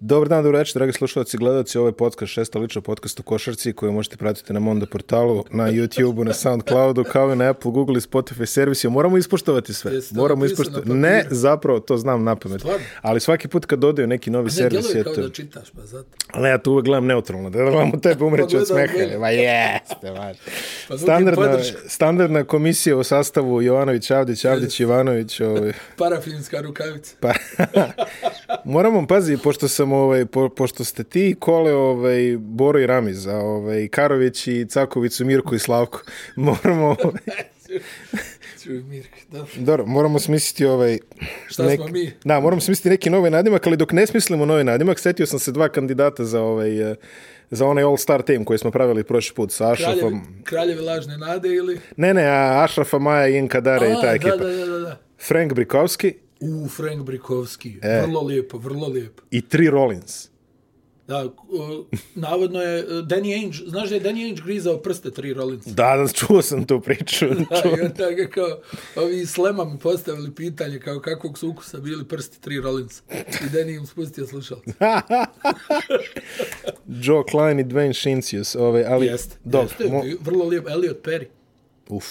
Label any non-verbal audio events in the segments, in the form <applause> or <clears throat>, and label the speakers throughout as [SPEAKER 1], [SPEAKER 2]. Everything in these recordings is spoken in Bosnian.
[SPEAKER 1] Dobar dan, dobro večer, dragi slušalci i gledalci. Ovo je podcast, šesta lična podcast o košarci koju možete pratiti na Mondo portalu, na YouTube-u, na Soundcloudu, kao i na Apple, Google i Spotify servisima. Moramo ispoštovati sve.
[SPEAKER 2] Jeste
[SPEAKER 1] Moramo
[SPEAKER 2] napisano
[SPEAKER 1] ispoštovati.
[SPEAKER 2] na papiru?
[SPEAKER 1] Ne, zapravo, to znam na pamet.
[SPEAKER 2] Stvarno?
[SPEAKER 1] Ali svaki put kad dodaju neki novi
[SPEAKER 2] Ne,
[SPEAKER 1] servis,
[SPEAKER 2] djeluje
[SPEAKER 1] je
[SPEAKER 2] kao
[SPEAKER 1] to...
[SPEAKER 2] da čitaš, pa zato.
[SPEAKER 1] Ali ja tu uvek gledam neutralno, da gledam tebe umreću
[SPEAKER 2] Pa
[SPEAKER 1] od
[SPEAKER 2] gledam
[SPEAKER 1] smeha.
[SPEAKER 2] mene.
[SPEAKER 1] Ma jeste, baš.
[SPEAKER 2] Pa nudim
[SPEAKER 1] Standardna,
[SPEAKER 2] podršku.
[SPEAKER 1] standardna komisija u sastavu Jovanović, Avdić, Avdić, Ivanović, ovaj.
[SPEAKER 2] Parafinska rukavica. <laughs>
[SPEAKER 1] Pa, <laughs> moramo, pazi, pošto sam, ovaj, po, pošto ste ti i kole, ovaj, Boro i Ramiza, ovaj, Karović i Cakovicu, Mirko i Slavko, <laughs> moramo, ovaj,
[SPEAKER 2] Čuj, Mirko, dobro.
[SPEAKER 1] dobro, moramo smisliti ovaj...
[SPEAKER 2] Šta smo mi?
[SPEAKER 1] Da, moramo smisliti neki novi nadimak, ali dok ne smislimo novi nadimak, setio sam se dva kandidata za ovaj... eh, za onaj All-Star team koji smo pravili prošli put sa
[SPEAKER 2] Kraljevi,
[SPEAKER 1] Ašrafom.
[SPEAKER 2] kraljevi lažne nade ili...
[SPEAKER 1] Ne, ne, a Ašrafa, Maja, Ian Kadare i ta
[SPEAKER 2] A,
[SPEAKER 1] ekipa.
[SPEAKER 2] Da, da, da, da.
[SPEAKER 1] Frank Brikovski
[SPEAKER 2] U, Frank Brikovski.
[SPEAKER 1] E.
[SPEAKER 2] Vrlo lijepo, vrlo lijepo.
[SPEAKER 1] i tri Rollins.
[SPEAKER 2] Da, o, navodno je e, Danny Ainge, znaš da je Danny Ainge grizao prste
[SPEAKER 1] <laughs>
[SPEAKER 2] tri Rollinsa?
[SPEAKER 1] Da, da, čuo sam tu priču.
[SPEAKER 2] <laughs> Da, i onda ga kao, ovi iz Slema mi postavili pitanje kao kakvog su ukusa bili prsti tri Rollinsa. I Danny im spustio slušalce.
[SPEAKER 1] <laughs> Joe Klein i Dwayne Shincius, ovaj, ali
[SPEAKER 2] Jeste,
[SPEAKER 1] dobro.
[SPEAKER 2] jeste,
[SPEAKER 1] mo,
[SPEAKER 2] vrlo lijepo. Elliot Perry.
[SPEAKER 1] uf.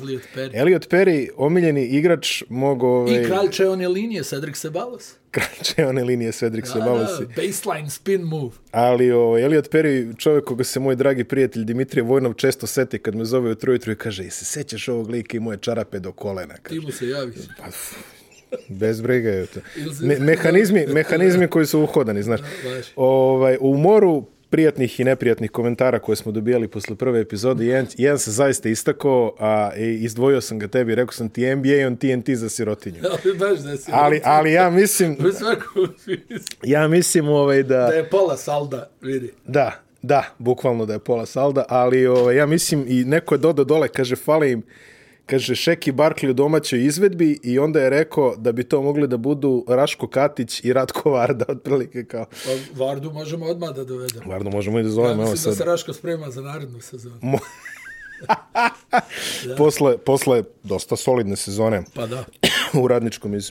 [SPEAKER 2] Elliot Perry.
[SPEAKER 1] Elliot Perry, omiljeni igrač mog ovaj,
[SPEAKER 2] I
[SPEAKER 1] <laughs>
[SPEAKER 2] kralj čeone linije, Cedric Sebalos.
[SPEAKER 1] kralče one linije Cedric Sebalosi.
[SPEAKER 2] Da, da, baseline spin move.
[SPEAKER 1] Ali ovaj, Elliot Perry, čovjek koga se moj dragi prijatelj Dimitrije Vojnov često seti kad me zove ujutro ujutro i kaže, "Jel se sećaš ovog lika i moje čarape do kolena. Kaže.
[SPEAKER 2] Ti mu se
[SPEAKER 1] <laughs>
[SPEAKER 2] javiš.
[SPEAKER 1] Pa, f- bez brige je
[SPEAKER 2] <laughs>
[SPEAKER 1] to.
[SPEAKER 2] Ili se-
[SPEAKER 1] Me,
[SPEAKER 2] <laughs>
[SPEAKER 1] mehanizmi, mehanizmi koji su uhodani, znaš.
[SPEAKER 2] baš.
[SPEAKER 1] Ovaj, u moru prijatnih i neprijatnih komentara koje smo dobijali posle prve epizode, jedan, jedan se zaista istakao, a i izdvojio sam ga tebi, rekao sam ti NBA, on TNT za
[SPEAKER 2] <laughs>
[SPEAKER 1] sirotinju.
[SPEAKER 2] Ali baš da si...
[SPEAKER 1] Ali, ali ja mislim,
[SPEAKER 2] U svakom smislu.
[SPEAKER 1] ja mislim ovaj, da...
[SPEAKER 2] Da je pola salda, vidi.
[SPEAKER 1] Da, da, bukvalno da je pola salda, ali ovaj, ja mislim i neko je dodao dole, kaže, fale im, kaže, Šeki Barkley u domaćoj izvedbi i onda je rekao da bi to mogli da budu Raško Katić i Ratko Varda, <laughs> otprilike kao.
[SPEAKER 2] Pa Vardu možemo odmah da dovedemo.
[SPEAKER 1] Varda možemo i da
[SPEAKER 2] Ja
[SPEAKER 1] zovemo, evo
[SPEAKER 2] mislim da
[SPEAKER 1] sad.
[SPEAKER 2] se Raško sprema za narednu sezonu.
[SPEAKER 1] Posle, posle dosta solidne sezone <clears throat>
[SPEAKER 2] Pa da.
[SPEAKER 1] u radničkom iz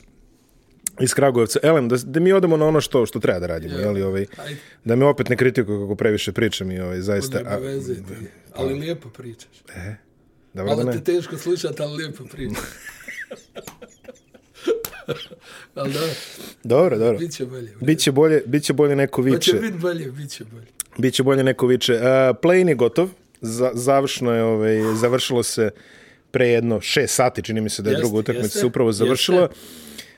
[SPEAKER 1] iz Kragujevca. Elem, da, da mi odemo na ono što što treba da radimo, je li ovaj,
[SPEAKER 2] Ajde.
[SPEAKER 1] da me opet ne kritikuju kako previše pričam i ovaj, zaista...
[SPEAKER 2] Nema
[SPEAKER 1] a-
[SPEAKER 2] veze ti. Ali lijepo pričaš.
[SPEAKER 1] Dobro da
[SPEAKER 2] Malo
[SPEAKER 1] ne?
[SPEAKER 2] te teško slušati, ali lijepo
[SPEAKER 1] <laughs>
[SPEAKER 2] pričaš. ali da,
[SPEAKER 1] Dobro, dobro.
[SPEAKER 2] bit će bolje.
[SPEAKER 1] Biće bolje, biće bolje neko
[SPEAKER 2] Pa
[SPEAKER 1] viče.
[SPEAKER 2] će biti bolje, bit će bolje.
[SPEAKER 1] Biće bolje neko viče. Uh, Plane je gotov. Za, završno je, ovaj, završilo se pre jedno šest sati, čini mi se da je
[SPEAKER 2] Jeste,
[SPEAKER 1] druga utakmica
[SPEAKER 2] jeste,
[SPEAKER 1] se upravo završila.
[SPEAKER 2] jeste.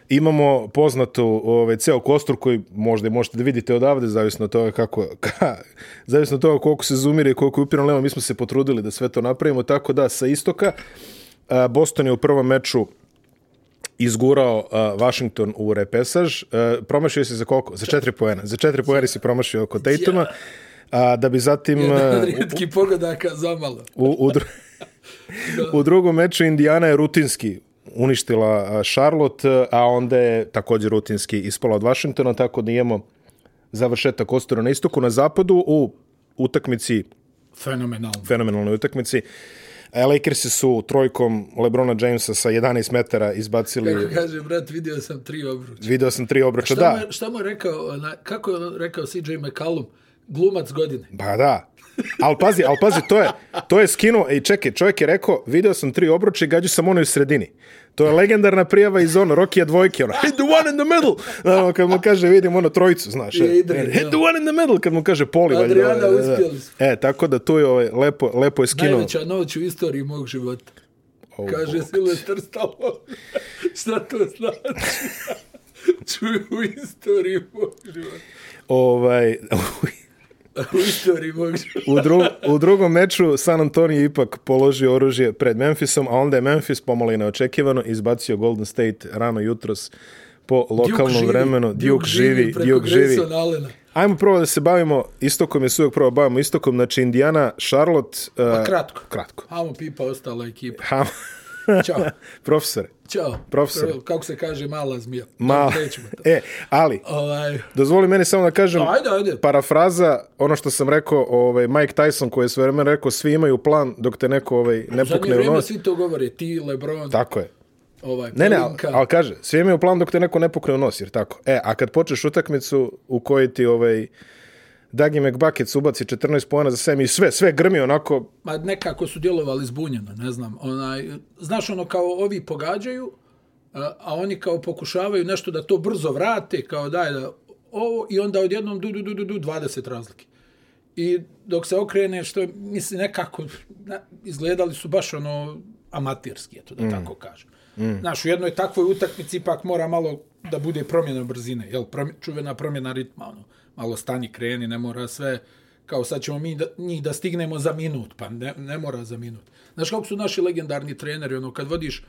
[SPEAKER 1] Imamo poznatu ovaj, ceo kostur koji možda i možete da vidite odavde, zavisno od toga kako, <laughs> ka, zavisno od toga koliko se zoomira i koliko je upirano levo. Mi smo se potrudili da sve to napravimo, tako da sa istoka uh, Boston je u prvom meču izgurao uh, Washington u repesaž. Uh, promašio si za koliko? Za četiri poena. Za četiri poena si promašio oko Tatuma. A, da bi zatim uh,
[SPEAKER 2] Jedan <laughs> od rijetkih pogodaka zamalo.
[SPEAKER 1] u, u,
[SPEAKER 2] <laughs>
[SPEAKER 1] dru... u drugom meču Indiana je rutinski uništila a, Charlotte, a onda je također rutinski ispala od Washingtona, tako da imamo završetak kostura na istoku, na zapadu u utakmici
[SPEAKER 2] Fenomenalno.
[SPEAKER 1] fenomenalnoj utakmici. E, Lakersi su trojkom Lebrona Jamesa sa 11 metara izbacili...
[SPEAKER 2] Kako kaže, brat, vidio sam tri obruča.
[SPEAKER 1] Video sam tri obruča,
[SPEAKER 2] Šta,
[SPEAKER 1] da.
[SPEAKER 2] mu, šta mu je rekao, ona, kako je on rekao CJ McCallum, glumac godine.
[SPEAKER 1] Ba da. Al pazi, al pazi, to je, to je skinuo, i čekaj, čovjek je rekao, video sam tri obruče i gađu sam ono u sredini. To je legendarna prijava iz ono, Rokija dvojke, ono, hit the one in the middle, ono, kad mu kaže, vidim ono trojicu, znaš,
[SPEAKER 2] I
[SPEAKER 1] e,
[SPEAKER 2] Adrian,
[SPEAKER 1] hit the
[SPEAKER 2] da.
[SPEAKER 1] one in the middle, kad mu kaže poli,
[SPEAKER 2] Adriana,
[SPEAKER 1] ovaj, da, da.
[SPEAKER 2] uspjeli smo.
[SPEAKER 1] E, tako da tu je ovaj, lepo, lepo je skinuo.
[SPEAKER 2] Najveća noć u istoriji mog života.
[SPEAKER 1] Ovo,
[SPEAKER 2] Kaže Silvester Stallone. <laughs> šta to znači? <laughs> Čuj, u istoriji mog života.
[SPEAKER 1] Ovaj, <laughs>
[SPEAKER 2] U istoriji mog života.
[SPEAKER 1] u, dru, u drugom meču San Antonio je ipak položio oružje pred Memphisom, a onda je Memphis pomalo i neočekivano izbacio Golden State rano jutros po lokalnom
[SPEAKER 2] živi,
[SPEAKER 1] vremenu. Duke, živi,
[SPEAKER 2] preko
[SPEAKER 1] Duke živi.
[SPEAKER 2] Grayson Allena.
[SPEAKER 1] Ajmo prvo da se bavimo istokom, jer se uvijek prvo bavimo istokom. Znači, Indiana, Charlotte... Uh,
[SPEAKER 2] Pa kratko.
[SPEAKER 1] Kratko.
[SPEAKER 2] Hamo pipa ostala ekipa.
[SPEAKER 1] Ha,
[SPEAKER 2] Ćao.
[SPEAKER 1] <laughs> profesore,
[SPEAKER 2] Ćao.
[SPEAKER 1] Profesor.
[SPEAKER 2] Kako se kaže, mala zmija.
[SPEAKER 1] ma...
[SPEAKER 2] Nećemo to.
[SPEAKER 1] E, ali,
[SPEAKER 2] Ovaj,
[SPEAKER 1] dozvoli meni samo da kažem...
[SPEAKER 2] ajde, ajde.
[SPEAKER 1] Pa, Parafraza, ono što sam rekao, ovaj, Mike Tyson koji je sve vreme rekao, svi imaju plan dok te neko ovaj, ne
[SPEAKER 2] Zadnje
[SPEAKER 1] pukne u
[SPEAKER 2] vrijeme
[SPEAKER 1] nos.
[SPEAKER 2] svi to govore, ti, Lebron,
[SPEAKER 1] Tako je.
[SPEAKER 2] ovaj,
[SPEAKER 1] Ne, ne, ali,
[SPEAKER 2] Palinka.
[SPEAKER 1] ali kaže, sve mi je u planu dok te neko ne pokrije u nos, jer tako. E, a kad počneš utakmicu u kojoj ti ovaj, Dagi McBucket ubaci 14 pojena za semi i sve, sve grmi onako,
[SPEAKER 2] Ma nekako su djelovali zbunjeno, ne znam. Onaj, znaš, ono kao ovi pogađaju, a, a oni kao pokušavaju nešto da to brzo vrate, kao daj da ovo, i onda odjednom du, du, du, du, du, 20 razlike. I dok se okrene, što je, mislim, nekako, na, izgledali su baš ono amatirski, eto da mm. tako kažem. Mm. Znaš, u jednoj takvoj utakmici ipak mora malo da bude promjena brzine, jel, promj, čuvena promjena ritma, ono, malo stani, kreni, ne mora sve, kao sad ćemo mi da, njih da stignemo za minut, pa ne, ne mora za minut. Znaš, kako su naši legendarni treneri, ono, kad vodiš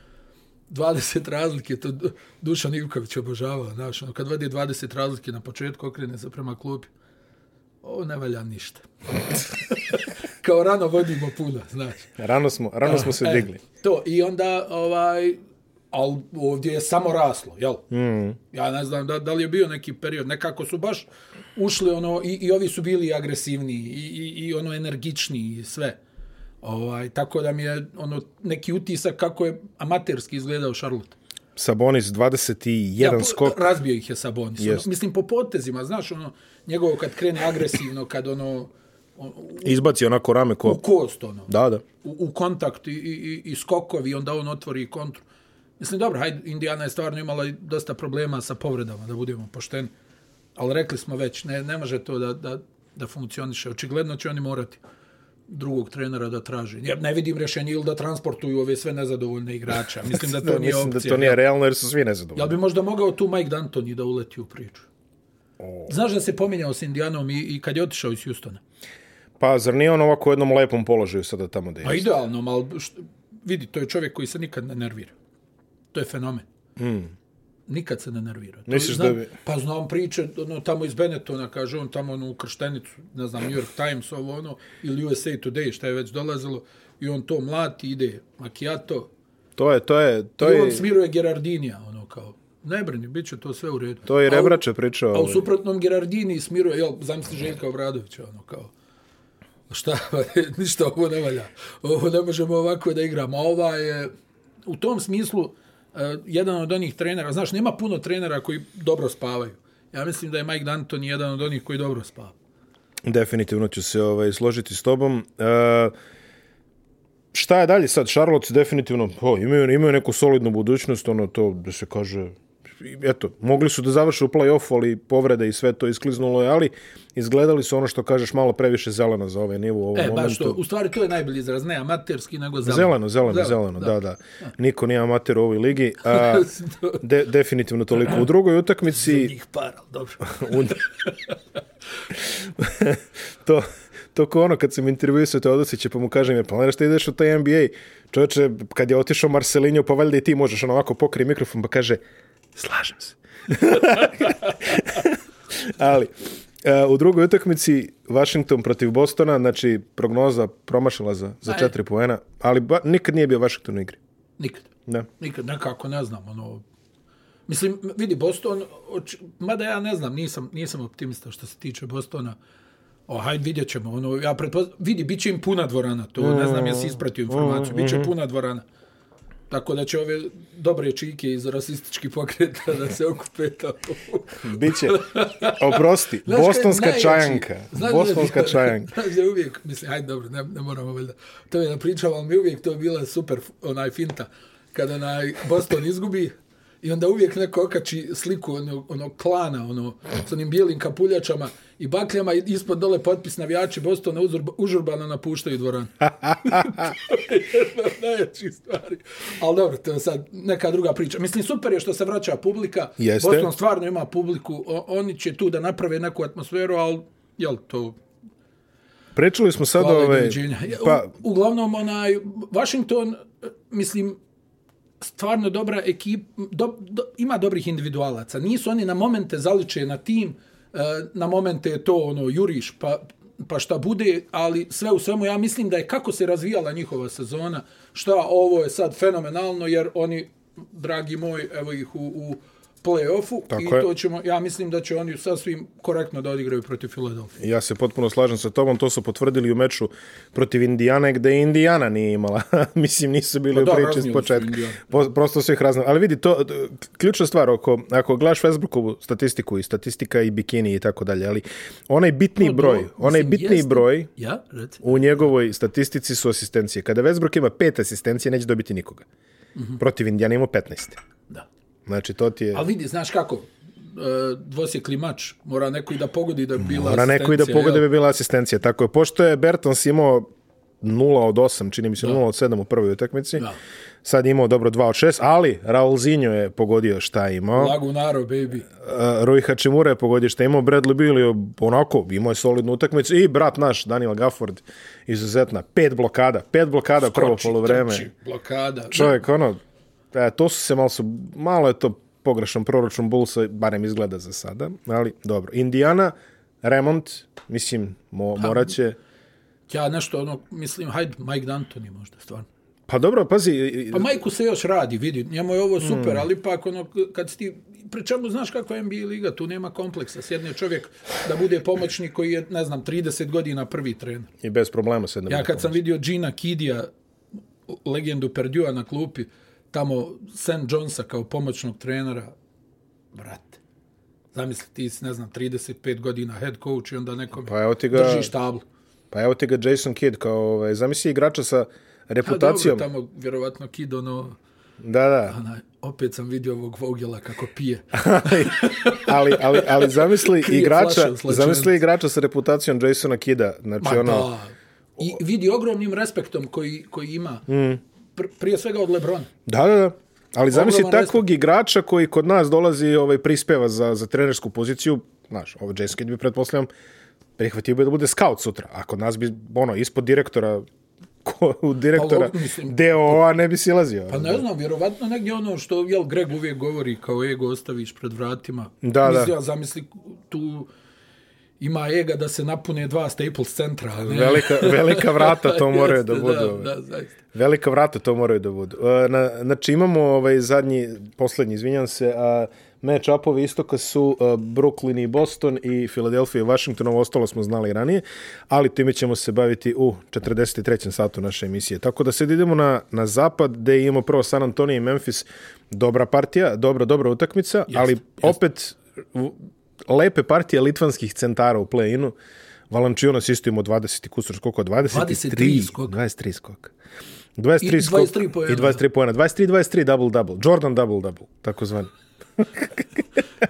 [SPEAKER 2] 20 razlike, to Du- Dušan Ivković obožava, znaš, ono, kad vodi 20 razlike na početku, okrene se prema klupi, ovo ne valja ništa. <laughs> kao rano vodimo puno, znaš.
[SPEAKER 1] rano smo, rano smo se digli.
[SPEAKER 2] E, to, i onda, ovaj, ali ovdje je samo raslo, jel? Mm. Ja ne znam da, da li je bio neki period, nekako su baš ušli, ono, i, i ovi su bili agresivni, i, i, i ono, energični, i sve. Ovaj, tako da mi je ono neki utisak kako je amaterski izgledao Charlotte.
[SPEAKER 1] Sabonis 21
[SPEAKER 2] po-
[SPEAKER 1] skok.
[SPEAKER 2] Razbio ih je Sabonis. Ono,
[SPEAKER 1] Jest.
[SPEAKER 2] mislim, po potezima, znaš, ono, njegovo kad krene agresivno, kad ono, on,
[SPEAKER 1] Izbaci onako rame
[SPEAKER 2] u
[SPEAKER 1] ko...
[SPEAKER 2] kost, ono
[SPEAKER 1] Da, da.
[SPEAKER 2] u, u kontakt i, i, i skokovi, onda on otvori kontru. Mislim, dobro, hajde, Indiana je stvarno imala i dosta problema sa povredama, da budemo pošteni. Ali rekli smo već, ne, ne može to da, da, da funkcioniše. Očigledno će oni morati drugog trenera da traže. Jer ne vidim rješenje ili da transportuju ove sve
[SPEAKER 1] <laughs>
[SPEAKER 2] nezadovoljne igrača. Mislim da to
[SPEAKER 1] Da,
[SPEAKER 2] nije
[SPEAKER 1] mislim da
[SPEAKER 2] opcija.
[SPEAKER 1] to nije realno jer su svi nezadovoljni.
[SPEAKER 2] Jel bi možda mogao tu Mike D'Antoni da uleti u priču? Znaš da se pominjao s Indianom i, i kad je otišao iz Houstona?
[SPEAKER 1] Pa zar nije on ovako u jednom lepom položaju sada tamo da
[SPEAKER 2] Pa
[SPEAKER 1] je?
[SPEAKER 2] idealno, ali što, vidi, to je čovjek koji se nikad ne nervira. To je fenomen. Mm. Nikad se ne nervira. To
[SPEAKER 1] Hmm. Misliš
[SPEAKER 2] znam,
[SPEAKER 1] da bi-
[SPEAKER 2] Pa znam priče, ono, tamo iz Benetona, kaže on tamo ono, u Krštenicu, ne znam, New York Times, ovo ono, ili USA Today, šta je već dolazilo, i on to mlati, ide macchiato,
[SPEAKER 1] To je, to je, to
[SPEAKER 2] i on
[SPEAKER 1] je,
[SPEAKER 2] smiruje Gerardinija, ono kao, ne brini, bit će to sve u redu.
[SPEAKER 1] to je
[SPEAKER 2] A u-
[SPEAKER 1] Rebrače pričao.
[SPEAKER 2] A Pa u
[SPEAKER 1] ovaj.
[SPEAKER 2] suprotnom Gerardini smiruje, jel, zamisli Željka Obradovića, ono kao, šta, <laughs> ništa ovo ne valja, ovo ne možemo ovako da igramo. A ova je, u tom smislu, eh, jedan od onih trenera, znaš, nema puno trenera koji dobro spavaju. Ja mislim da je Mike D'Antoni jedan od onih koji dobro spava.
[SPEAKER 1] Definitivno ću se ovaj, složiti s tobom. E, šta je dalje sad? Charlotte definitivno o, imaju, imaju neku solidnu budućnost, ono to da se kaže eto, mogli su da završe u play-offu, ali povrede i sve to iskliznulo je, ali izgledali su ono što kažeš malo previše zeleno za ovaj nivo u ovom
[SPEAKER 2] E,
[SPEAKER 1] momentu.
[SPEAKER 2] baš to. U stvari, to je najbolji izraz, ne amaterski, nego zeleno.
[SPEAKER 1] Zeleno, zeleno, zeleno, da, da. Niko nije amater u ovoj ligi.
[SPEAKER 2] <laughs>
[SPEAKER 1] A, de, definitivno toliko. U drugoj utakmici...
[SPEAKER 2] Njih par, ali
[SPEAKER 1] <laughs>
[SPEAKER 2] dobro.
[SPEAKER 1] Und... to, to ko ono kad sam intervjuo sa Teodosića pa mu kažem je planiraš da ideš u taj NBA čovječe kad je otišao Marcelinho pa valjda i ti možeš ono ovako pokrije mikrofon pa kaže slažem se ali e, u drugoj utakmici Washington protiv Bostona znači prognoza promašala za, za
[SPEAKER 2] Ajde.
[SPEAKER 1] četiri poena ali ba, nikad nije bio Washington u igri
[SPEAKER 2] Nikad.
[SPEAKER 1] da.
[SPEAKER 2] Nikad, nekako, ne znam, ono... Mislim, vidi, Boston, oč, mada ja ne znam, nisam, nisam optimista što se tiče Bostona. O, hajde, vidjet ćemo. Ono, ja pretpoz... Vidi, bit će im puna dvorana. To ne znam, jesi ispratio informaciju. Bit će puna dvorana. Tako da će ove dobre čike iz rasistički pokreta da se okupe to.
[SPEAKER 1] Biće, oprosti,
[SPEAKER 2] Znaš kad je
[SPEAKER 1] bostonska
[SPEAKER 2] najjači-
[SPEAKER 1] čajanka.
[SPEAKER 2] Znaš da-
[SPEAKER 1] Bostonska čajanka.
[SPEAKER 2] <laughs> Znaš da je uvijek, mislim, hajde dobro, ne, ne moramo valjda, to mi je napričao, ali mi je uvijek to bila super f- onaj finta, kada onaj Boston izgubi i onda uvijek neko okači sliku onog, onog klana, ono, s onim bijelim kapuljačama i bakljama i ispod dole potpis navijači Bostona uzurba, užurbano napuštaju dvoran. to je jedna od najjačih stvari. Ali dobro, to je sad neka druga priča. Mislim, super je što se vraća publika.
[SPEAKER 1] Jeste.
[SPEAKER 2] Boston stvarno ima publiku, o, oni će tu da naprave neku atmosferu, ali jel to
[SPEAKER 1] Pričali smo sad
[SPEAKER 2] hvala
[SPEAKER 1] ove...
[SPEAKER 2] doviđenja. Ja, u-
[SPEAKER 1] Pa,
[SPEAKER 2] Uglavnom, onaj, Washington, eh, mislim, stvarno dobra ekip, do, do, ima dobrih individualaca. Nisu oni na momente zaliče na tim, eh, na momente je to ono, juriš, pa, pa šta bude, ali sve u svemu, ja mislim da je kako se razvijala njihova sezona, šta ovo je sad fenomenalno, jer oni, dragi moj, evo ih u, u play-offu i
[SPEAKER 1] Tako je.
[SPEAKER 2] to ćemo, ja mislim da će oni sasvim korektno da odigraju protiv Filadelfije.
[SPEAKER 1] Ja se potpuno slažem sa tobom, to su potvrdili u meču protiv Indijane gde Indijana nije imala. <laughs> Mislim, nisu bili u
[SPEAKER 2] Pa da,
[SPEAKER 1] priči
[SPEAKER 2] raznijeli
[SPEAKER 1] s
[SPEAKER 2] su
[SPEAKER 1] početka.
[SPEAKER 2] Indijanu.
[SPEAKER 1] Po, prosto su ih raznali. Ali vidi, to, t- ključna stvar, ako, ako gledaš Westbrookovu statistiku i statistika i bikini i tako dalje, ali onaj bitni broj, onaj
[SPEAKER 2] Mislim,
[SPEAKER 1] bitni
[SPEAKER 2] jeste-
[SPEAKER 1] broj
[SPEAKER 2] Ja, reci.
[SPEAKER 1] u njegovoj statistici su asistencije. Kada Westbrook ima pet asistencije, neće dobiti nikoga.
[SPEAKER 2] Mhm.
[SPEAKER 1] Protiv Indijana ima 15.
[SPEAKER 2] Da.
[SPEAKER 1] Znači, to ti je...
[SPEAKER 2] Ali vidi, znaš kako, e, dvosjekli mač, mora neko i da pogodi da bi bila
[SPEAKER 1] Mora neko i da
[SPEAKER 2] asistencija,
[SPEAKER 1] pogode
[SPEAKER 2] jel?
[SPEAKER 1] bi bila asistencija. Tako je, pošto je Bertons imao 0 od 8, čini mi se 0 od 7 u prvoj utakmici.
[SPEAKER 2] Da.
[SPEAKER 1] Sad je imao dobro 2 od 6, ali Raulzinho je pogodio šta je imao. Uh,
[SPEAKER 2] Lagunaro, baby.
[SPEAKER 1] Rui Hachimura je pogodio šta je imao. Bradley Beal je onako, imao je solidnu utakmicu. I brat naš, Daniel Gafford, izuzetna. Pet blokada, pet blokada prvo
[SPEAKER 2] Skoči,
[SPEAKER 1] polovreme.
[SPEAKER 2] trči, blokada.
[SPEAKER 1] Čovjek, ono, e, to su se malo su, malo je to pogrešan proračun Bullsa, barem izgleda za sada, ali dobro. Indiana, remont, mislim, mo,
[SPEAKER 2] Pa-
[SPEAKER 1] morat će...
[SPEAKER 2] Ja nešto ono, mislim, hajde, Mike D'Antoni možda, stvarno.
[SPEAKER 1] Pa dobro, pazi, i-
[SPEAKER 2] Pa Majku se još radi, vidi, njemu je ovo
[SPEAKER 1] Mm.
[SPEAKER 2] super, ali ipak ono, kad si ti, pri čemu znaš kako je NBA liga, tu nema kompleksa, sjedne čovjek da bude pomoćnik koji je, ne znam, 30 godina prvi trener.
[SPEAKER 1] i bez problema se ne
[SPEAKER 2] Ja kad sam vidio Gina Kidija, legendu Perdua na klupi, tamo Sam Jonesa kao pomoćnog trenera, brate, zamisli ti si, ne znam, 35 godina head coach i onda nekom
[SPEAKER 1] Pa evo ti ga-
[SPEAKER 2] držiš tablu.
[SPEAKER 1] Pa evo ti ga Jason Kidd, kao, ovaj, zamisli igrača sa
[SPEAKER 2] A dobro,
[SPEAKER 1] reputacijom.
[SPEAKER 2] tamo vjerovatno Kid, ono,
[SPEAKER 1] da, da.
[SPEAKER 2] onaj, opet sam vidio ovog Vogela kako
[SPEAKER 1] <laughs>
[SPEAKER 2] pije.
[SPEAKER 1] ali, ali, ali zamisli
[SPEAKER 2] Krije
[SPEAKER 1] igrača,
[SPEAKER 2] flaše u slačenici.
[SPEAKER 1] zamisli igrača sa reputacijom Jasona Kidda. Znači,
[SPEAKER 2] Ma
[SPEAKER 1] ono,
[SPEAKER 2] da. I vidi ogromnim respektom koji, koji ima.
[SPEAKER 1] Mm.
[SPEAKER 2] Pr prije svega od Lebrona.
[SPEAKER 1] Da, da, da. Ali zamisli
[SPEAKER 2] Ogroman
[SPEAKER 1] takvog igrača koji kod nas dolazi i ovaj, prispeva za, za trenersku poziciju, znaš, ovo Jason Kidd bi pretpostavljam prihvatio bi da bude scout sutra, a kod nas bi, ono, ispod direktora <laughs> ko, u direktora
[SPEAKER 2] Pa, mislim,
[SPEAKER 1] DOA ne bi silazio.
[SPEAKER 2] Pa ne znam, vjerovatno negdje ono što, jel, Greg uvijek govori kao ego ostaviš pred vratima.
[SPEAKER 1] Da,
[SPEAKER 2] Mislim,
[SPEAKER 1] da.
[SPEAKER 2] ja zamisli tu ima ega da se napune dva Staples centra. a Ne?
[SPEAKER 1] Velika, velika vrata to moraju da
[SPEAKER 2] <laughs> Jeste,
[SPEAKER 1] budu. ovaj.
[SPEAKER 2] Da, da, zaista.
[SPEAKER 1] Velika vrata to moraju da budu. E, Na, znači imamo ovaj zadnji, poslednji, izvinjam se, a meč upovi istoka su e, Brooklyn i Boston i Philadelphia i Washington, ovo ostalo smo znali ranije, ali time ćemo se baviti u 43. satu naše emisije. Tako da sad idemo na, na zapad, gde imamo prvo San Antonio i Memphis, dobra partija, dobra, dobra utakmica, ali opet v- lepe partije litvanskih centara u play-inu. Valančijonas isto imao 20 i kusur skoka, 23
[SPEAKER 2] 23 skoka.
[SPEAKER 1] 23 skoka. 23
[SPEAKER 2] I
[SPEAKER 1] skok
[SPEAKER 2] 23 poena.
[SPEAKER 1] i 23 poena. 23 23 double double. Jordan double double, tako zvan.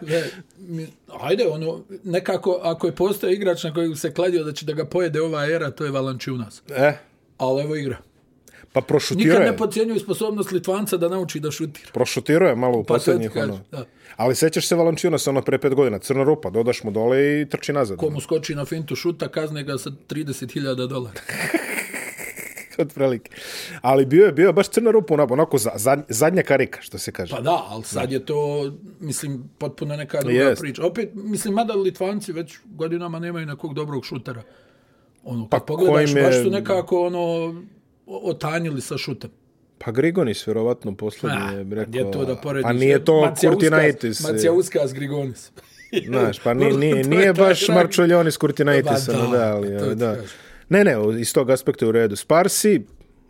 [SPEAKER 2] Ne, mi, ajde, ono, nekako, ako je postao igrač na kojeg se kladio da će da ga pojede ova era, to je Valančiunas.
[SPEAKER 1] E,
[SPEAKER 2] Ali evo igra.
[SPEAKER 1] pa prošutirao
[SPEAKER 2] Nikad
[SPEAKER 1] je.
[SPEAKER 2] ne podcjenjuju sposobnost Litvanca da nauči da šutira.
[SPEAKER 1] Prošutirao je malo u
[SPEAKER 2] Pa to ti
[SPEAKER 1] poslednjih
[SPEAKER 2] kažem,
[SPEAKER 1] ono.
[SPEAKER 2] da.
[SPEAKER 1] Ali sećaš se Valančiunasa ono pre 5 godina, crna rupa, dodaš mu dole i trči nazad. <laughs>
[SPEAKER 2] Ko mu skoči na fintu šuta, kazne ga sa 30.000 dolara.
[SPEAKER 1] Otprilike. Ali bio je bio je baš crna rupa, onako, onako za, za, zadnja karika, što se kaže.
[SPEAKER 2] Pa da, ali sad je to, mislim, potpuno neka druga
[SPEAKER 1] Jest.
[SPEAKER 2] priča. Opet, mislim, mada Litvanci već godinama nemaju nekog dobrog šutera. Ono,
[SPEAKER 1] Pa
[SPEAKER 2] kad pogledaš,
[SPEAKER 1] kojim je-
[SPEAKER 2] baš su nekako, ono, o- otanjili sa šutem.
[SPEAKER 1] Pa Grigonis vjerovatno poslednji je
[SPEAKER 2] Ah,
[SPEAKER 1] Pa rekao.
[SPEAKER 2] gdje to da porediš?
[SPEAKER 1] Pa nije to
[SPEAKER 2] Macija
[SPEAKER 1] Kurtinaitis.
[SPEAKER 2] Uskas- Macija Uskas Grigonis.
[SPEAKER 1] Znaš,
[SPEAKER 2] <laughs>
[SPEAKER 1] pa nije,
[SPEAKER 2] Ono, To
[SPEAKER 1] nije,
[SPEAKER 2] je
[SPEAKER 1] nije
[SPEAKER 2] taj
[SPEAKER 1] baš
[SPEAKER 2] kraj.
[SPEAKER 1] Marčoljoni s Kurtinaitisa,
[SPEAKER 2] Pa
[SPEAKER 1] da,
[SPEAKER 2] da,
[SPEAKER 1] da, ali,
[SPEAKER 2] to ti
[SPEAKER 1] da.
[SPEAKER 2] kažem.
[SPEAKER 1] Ne, ne, o- iz tog aspekta je u redu. Sparsi,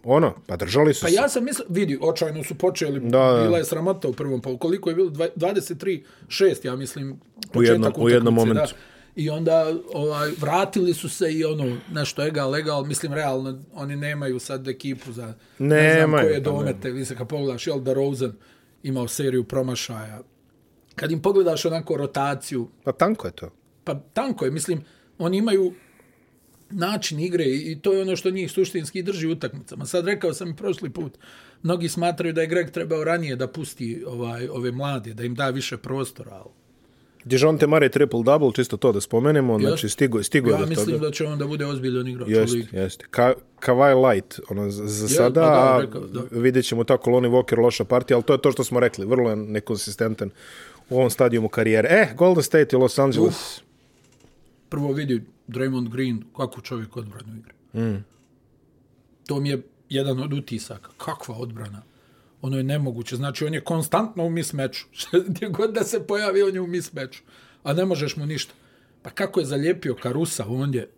[SPEAKER 1] ono, pa držali su
[SPEAKER 2] Pa
[SPEAKER 1] se.
[SPEAKER 2] ja sam mislio, vidi, očajno su počeli,
[SPEAKER 1] Da, da.
[SPEAKER 2] bila je sramota u prvom, pa koliko je bilo, Dva- 23-6, ja mislim,
[SPEAKER 1] U jednom-
[SPEAKER 2] početak
[SPEAKER 1] u jednom
[SPEAKER 2] utakmice,
[SPEAKER 1] momentu.
[SPEAKER 2] Da. I onda ovaj, vratili su se i ono, nešto egal, legal, mislim, realno, oni nemaju sad ekipu za, ne znam
[SPEAKER 1] Nemaju,
[SPEAKER 2] koje
[SPEAKER 1] pa
[SPEAKER 2] domete, vi se kad pogledaš, jel da Rosen imao seriju promašaja, kad im pogledaš onako rotaciju,
[SPEAKER 1] Pa tanko je to.
[SPEAKER 2] pa tanko je, mislim, oni imaju način igre i i to je ono što njih suštinski drži u utakmicama. Sad rekao sam i prošli put, mnogi smatraju da je Greg trebao ranije da pusti ovaj ove mlade, da im da više prostora. ali
[SPEAKER 1] Dijonte Mare triple-double, čisto to da spomenemo, znači stigo, stigo je
[SPEAKER 2] Pa Ja
[SPEAKER 1] do toga.
[SPEAKER 2] mislim da će on da bude ozbiljan igrač u ligi.
[SPEAKER 1] Jeste, jeste. Ka, Kawhi Light, ono, za, za sada,
[SPEAKER 2] pa da,
[SPEAKER 1] a
[SPEAKER 2] rekao, da.
[SPEAKER 1] vidjet ćemo tako Lonnie Walker loša partija, ali to je to što smo rekli, vrlo je nekonsistentan u ovom stadijumu karijere. E, Golden State i Los Angeles.
[SPEAKER 2] Prvo vidi Draymond Green kako čovjek odbranu igra. Mm. To mi je jedan od utisaka. Kakva odbrana. ono je nemoguće. Znači, on je konstantno u <laughs> mismeču. Gdje god da se pojavi, on je u mismeču. A ne možeš mu ništa. Pa kako je zalijepio Karusa ondje,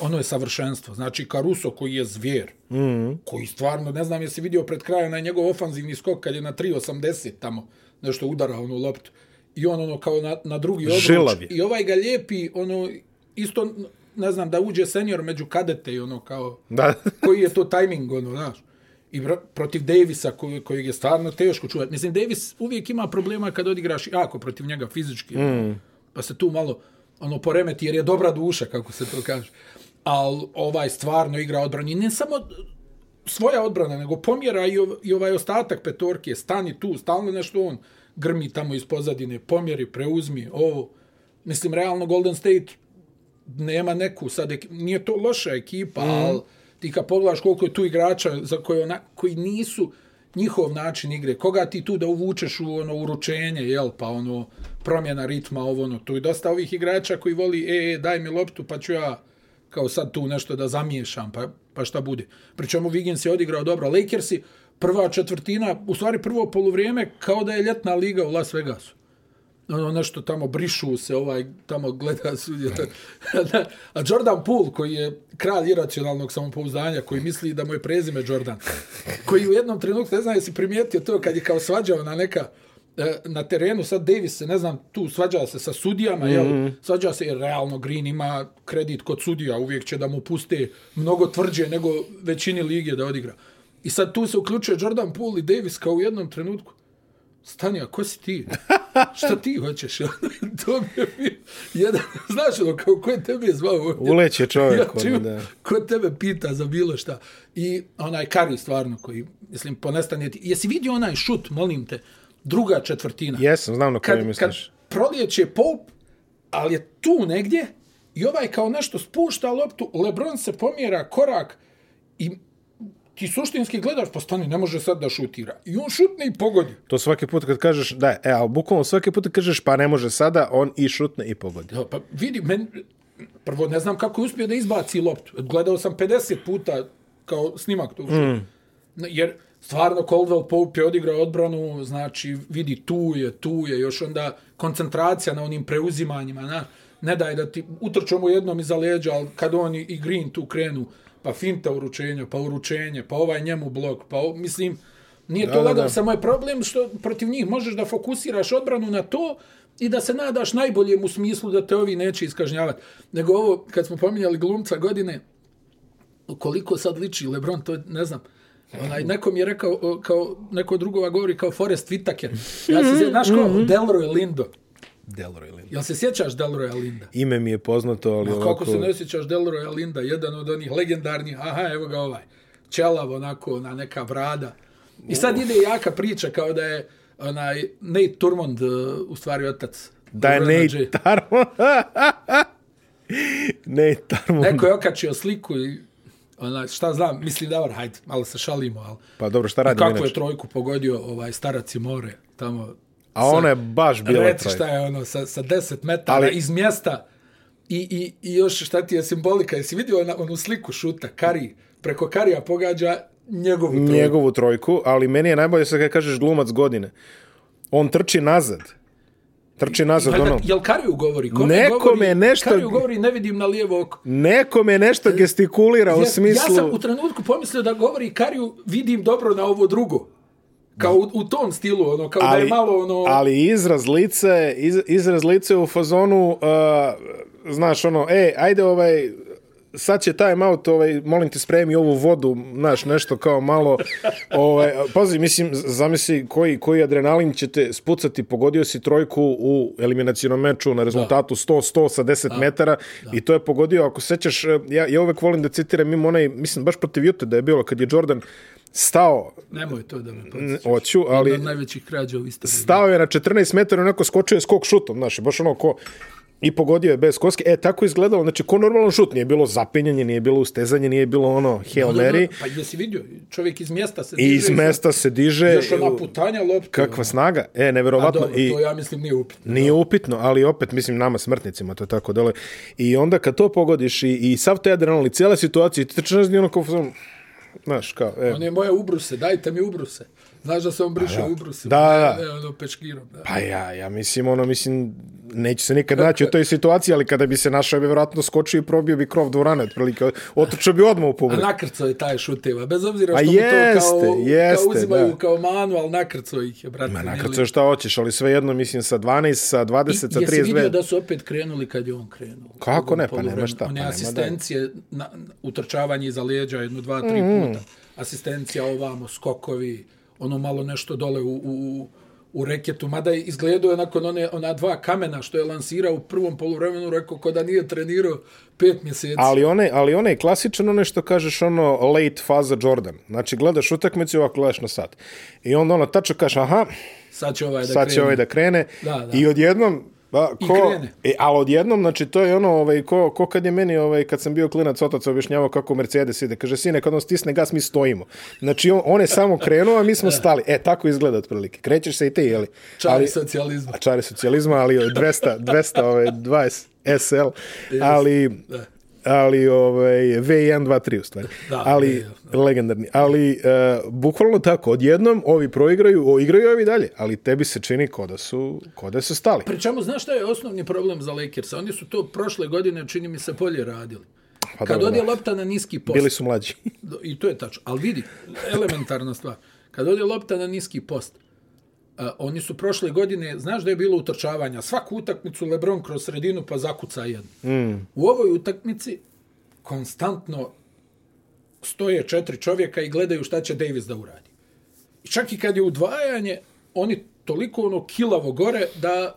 [SPEAKER 2] ono je savršenstvo. Znači, Karuso koji je zvijer, mm -hmm. koji stvarno, ne znam jesi vidio pred krajem na njegov ofanzivni skok kad je na 3.80 tamo nešto udara onu loptu. I on ono kao na, na drugi obruč.
[SPEAKER 1] Žilav je.
[SPEAKER 2] I ovaj ga lijepi, ono, isto, ne znam, da uđe senior među kadete i ono kao
[SPEAKER 1] Da. <laughs>
[SPEAKER 2] koji je to tajming, ono, znaš. I pro, protiv Davisa, koji, kojeg je stvarno teško čuvati. Mislim, Davis uvijek ima problema kad odigraš jako protiv njega fizički. Mm. Pa se tu malo ono poremeti, jer je dobra duša, kako se to kaže. Al ovaj stvarno igra odbrani. Ne samo svoja odbrana, nego pomjera i, ov, i ovaj ostatak petorke. Stani tu, stalno nešto on grmi tamo iz pozadine, pomjeri, preuzmi, ovo. Mislim, realno Golden State nema neku sad ekipu. Nije to loša ekipa, mm. ali ti kad pogledaš koliko je tu igrača za koje ona, koji nisu njihov način igre, koga ti tu da uvučeš u ono uručenje, jel, pa ono promjena ritma, ovo ono, tu je dosta ovih igrača koji voli, e, e, daj mi loptu, pa ću ja kao sad tu nešto da zamiješam, pa, pa šta bude. Pričemu Wiggins je odigrao dobro, Lakersi, prva četvrtina, u stvari prvo poluvrijeme, kao da je ljetna liga u Las Vegasu ono nešto tamo brišu se, ovaj tamo gleda sudje. <laughs> A Jordan Poole, koji je kralj iracionalnog samopouzdanja, koji misli da mu je prezime Jordan, koji u jednom trenutku, ne znam jesi primijetio to, kad je kao svađao na neka e, na terenu, sad Davis se, ne znam, tu svađa se sa sudijama, mm -hmm. jel? Svađa se, jer realno Green ima kredit kod sudija, uvijek će da mu puste mnogo tvrđe nego većini lige da odigra. I sad tu se uključuje Jordan Poole i Davis kao u jednom trenutku stani, a ko si ti? <laughs> Šta ti hoćeš? <laughs> Ono, to mi je bio jedan, znaš ono, kao ko je tebe zvao ovdje?
[SPEAKER 1] Uleće čovjek, ono,
[SPEAKER 2] čim-
[SPEAKER 1] da.
[SPEAKER 2] Ko tebe pita za bilo šta? I onaj Kari stvarno koji, mislim, ponestan je ti. Jesi vidio onaj šut, molim te, druga četvrtina?
[SPEAKER 1] Jesam, znam na koju
[SPEAKER 2] kad, kad
[SPEAKER 1] misliš.
[SPEAKER 2] prolijeće Pope, ali je tu negdje i ovaj kao nešto spušta loptu, Lebron se pomjera korak i ti suštinski gledaš, pa stani, ne može sad da šutira. I on šutne i pogodi.
[SPEAKER 1] To svaki put kad kažeš, da, e, ali bukvalno svaki put kad kažeš pa ne može sada, on i šutne i pogodi.
[SPEAKER 2] Ja, pa vidi, men, prvo ne znam kako je uspio da izbaci loptu. Gledao sam 50 puta kao snimak tog šuta. Mm. Jer stvarno Coldwell Pope je odigrao odbranu, znači vidi tu je, tu je, još onda koncentracija na onim preuzimanjima, na, ne daj da ti utrču mu jednom iza leđa, ali kad on i- i Green tu krenu, pa finta uručenja, pa uručenje, pa ovaj njemu blok, pa o, mislim, nije to
[SPEAKER 1] da,
[SPEAKER 2] lagano,
[SPEAKER 1] da.
[SPEAKER 2] samo je problem što protiv njih možeš da fokusiraš odbranu na to i da se nadaš najboljem u smislu da te ovi neće iskažnjavati. Nego ovo, kad smo pominjali glumca godine, koliko sad liči Lebron, to ne znam. Onaj, nekom je rekao, o, kao, neko drugo govori kao Forrest Whitaker. Ja se sjećam, znaš ko, Delroy Lindo.
[SPEAKER 1] Delroy Lindo.
[SPEAKER 2] Jel se sjećaš Delroya Linda?
[SPEAKER 1] Ime mi je poznato, ali
[SPEAKER 2] Kako
[SPEAKER 1] ovako...
[SPEAKER 2] se ne sjećaš Delroya Linda, jedan od onih legendarnih, aha, evo ga ovaj, čelav onako, ona neka brada. I sad ide jaka priča kao da je onaj Nate Turmond, uh, u stvari otac.
[SPEAKER 1] Da je
[SPEAKER 2] Lebrona
[SPEAKER 1] Nate
[SPEAKER 2] J.
[SPEAKER 1] Tarmo. <laughs> Nate Tarmo.
[SPEAKER 2] Neko je okačio sliku i onaj, šta znam, misli dobro, hajde, malo se šalimo, ali
[SPEAKER 1] Pa dobro, šta radimo
[SPEAKER 2] kako je
[SPEAKER 1] inače?
[SPEAKER 2] trojku pogodio ovaj starac i more tamo.
[SPEAKER 1] A ona je baš bila
[SPEAKER 2] Reci
[SPEAKER 1] trojka.
[SPEAKER 2] šta je ono, sa, sa 10 metara
[SPEAKER 1] Ali-
[SPEAKER 2] Ali... iz mjesta i, i, i još šta ti je simbolika. Jesi vidio ona, onu sliku šuta, Kari, preko Karija pogađa njegovu trojku.
[SPEAKER 1] Njegovu trojku, ali meni je najbolje sad kad kažeš glumac godine. On trči nazad. Trči nazad,
[SPEAKER 2] Valjda,
[SPEAKER 1] ono...
[SPEAKER 2] Jel Kariju govori? Kome
[SPEAKER 1] Nekome
[SPEAKER 2] govori,
[SPEAKER 1] nešto-
[SPEAKER 2] Kariju govori, ne vidim na lijevo oko.
[SPEAKER 1] Nekome nešto gestikulira u
[SPEAKER 2] Ja-
[SPEAKER 1] smislu...
[SPEAKER 2] Ja sam u trenutku pomislio da govori Kariju, vidim dobro na ovo drugo. Kao u, u tom stilu, ono, kao da je malo ono...
[SPEAKER 1] ali izraz lice, iz, izraz lice u fazonu, uh, znaš, ono, e, ajde ovaj, sad će time out, ovaj, molim te spremi ovu vodu, znaš, nešto kao malo, ovaj, pazi, mislim, z- zamisli koji, koji adrenalin će te spucati, pogodio si trojku u eliminacijnom meču na rezultatu 100-100 sa 10 da. metara da. i to je pogodio, ako sećaš, eh, ja, ja uvek volim da citiram, ima onaj, mislim, baš protiv Jute da je bilo, kad je Jordan stao,
[SPEAKER 2] Nemoj to da me podsjeća.
[SPEAKER 1] oću, ali...
[SPEAKER 2] Jedna od najvećih krađa u istoriji.
[SPEAKER 1] stao je na 14 metara i onako skočio je skok šutom, znaš, baš ono ko i pogodio je bez koske. E, tako je izgledalo, znači, ko normalan šut, nije bilo zapinjanje, nije bilo ustezanje, nije bilo ono Hail
[SPEAKER 2] Da, da,
[SPEAKER 1] Mary,
[SPEAKER 2] Pa jesi vidio, čovjek iz mjesta se
[SPEAKER 1] i iz mesta se diže,
[SPEAKER 2] Još ona putanja lopta.
[SPEAKER 1] kakva snaga, e, neverovatno,
[SPEAKER 2] Dobro,
[SPEAKER 1] i
[SPEAKER 2] to ja mislim nije upitno.
[SPEAKER 1] Nije upitno, ali opet, mislim, nama smrtnicima, to je tako dole. I onda kad to pogodiš i, i sav te adrenalin, cijela situacija, i ti trčeš i ono kao, fazon, Znaš, kao, e.
[SPEAKER 2] On je moje ubruse, dajte mi ubruse. Znaš da se on briše ubruse.
[SPEAKER 1] Da, da, da.
[SPEAKER 2] E, ono, pečkirom, da.
[SPEAKER 1] Pa ja, ja mislim, ono, mislim, neću se nikad naći u toj situaciji, ali kada bi se našao, bi vjerojatno skočio i probio bi krov dvorane, otprilike, otrčao bi odmah u
[SPEAKER 2] A
[SPEAKER 1] publiku.
[SPEAKER 2] nakrcao je taj šuteva, bez obzira
[SPEAKER 1] A
[SPEAKER 2] što mu to kao,
[SPEAKER 1] jeste, jeste,
[SPEAKER 2] kao uzimaju
[SPEAKER 1] da.
[SPEAKER 2] kao manu, ali nakrcao ih je, brate.
[SPEAKER 1] Ma
[SPEAKER 2] mili.
[SPEAKER 1] nakrcao šta hoćeš, ali svejedno, mislim, sa 12, sa 20, sa
[SPEAKER 2] I- Jesi vidio
[SPEAKER 1] 32.
[SPEAKER 2] da su opet krenuli kad je on krenuo?
[SPEAKER 1] Kako
[SPEAKER 2] U drugom
[SPEAKER 1] ne, pa nema
[SPEAKER 2] poluvremenu.
[SPEAKER 1] šta, pa
[SPEAKER 2] One
[SPEAKER 1] nema da.
[SPEAKER 2] asistencije, na, na- utrčavanje iza leđa jedno, dva, tri
[SPEAKER 1] Mm-hmm.
[SPEAKER 2] puta. Asistencija ovamo, skokovi, ono malo nešto dole u, u- u, u reketu. Mada je izgledao je nakon one, ona dva kamena što je lansirao u prvom poluvremenu, rekao ko da nije trenirao pet mjeseci.
[SPEAKER 1] Ali one, ali one je klasičan one što kažeš ono late faza Jordan. Znači gledaš utakmicu i ovako gledaš na sat. I onda ono tačno kažeš aha,
[SPEAKER 2] sad će ovaj da
[SPEAKER 1] sad će
[SPEAKER 2] krene.
[SPEAKER 1] ovaj da krene.
[SPEAKER 2] Da, da.
[SPEAKER 1] I odjednom Ba,
[SPEAKER 2] I
[SPEAKER 1] ko,
[SPEAKER 2] krene.
[SPEAKER 1] E, ali odjednom, znači, to je ono, ovaj, ko, ko kad je meni, ovaj, kad sam bio klinac, otac objašnjavao kako Mercedes ide. Kaže, sine, kad on stisne gas, mi stojimo. Znači, on, on je samo krenuo, a mi
[SPEAKER 2] <laughs>
[SPEAKER 1] smo stali. E, tako izgleda otprilike. Krećeš se i ti, jeli?
[SPEAKER 2] Čari
[SPEAKER 1] Ali-
[SPEAKER 2] socijalizma.
[SPEAKER 1] a čare socijalizma, ali 200, 200, ovaj, 20 SL, ali,
[SPEAKER 2] da.
[SPEAKER 1] ali ovaj, V1, 2, 3 u stvari.
[SPEAKER 2] Da,
[SPEAKER 1] ali, legendarni. Ali, e, bukvalno tako, odjednom ovi proigraju, o, igraju ovi dalje, ali tebi se čini ko da su, ko da su stali.
[SPEAKER 2] Pri čemu, znaš šta je osnovni problem za Lakersa? Oni su to prošle godine, čini mi se, bolje radili.
[SPEAKER 1] Pa
[SPEAKER 2] Kad
[SPEAKER 1] dobro,
[SPEAKER 2] ode
[SPEAKER 1] da.
[SPEAKER 2] lopta na niski post,
[SPEAKER 1] Bili su mlađi.
[SPEAKER 2] Do- I to je tačno. Ali vidi, elementarna stvar. Kad ode lopta na niski post, a, oni su prošle godine, znaš da je bilo utrčavanja, svaku utakmicu Lebron kroz sredinu pa zakuca jednu. Mm. U ovoj utakmici konstantno stoje četiri čovjeka i gledaju šta će Davis da uradi. I čak i kad je udvajanje, oni toliko ono kilavo gore da,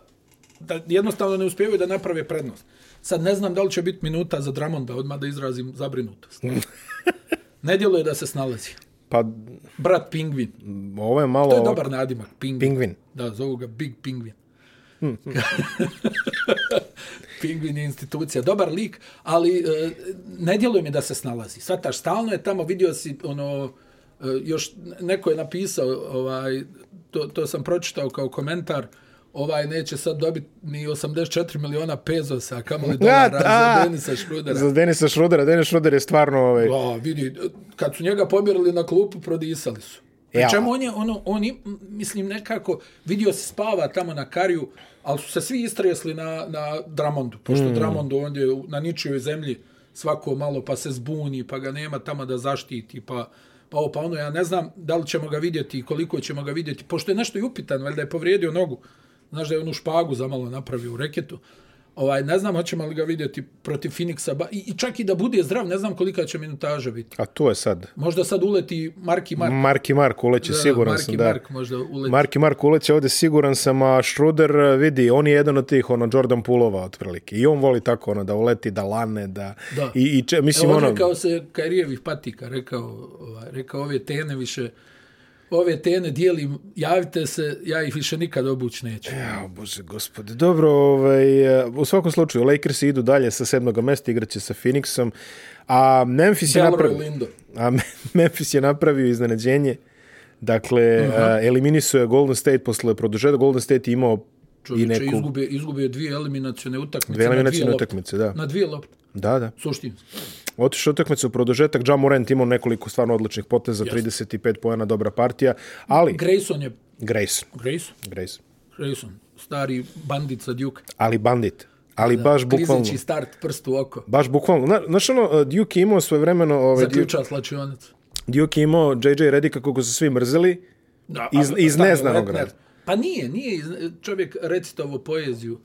[SPEAKER 2] da jednostavno ne uspijevaju da naprave prednost. Sad ne znam da li će biti minuta za Dramonda, odmah da izrazim zabrinutost. Ne djeluje da se snalazi.
[SPEAKER 1] Pa,
[SPEAKER 2] Brat pingvin.
[SPEAKER 1] ovo je malo...
[SPEAKER 2] To je dobar nadimak, pingvin.
[SPEAKER 1] Pingvin. Hmm,
[SPEAKER 2] Da, zovu ga Big Pingvin. <laughs> pingvin je institucija, dobar lik, ali e, ne djeluje mi da se snalazi. Svataš, stalno je tamo, vidio si ono, e, još neko je napisao, ovaj, to, to sam pročitao kao komentar, ovaj neće sad dobiti ni 84 miliona pezosa,
[SPEAKER 1] <laughs>
[SPEAKER 2] kamoli dolara
[SPEAKER 1] da.
[SPEAKER 2] za Denisa Šrudera.
[SPEAKER 1] Za Denisa Šrudera. Denis Šruder je stvarno... Ovaj,
[SPEAKER 2] A, vidi, kad su njega pomjerili na klupu, prodisali su.
[SPEAKER 1] Ja.
[SPEAKER 2] Ja. Čemu on je, ono, oni, m, mislim, nekako, vidio se spava tamo na kariju, ali su se svi istresli na, na Dramondu, pošto mm. Dramondu ondje u- na ničijoj zemlji svako malo pa se zbuni, pa ga nema tamo da zaštiti, pa, pa ovo, pa ono, ja ne znam da li ćemo ga vidjeti i koliko ćemo ga vidjeti, pošto je nešto i upitan, valjda je povrijedio nogu, znaš da je onu špagu zamalo napravio u reketu, ovaj, ne znam hoćemo li ga vidjeti protiv Phoenixa, ba, i, i čak i da bude zdrav, ne znam kolika će minutaža biti.
[SPEAKER 1] A to je sad.
[SPEAKER 2] Možda sad uleti Marki Mark.
[SPEAKER 1] Marki Mark uleće, siguran
[SPEAKER 2] Marki
[SPEAKER 1] sam da.
[SPEAKER 2] ono, Mark možda uleti.
[SPEAKER 1] Marki Mark uleće ovdje siguran sam, a Schroeder e, vidi, on je jedan od tih ono Jordan Pulova otprilike. I on voli tako ono da uleti, da lane, da,
[SPEAKER 2] Da.
[SPEAKER 1] i, i če, mislim
[SPEAKER 2] Evo,
[SPEAKER 1] ono,
[SPEAKER 2] rekao se Karijevih patika, rekao, ovaj, rekao ove tene više, ove tene dijelim, javite se, ja ih više nikad obuć neću.
[SPEAKER 1] Jao, bože, gospode. Dobro, ovaj, e, u svakom slučaju, Lakers idu dalje sa sedmog mesta, igraće sa Phoenixom, a Memphis je
[SPEAKER 2] Delroy
[SPEAKER 1] napravio...
[SPEAKER 2] Lindo.
[SPEAKER 1] A Me- <laughs> Memphis je napravio iznenađenje. Dakle, uh -huh. eliminisao je Golden State posle produžetka. Golden State je imao i
[SPEAKER 2] Čovječe,
[SPEAKER 1] neku...
[SPEAKER 2] izgubio, izgubio dvije eliminacione utakmice.
[SPEAKER 1] Dve
[SPEAKER 2] na
[SPEAKER 1] eliminacijne
[SPEAKER 2] lopte.
[SPEAKER 1] utakmice, da.
[SPEAKER 2] Na dvije lopte,
[SPEAKER 1] Da, da.
[SPEAKER 2] suštinski.
[SPEAKER 1] Otišao utakmicu u produžetak, Ja Morant imao nekoliko stvarno odličnih poteza, 35 pojena, dobra partija, ali
[SPEAKER 2] Grayson je,
[SPEAKER 1] Grayson,
[SPEAKER 2] Grayson,
[SPEAKER 1] Grayson,
[SPEAKER 2] Grayson, stari bandit sa Duke.
[SPEAKER 1] ali bandit, ali baš bukvalno,
[SPEAKER 2] Klizeći start, prst u oko.
[SPEAKER 1] baš bukvalno. Zna- Znaš ono, e, Duke je imao svoje vremeno, ovaj, Duke,
[SPEAKER 2] Zaključa slačionicu.
[SPEAKER 1] Duke je imao JJ Redika kako su svi mrzeli,
[SPEAKER 2] Da,
[SPEAKER 1] Iz-
[SPEAKER 2] a-
[SPEAKER 1] iz
[SPEAKER 2] stani,
[SPEAKER 1] neznanog
[SPEAKER 2] Letner.
[SPEAKER 1] rada.
[SPEAKER 2] Pa nije, nije iz, čovjek recitovo poeziju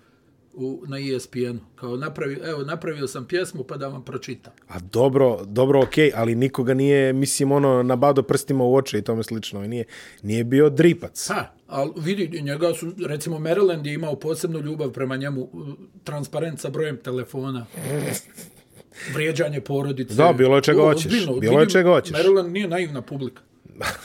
[SPEAKER 2] u, na E ESPN-u. Kao napravio, evo, napravio sam pjesmu pa da vam pročitam.
[SPEAKER 1] a dobro, dobro, okej, ali nikoga nije, mislim, ono, nabado prstima u oči i tome slično, i nije, nije bio dripac. <laughs>
[SPEAKER 2] Ha, ali vidi, njega su, recimo Maryland je imao posebnu ljubav prema njemu, uh, transparent sa brojem
[SPEAKER 1] <laughs>
[SPEAKER 2] telefona, vrijeđanje porodice.
[SPEAKER 1] Da, bilo je čega
[SPEAKER 2] O,
[SPEAKER 1] hoćeš,
[SPEAKER 2] ozbiljno,
[SPEAKER 1] bilo je
[SPEAKER 2] vidim,
[SPEAKER 1] čega hoćeš.
[SPEAKER 2] Maryland nije naivna publika.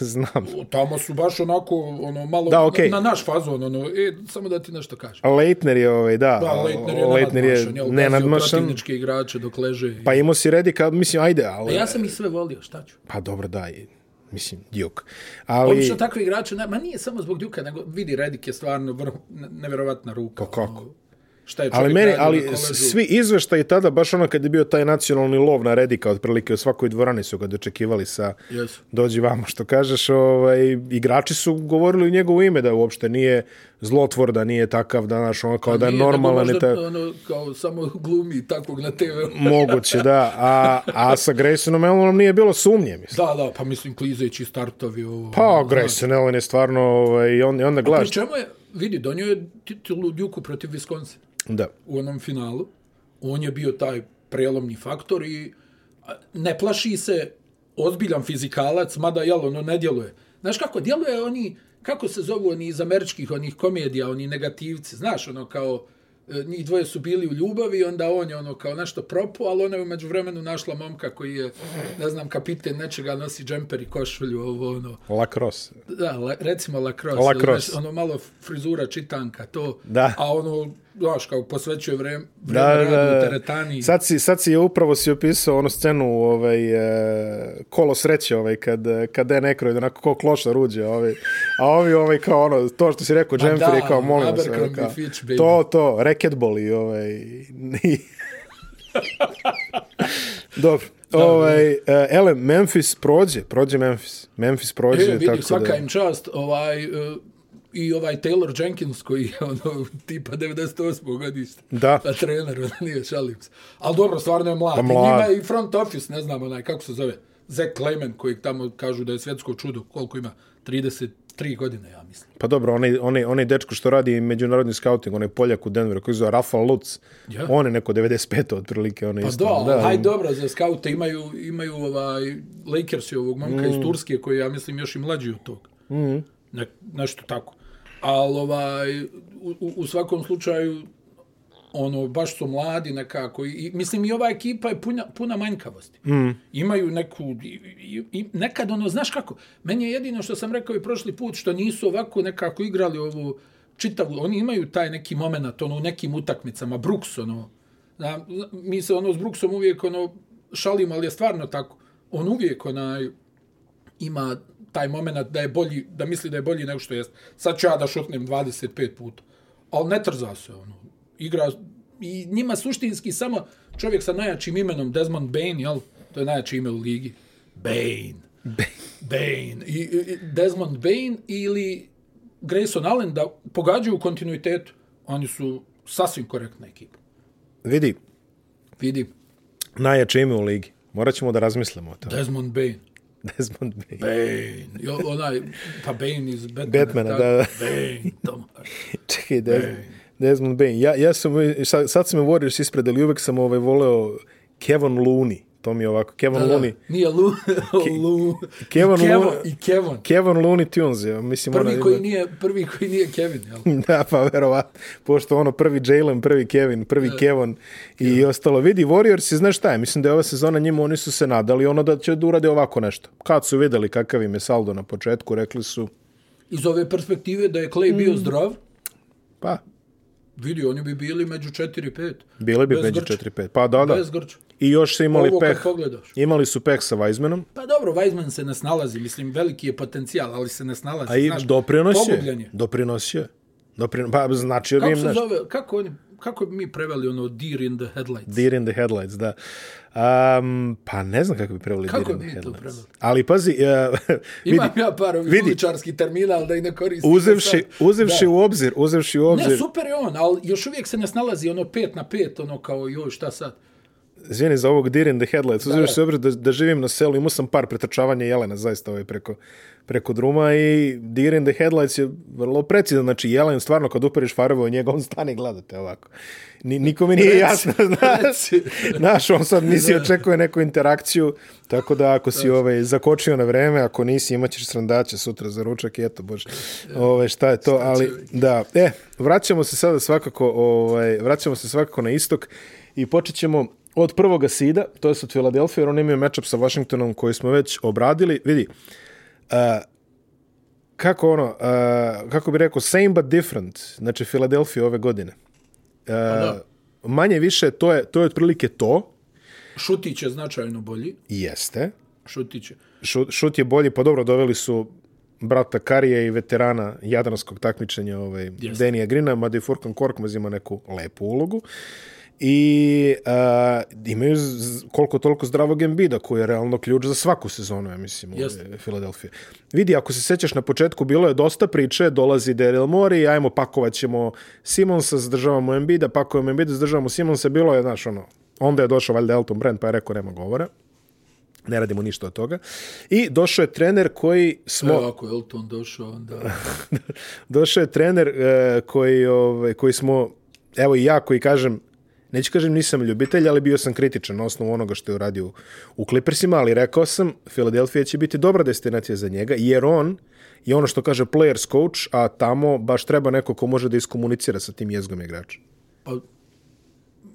[SPEAKER 1] Znam.
[SPEAKER 2] O, Tamo su baš onako, ono, malo
[SPEAKER 1] Da, okej.
[SPEAKER 2] na, na naš fazon, ono, e, samo da ti nešto kažem.
[SPEAKER 1] Leitner je ovaj, da.
[SPEAKER 2] Da, Leitner je Pa, Leitner je nenadmašan.
[SPEAKER 1] nenadmašan.
[SPEAKER 2] Protivničke igrače dok leže. Pa,
[SPEAKER 1] Pa imao si Redika, mislim, ajde, ali...
[SPEAKER 2] ja sam ih sve volio, šta ću?
[SPEAKER 1] Pa dobro, da, i- mislim, Duke. Ali,
[SPEAKER 2] Obično takvi igrači, ne, ma nije samo zbog Duka, nego vidi Redik je stvarno vrh, ne- neverovatna ruka.
[SPEAKER 1] Pa kako?
[SPEAKER 2] Ono, Šta je čovjek
[SPEAKER 1] Ali meni,
[SPEAKER 2] radio na
[SPEAKER 1] ali
[SPEAKER 2] koleđu?
[SPEAKER 1] svi izveštaji tada, baš ono kad je bio taj nacionalni lov na Redika, otprilike u svakoj dvorani su ga dočekivali sa
[SPEAKER 2] Jesu.
[SPEAKER 1] dođi vamo, što kažeš, ovaj, igrači su govorili u njegovo ime da uopšte nije zlotvor, da nije takav, da naš ono kao da je
[SPEAKER 2] Nije, nego
[SPEAKER 1] normalan i
[SPEAKER 2] možda,
[SPEAKER 1] tako.
[SPEAKER 2] Ono, kao samo glumi takvog na TV.
[SPEAKER 1] Moguće, da. A, a sa Graysonom Ellenom nije bilo sumnje, mislim.
[SPEAKER 2] Da, da, pa mislim klizeći startovi ovo. ono.
[SPEAKER 1] Pa, Grayson Allen je stvarno, ovaj, i on, i onda
[SPEAKER 2] Pri
[SPEAKER 1] gledaš.
[SPEAKER 2] čemu je, vidi, donio je titulu Duku protiv Wisconsin
[SPEAKER 1] Da.
[SPEAKER 2] u onom finalu. On je bio taj prelomni faktor i a, ne plaši se ozbiljan fizikalac, mada jel, ono ne djeluje. Znaš kako, djeluje oni, kako se zovu oni iz američkih onih komedija, oni negativci, znaš, ono kao e, njih dvoje su bili u ljubavi, onda on je ono kao nešto propo, ali ona je umeđu vremenu našla momka koji je, ne znam, kapiten nečega, nosi džemper i košulju, ovo ono.
[SPEAKER 1] Lacrosse.
[SPEAKER 2] Da, la, recimo lacrosse.
[SPEAKER 1] Lacrosse.
[SPEAKER 2] ili baš Ono malo frizura čitanka, to.
[SPEAKER 1] Da.
[SPEAKER 2] A ono, znaš, kao posvećuje vreme, vreme
[SPEAKER 1] Da,
[SPEAKER 2] da, radu
[SPEAKER 1] da, da.
[SPEAKER 2] u teretani. Sad...
[SPEAKER 1] Sad si, sad si je upravo si opisao onu scenu ovaj, e, kolo sreće ovaj, kad, e, kad Dan Aykroyd onako ko kloša ruđe. Ovaj, a ovi ovaj, kao ono, to što si rekao, Jemfrey
[SPEAKER 2] da,
[SPEAKER 1] kao molim vas. Ovaj,
[SPEAKER 2] Abercrombie
[SPEAKER 1] kao,
[SPEAKER 2] Fitch, baby.
[SPEAKER 1] to, to, reketbol i ovaj... ni- <laughs> Dobro. Ovaj, e, ele, Memphis prođe, prođe Memphis. Memphis prođe.
[SPEAKER 2] E, vidi,
[SPEAKER 1] tako
[SPEAKER 2] svaka
[SPEAKER 1] da,
[SPEAKER 2] im čast, ovaj, e, i ovaj Taylor Jenkins koji je ono tipa 98. godište.
[SPEAKER 1] Da.
[SPEAKER 2] Pa trener, <laughs> ono nije, šalim se. Ali dobro, stvarno je mlad.
[SPEAKER 1] Pa
[SPEAKER 2] Pa
[SPEAKER 1] mlad.
[SPEAKER 2] mlad. Njima je i front office, ne znam onaj, kako se zove, Zach Clayman koji tamo kažu da je svjetsko čudo, koliko ima, 33 godine, ja mislim.
[SPEAKER 1] Pa dobro, onaj, onaj, onaj dečko što radi međunarodni scouting, onaj Poljak u Denveru, koji se zove Rafa Lutz,
[SPEAKER 2] Ja.
[SPEAKER 1] on je neko 95. otprilike, on je
[SPEAKER 2] Pa
[SPEAKER 1] isto.
[SPEAKER 2] da, da aj dobro, za skaute imaju, imaju ovaj Lakers i ovog momka mm. iz Turske koji ja mislim još i mlađi od tog. Mm. Ne, nešto tako. Ali ovaj, u, u- u svakom slučaju ono, baš su mladi nekako. I, i, mislim, i ova ekipa je puna, puna manjkavosti. Mm. Imaju neku... I, i, i, nekad, ono, znaš kako, meni je jedino što sam rekao i prošli put, što nisu ovako nekako igrali ovu čitavu... Oni imaju taj neki moment, ono, u nekim utakmicama. Brooks, ono... Da, mi se, ono, s Brooksom uvijek, ono, šalimo, ali je stvarno tako. On uvijek, onaj, ima taj moment da je bolji, da misli da je bolji nego što jest. Sad ću ja da šutnem 25 puta. Ali ne trza se, ono. Igra, i njima suštinski samo čovjek sa najjačim imenom, Desmond Bain, jel? To je najjače ime u ligi. Bain. Bain. I, i- i Desmond Bain ili Grayson Allen da pogađaju u kontinuitetu. Oni su sasvim korektna ekipa.
[SPEAKER 1] Vidi,
[SPEAKER 2] Vidim,
[SPEAKER 1] najjače ime u ligi. Morat ćemo da razmislimo o tome.
[SPEAKER 2] Desmond Bain.
[SPEAKER 1] Desmond Bain.
[SPEAKER 2] Bain. Jo, onaj, pa Bain iz Batmana.
[SPEAKER 1] Batmana,
[SPEAKER 2] tako?
[SPEAKER 1] da, da.
[SPEAKER 2] Bain, Tomaš.
[SPEAKER 1] Čekaj, Desmond, Desmond Bain. Ja, ja sam, sad, sad sam me Warriors ispred, ali uvek sam ovaj, voleo Kevin Looney. To mi je ovako, Kevin da, Looney.
[SPEAKER 2] Da, nije Lu, <laughs> Lu,
[SPEAKER 1] Kevin
[SPEAKER 2] Kevin, Kevin
[SPEAKER 1] Lu-
[SPEAKER 2] i Kevin.
[SPEAKER 1] Kevin Looney Tunes, ja, mislim,
[SPEAKER 2] Prvi
[SPEAKER 1] ona
[SPEAKER 2] koji
[SPEAKER 1] ima-
[SPEAKER 2] nije, prvi koji nije Kevin, jel?
[SPEAKER 1] <laughs> Da, pa verovatno. Pošto ono prvi Jalen, prvi Kevin, prvi Kevin i ostalo. Vidi, Warriors je, znaš šta je, mislim da je ova sezona njima, oni su se nadali ono da će da urade ovako nešto. Kad su videli kakav im je saldo na početku, rekli su,
[SPEAKER 2] Iz ove perspektive da je Clay bio zdrav,
[SPEAKER 1] pa,
[SPEAKER 2] vidi, oni bi bili među 4-5.
[SPEAKER 1] bile bi
[SPEAKER 2] Bez
[SPEAKER 1] među
[SPEAKER 2] Grča.
[SPEAKER 1] 4-5. Pa da, da.
[SPEAKER 2] Bez Grča.
[SPEAKER 1] I još su imali
[SPEAKER 2] Ovo
[SPEAKER 1] peh.
[SPEAKER 2] kad pogledaš.
[SPEAKER 1] Imali su peh sa Weizmanom.
[SPEAKER 2] Pa dobro, Weizman se ne snalazi, mislim, veliki je potencijal, ali se ne snalazi.
[SPEAKER 1] A i
[SPEAKER 2] znaš,
[SPEAKER 1] doprinosio
[SPEAKER 2] pogubljen
[SPEAKER 1] je.
[SPEAKER 2] je.
[SPEAKER 1] Doprinosio je. Doprin... Pa, značio bi
[SPEAKER 2] Kako
[SPEAKER 1] im
[SPEAKER 2] se
[SPEAKER 1] nešto.
[SPEAKER 2] zove, kako, oni, kako bi mi preveli ono deer in the headlights?
[SPEAKER 1] Deer in the headlights, da. Um, pa ne znam kako bi preveli
[SPEAKER 2] Kako
[SPEAKER 1] Deer in the
[SPEAKER 2] bi mi to
[SPEAKER 1] headlights.
[SPEAKER 2] preveli?
[SPEAKER 1] Ali pazi, <laughs> uh, vidi,
[SPEAKER 2] Imam ja par ovih
[SPEAKER 1] vidi.
[SPEAKER 2] uličarskih termina, ali da ih ne koristim.
[SPEAKER 1] uzevši,
[SPEAKER 2] E Sad,
[SPEAKER 1] uzevši u obzir, uzevši u
[SPEAKER 2] Ne,
[SPEAKER 1] obzir,
[SPEAKER 2] super je on, ali još uvijek se ne snalazi ono pet na pet, ono kao joj šta sad.
[SPEAKER 1] izvini za ovog Deer in the Headlights, uzevši
[SPEAKER 2] da.
[SPEAKER 1] u obzir da, da živim na selu, imao sam par pretrčavanja jelena zaista ovaj preko, preko druma i Deer in the Headlights je vrlo precizan, znači jelen stvarno kad upereš farove u njega, on stane i gledate ovako. Ni, nikome nije jasno, <laughs> znaš, znaš, on sad nisi očekuje neku interakciju, tako da ako si ovaj, zakočio na vreme, ako nisi imaćeš srandaće sutra za ručak i eto, bože, ovaj, šta je to, ali da, e, vraćamo se sada svakako, ovaj, vraćamo se svakako na istok i počet ćemo od prvoga sida, to je od Filadelfije, jer oni imaju matchup sa Washingtonom koji smo već obradili, vidi, e, kako ono, uh, kako bi rekao, same but different, znači Filadelfija ove godine. Uh, manje više, to je, to je otprilike to,
[SPEAKER 2] Šutić je značajno bolji,
[SPEAKER 1] jeste,
[SPEAKER 2] Šutić je.
[SPEAKER 1] šut, šut je bolji, pa dobro, doveli su brata Karije i veterana jadranskog takmičenja ovaj, yes.
[SPEAKER 2] Jeste.
[SPEAKER 1] Denija Grina, mada i Furkan Korkmaz ima neku lepu ulogu. I uh, imaju z- koliko toliko zdravog Embida koji je realno ključ za svaku sezonu, ja mislim,
[SPEAKER 2] Jeste.
[SPEAKER 1] ove Filadelfije. Vidi, ako se sećaš na početku, bilo je dosta priče, dolazi Daryl Morey, ajmo pakovat ćemo Simonsa, zadržavamo Embida, pakujemo Embida, zadržavamo Simonsa, bilo je, znaš, ono, onda je došao valjda Elton Brand pa je rekao nema govora. Ne radimo ništa od toga. I došao je trener koji smo...
[SPEAKER 2] Evo, E, ako je Elton došao, onda...
[SPEAKER 1] <laughs> Došao je trener e, koji, ovaj, koji smo, evo i ja koji kažem, neću kažem nisam ljubitelj, ali bio sam kritičan na osnovu onoga što je uradio u, u Clippersima, ali rekao sam, Filadelfija će biti dobra destinacija za njega, jer on je ono što kaže players coach, a tamo baš treba neko ko može da iskomunicira sa tim jezgom igrača.
[SPEAKER 2] Pa,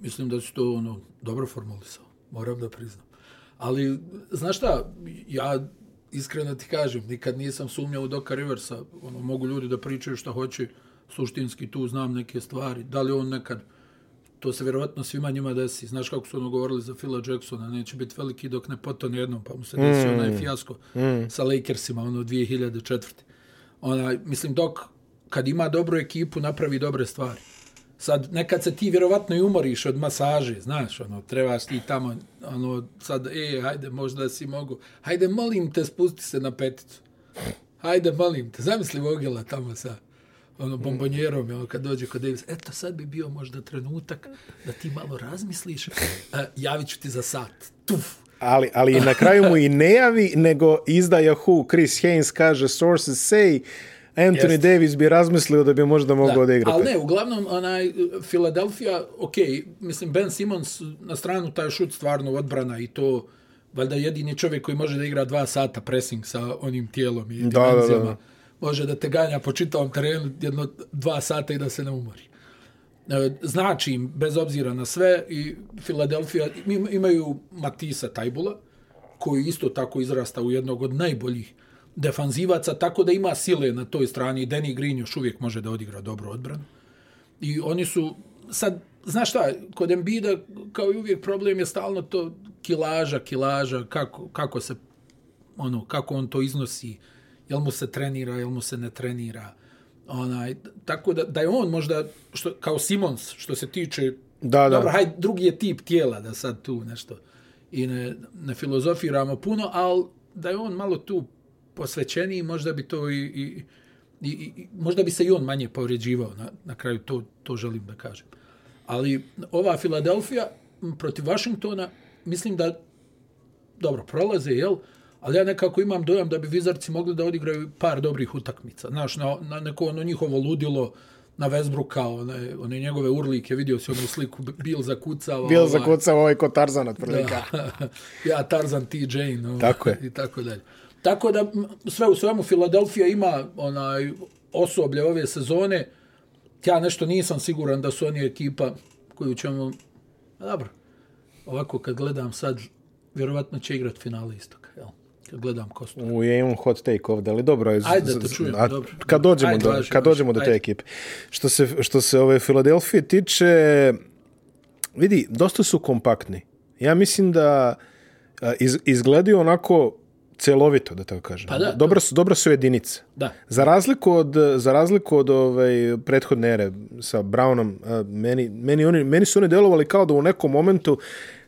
[SPEAKER 2] mislim da si to ono, dobro formulisao, moram da priznam. Ali, znaš šta, ja iskreno ti kažem, nikad nisam sumnjao u Doka Riversa, ono, mogu ljudi da pričaju šta hoće, suštinski tu znam neke stvari, da li on nekad, to se vjerovatno svima njima desi, znaš kako su ono govorili za Phila Jacksona, neće biti veliki dok ne potone jednom, pa mu se desi mm. onaj fijasko mm. sa Lakersima, ono 2004. Onaj, mislim, dok kad ima dobru ekipu, napravi dobre stvari. Sad, nekad se ti vjerovatno i umoriš od masaže, znaš, ono, trebaš ti tamo, ono, sad, e, hajde, možda si mogu, hajde, molim te, spusti se na peticu. Hajde, molim te, zamisli Vogela tamo sa ono bombonjerom, ono, kad dođe kod Davis, eto, sad bi bio možda trenutak da ti malo razmisliš, a, javit ću ti za sat, tuf.
[SPEAKER 1] Ali, ali i na kraju mu i ne javi, nego izda Yahoo. Chris Haynes kaže, sources say, Anthony
[SPEAKER 2] Jeste.
[SPEAKER 1] Jest. Davis bi razmislio da bi možda mogao da, da igra.
[SPEAKER 2] Ali
[SPEAKER 1] pet.
[SPEAKER 2] ne, uglavnom, onaj, Philadelphia, ok, mislim, Ben Simmons na stranu taj šut stvarno odbrana i to, valjda jedini čovjek koji može da igra dva sata pressing sa onim tijelom i
[SPEAKER 1] da, da.
[SPEAKER 2] dimenzijama, da, da, da. može da te ganja po čitavom terenu jedno dva sata i da se ne umori. E, Znači im, bez obzira na sve, i Philadelphia im- imaju Matisa Tajbula, koji isto tako izrasta u jednog od najboljih defanzivaca, tako da ima sile na toj strani. Danny Green još uvijek može da odigra dobru odbranu. I oni su, sad, znaš šta, kod Embida, kao i uvijek, problem je stalno to kilaža, kilaža, kako, kako se, ono, kako on to iznosi, jel mu se trenira, jel mu se ne trenira. Onaj, tako da, da je on možda, što, kao Simons, što se tiče,
[SPEAKER 1] Da, da.
[SPEAKER 2] dobro, hajde, drugi je tip tijela, da sad tu nešto, i ne, ne filozofiramo puno, ali da je on malo tu posvećeniji, možda bi to i, i, i, i možda bi se i on manje povređivao na, na kraju, to, to želim da kažem. Ali ova Filadelfija m, protiv Vašingtona, mislim da dobro, prolaze, jel? Ali ja nekako imam dojam da bi Vizarci mogli da odigraju par dobrih utakmica. Znaš, na, na neko ono njihovo ludilo, na Westbrooka, one, one njegove urlike, vidio si onu sliku, Bill zakucava.
[SPEAKER 1] Bil
[SPEAKER 2] ovaj,
[SPEAKER 1] za kuca ovaj ko Tarzan otprilike.
[SPEAKER 2] <laughs> ja Tarzan T. Jane no,
[SPEAKER 1] Tako je.
[SPEAKER 2] i tako dalje. Tako da m, sve u svemu Filadelfija ima onaj osoblje ove sezone. Ja nešto nisam siguran da su oni ekipa koju ćemo a dobro. Ovako kad gledam sad vjerovatno će igrat finale istoka, jel? Kad gledam kostu.
[SPEAKER 1] U, ja imam hot take ovde, ali dobro. je.
[SPEAKER 2] Ajde, da te čujem,
[SPEAKER 1] A,
[SPEAKER 2] dobro.
[SPEAKER 1] Kad dođemo,
[SPEAKER 2] Ajde,
[SPEAKER 1] do,
[SPEAKER 2] važi,
[SPEAKER 1] kad
[SPEAKER 2] važi,
[SPEAKER 1] dođemo do te
[SPEAKER 2] ajde.
[SPEAKER 1] ekipe. Što se, što se ove Filadelfije tiče, vidi, dosta su kompaktni. Ja mislim da a, iz, izgledaju onako celovito, da tako kažem.
[SPEAKER 2] Pa da, to-
[SPEAKER 1] dobra, su, dobra su jedinice.
[SPEAKER 2] Da.
[SPEAKER 1] Za razliku od za razliku od ovaj prethodne ere sa Brownom, a, meni meni oni meni su oni delovali kao da u nekom momentu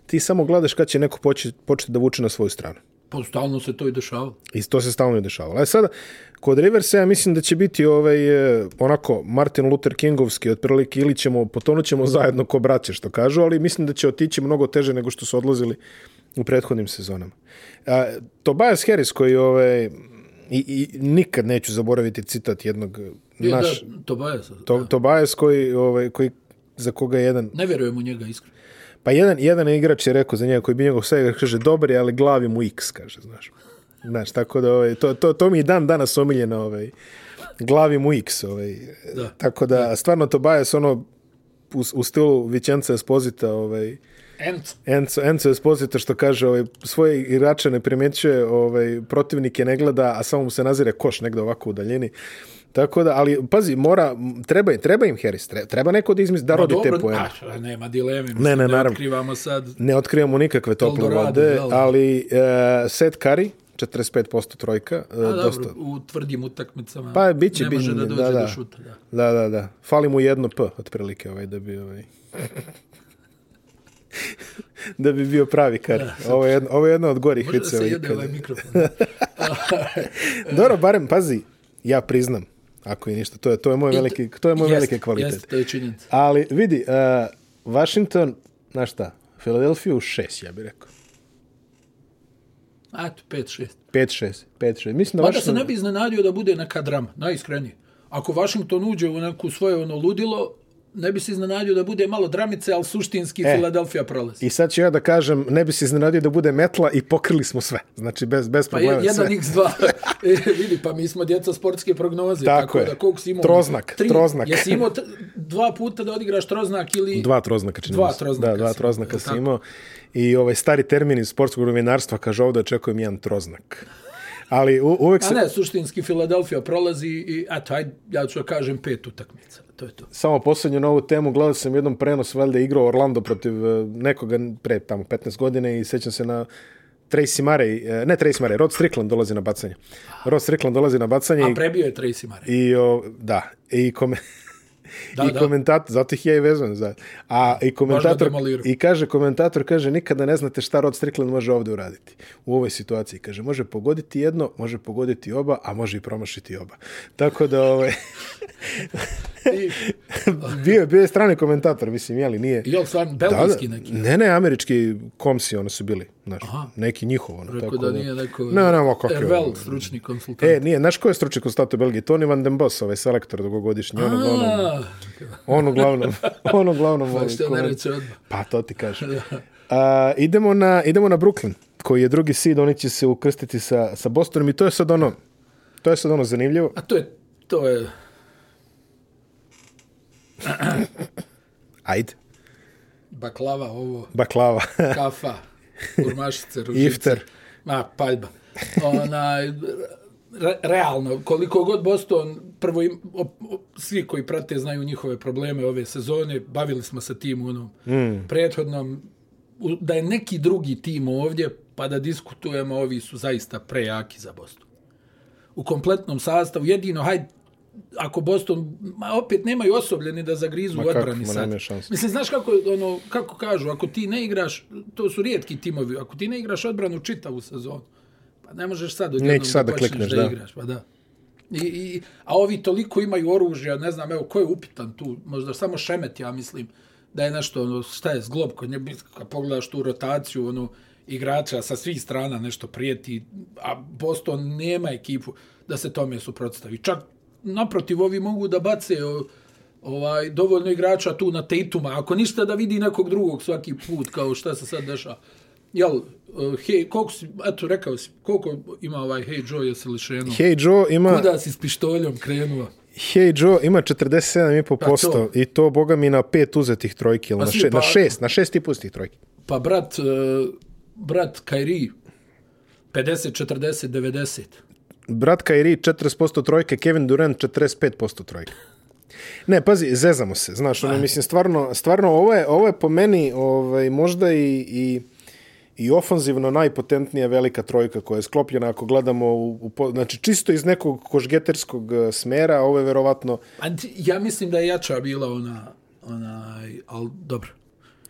[SPEAKER 1] ti samo gledaš kad će neko početi početi da vuče na svoju stranu.
[SPEAKER 2] Pa stalno se to i dešava.
[SPEAKER 1] I to se stalno i dešavalo. E sada, kod Riversa ja mislim da će biti ovaj, eh, onako Martin Luther Kingovski otprilike ili ćemo, potonut ćemo zajedno ko braće što kažu, ali mislim da će otići mnogo teže nego što su odlazili u prethodnim sezonama. A, Tobias Harris koji ovaj, i, i nikad neću zaboraviti citat jednog
[SPEAKER 2] Je,
[SPEAKER 1] naš,
[SPEAKER 2] E, da, Tobaja sad.
[SPEAKER 1] to, Tobias koji, ovaj, koji za koga je jedan
[SPEAKER 2] Ne vjerujem u njega iskreno.
[SPEAKER 1] Pa jedan, jedan igrač je rekao za njega koji bi njegov sajeg, kaže, dobar je, ali glavi mu x, kaže, znaš. Znaš, tako da, ovaj, to, to, to mi je dan danas omiljeno, ovaj, glavi mu x, ovaj.
[SPEAKER 2] Da.
[SPEAKER 1] Tako da, stvarno, Tobias, ono, u, u stilu Vicenza Esposita, ovaj,
[SPEAKER 2] Ent.
[SPEAKER 1] Enzo, Enzo Esposito što kaže, ovaj, svoje igrače ne primećuje, ovaj, protivnike ne gleda, a samo mu se nazire koš negde ovako u daljini. Tako da, ali pazi, mora, treba, treba im Harris, treba, treba neko da izmisli, da rodi te poene.
[SPEAKER 2] pa a, nema dileme. Mislim,
[SPEAKER 1] ne, naravno.
[SPEAKER 2] otkrivamo sad.
[SPEAKER 1] Ne otkrivamo nikakve tople
[SPEAKER 2] Eldorado,
[SPEAKER 1] vode,
[SPEAKER 2] jel?
[SPEAKER 1] ali uh, Seth Curry, 45% trojka. e,
[SPEAKER 2] A,
[SPEAKER 1] dosta.
[SPEAKER 2] dobro, u tvrdim utakmicama
[SPEAKER 1] Pa, bit će
[SPEAKER 2] ne može
[SPEAKER 1] bitno,
[SPEAKER 2] da dođe
[SPEAKER 1] da, da.
[SPEAKER 2] do šuta. Da.
[SPEAKER 1] Da, da, da. Fali mu jedno P, otprilike, ovaj, da bi, ovaj... <laughs> da bi bio pravi kar. Ovo je, jedno, ovo je jedna od gorih
[SPEAKER 2] Može da
[SPEAKER 1] viceva.
[SPEAKER 2] se jede
[SPEAKER 1] ikad.
[SPEAKER 2] ovaj mikrofon.
[SPEAKER 1] <laughs> Dobro, barem, pazi, ja priznam, ako je ništa, to je, to je moj veliki, to je moj
[SPEAKER 2] Jeste,
[SPEAKER 1] veliki kvalitet.
[SPEAKER 2] Jeste, to je činjenica.
[SPEAKER 1] Ali vidi, uh, Washington, znaš šta, Filadelfiju 6, ja bih rekao.
[SPEAKER 2] A, eto, 5-6.
[SPEAKER 1] 5-6, 5-6. Mislim da
[SPEAKER 2] Pa da se
[SPEAKER 1] Washington...
[SPEAKER 2] ne bi iznenadio da bude neka drama, najiskrenije. Ako Washington uđe u neku svoje ono ludilo, ne bi se iznenadio da bude malo dramice, ali suštinski e. Philadelphia prolazi.
[SPEAKER 1] I sad ću ja da kažem, ne bi se iznenadio da bude metla i pokrili smo sve. Znači, bez, bez
[SPEAKER 2] Pa
[SPEAKER 1] problema.
[SPEAKER 2] je, jedan
[SPEAKER 1] sve.
[SPEAKER 2] x2.
[SPEAKER 1] <laughs>
[SPEAKER 2] E, vidi, pa mi smo djeca sportske prognoze.
[SPEAKER 1] Tako
[SPEAKER 2] Tako,
[SPEAKER 1] je.
[SPEAKER 2] da koliko si imao?
[SPEAKER 1] Troznak,
[SPEAKER 2] Tri.
[SPEAKER 1] troznak.
[SPEAKER 2] Jesi imao t- dva puta da odigraš troznak ili...
[SPEAKER 1] Dva troznaka čini
[SPEAKER 2] Dva
[SPEAKER 1] mi se.
[SPEAKER 2] troznaka
[SPEAKER 1] Da, dva
[SPEAKER 2] si imao,
[SPEAKER 1] troznaka
[SPEAKER 2] jel
[SPEAKER 1] si
[SPEAKER 2] tako?
[SPEAKER 1] imao. I ovaj stari termin iz sportskog novinarstva kaže ovdje očekujem jedan troznak. Ali u, uvek
[SPEAKER 2] A
[SPEAKER 1] se...
[SPEAKER 2] ne, suštinski Philadelphia prolazi i, eto, ajde, ja ću da kažem pet utakmica. To je to.
[SPEAKER 1] Samo posljednju novu temu, gledao sam jednom prenos, valjda je igrao Orlando protiv eh, nekoga pre tamo 15 godine i sećam se na Tracy Murray, eh, ne Tracy Murray, Rod Strickland dolazi na bacanje. Rod Strickland dolazi na bacanje
[SPEAKER 2] A
[SPEAKER 1] i,
[SPEAKER 2] prebio je Tracy Murray.
[SPEAKER 1] i o, da, i kome... <laughs> Da,
[SPEAKER 2] Da,
[SPEAKER 1] I
[SPEAKER 2] da.
[SPEAKER 1] komentator, zato ih ja i vezujem za. A i komentator
[SPEAKER 2] demolirao.
[SPEAKER 1] i kaže komentator kaže nikada ne znate šta Rod Strickland može ovdje uraditi. U ovoj situaciji kaže može pogoditi jedno, može pogoditi oba, a može i promašiti oba. Tako da ovaj <laughs>
[SPEAKER 2] I,
[SPEAKER 1] bio je bio je strani komentator, mislim, jeli, nije.
[SPEAKER 2] jel, stvarno,
[SPEAKER 1] Da,
[SPEAKER 2] belgijski
[SPEAKER 1] da,
[SPEAKER 2] neki.
[SPEAKER 1] ne, ne, američki komsi oni su bili, znaš, neki njihov, ono,
[SPEAKER 2] Rekao
[SPEAKER 1] tako
[SPEAKER 2] da nije neko...
[SPEAKER 1] Ne, ne, ma kako je,
[SPEAKER 2] Ervel,
[SPEAKER 1] ono.
[SPEAKER 2] stručni konsultant.
[SPEAKER 1] E, nije, znaš ko je stručni konstator u Belgiji? Tony Van Den Bos, ovaj selektor dugogodišnji, ono, on uglavnom, on
[SPEAKER 2] A, <laughs>
[SPEAKER 1] uglavnom, on uglavnom voli
[SPEAKER 2] što ne
[SPEAKER 1] koment-
[SPEAKER 2] reče odmah.
[SPEAKER 1] Pa to ti kažem. A, idemo, na, idemo na Brooklyn, koji je drugi seed, oni će se ukrstiti sa, sa Bostonom i to je sad ono, to je sad ono zanimljivo.
[SPEAKER 2] A to je, to je,
[SPEAKER 1] Ajde,
[SPEAKER 2] baklava ovo,
[SPEAKER 1] baklava. <laughs>
[SPEAKER 2] kafa, kurmašice, ružice.
[SPEAKER 1] Iftar.
[SPEAKER 2] Ma, paljba. Ona, re, realno, koliko god Boston, prvo im, o, o, svi koji prate znaju njihove probleme ove sezone, bavili smo se tim u onom mm. prethodnom, u- da je neki drugi tim ovdje, pa da diskutujemo, ovi su zaista prejaki za Boston. U kompletnom sastavu, jedino, hajde, ako Boston, ma opet nemaju osoblje da zagrizu
[SPEAKER 1] Ma
[SPEAKER 2] u
[SPEAKER 1] kako,
[SPEAKER 2] odbrani
[SPEAKER 1] ma
[SPEAKER 2] sad.
[SPEAKER 1] nemaju šanse.
[SPEAKER 2] Mislim, znaš kako, ono, kako kažu, ako ti ne igraš, to su rijetki timovi, ako ti ne igraš odbranu čitavu sezonu, pa ne možeš sad odjednom
[SPEAKER 1] Neće sad da
[SPEAKER 2] da počneš
[SPEAKER 1] klikneš,
[SPEAKER 2] da,
[SPEAKER 1] da.
[SPEAKER 2] igraš, pa da. I, i, a ovi toliko imaju oružja, ne znam, evo, ko je upitan tu, možda samo Šemet, ja mislim, da je nešto, ono, šta je, zglob kod nje, kad pogledaš tu rotaciju, ono, igrača sa svih strana nešto prijeti, a Boston nema ekipu da se tome suprotstavi. Čak, naprotiv, ovi mogu da bace o, ovaj, dovoljno igrača tu na Tatuma, ako ništa da vidi nekog drugog svaki put, kao šta se sad dešava. Jel, uh, hej, koliko si, eto, rekao si, koliko ima ovaj Hey Joe, jesi li šenuo?
[SPEAKER 1] Hey Joe ima,
[SPEAKER 2] Kuda si s pištoljom krenuo?
[SPEAKER 1] hey Joe ima 47,5%
[SPEAKER 2] Pa to.
[SPEAKER 1] i to, boga mi, na pet uzetih trojki, ili na,
[SPEAKER 2] si,
[SPEAKER 1] še,
[SPEAKER 2] pa-
[SPEAKER 1] na šest, na šest i pustih trojki.
[SPEAKER 2] Pa brat, uh, brat Kairi, 50, 40, 90.
[SPEAKER 1] Brat Kairi 40% trojke, Kevin Durant 45% trojke. Ne, pazi, zezamo se, znaš, ono, mislim, stvarno, stvarno ovo, je, ovo je po meni ovaj, možda i, i, i ofanzivno najpotentnija velika trojka koja je sklopljena, ako gledamo, u, u, po- znači, čisto iz nekog košgeterskog eh, smera, ovo je verovatno,
[SPEAKER 2] A ti- ja mislim da je jača bila ona, onaj, ali dobro.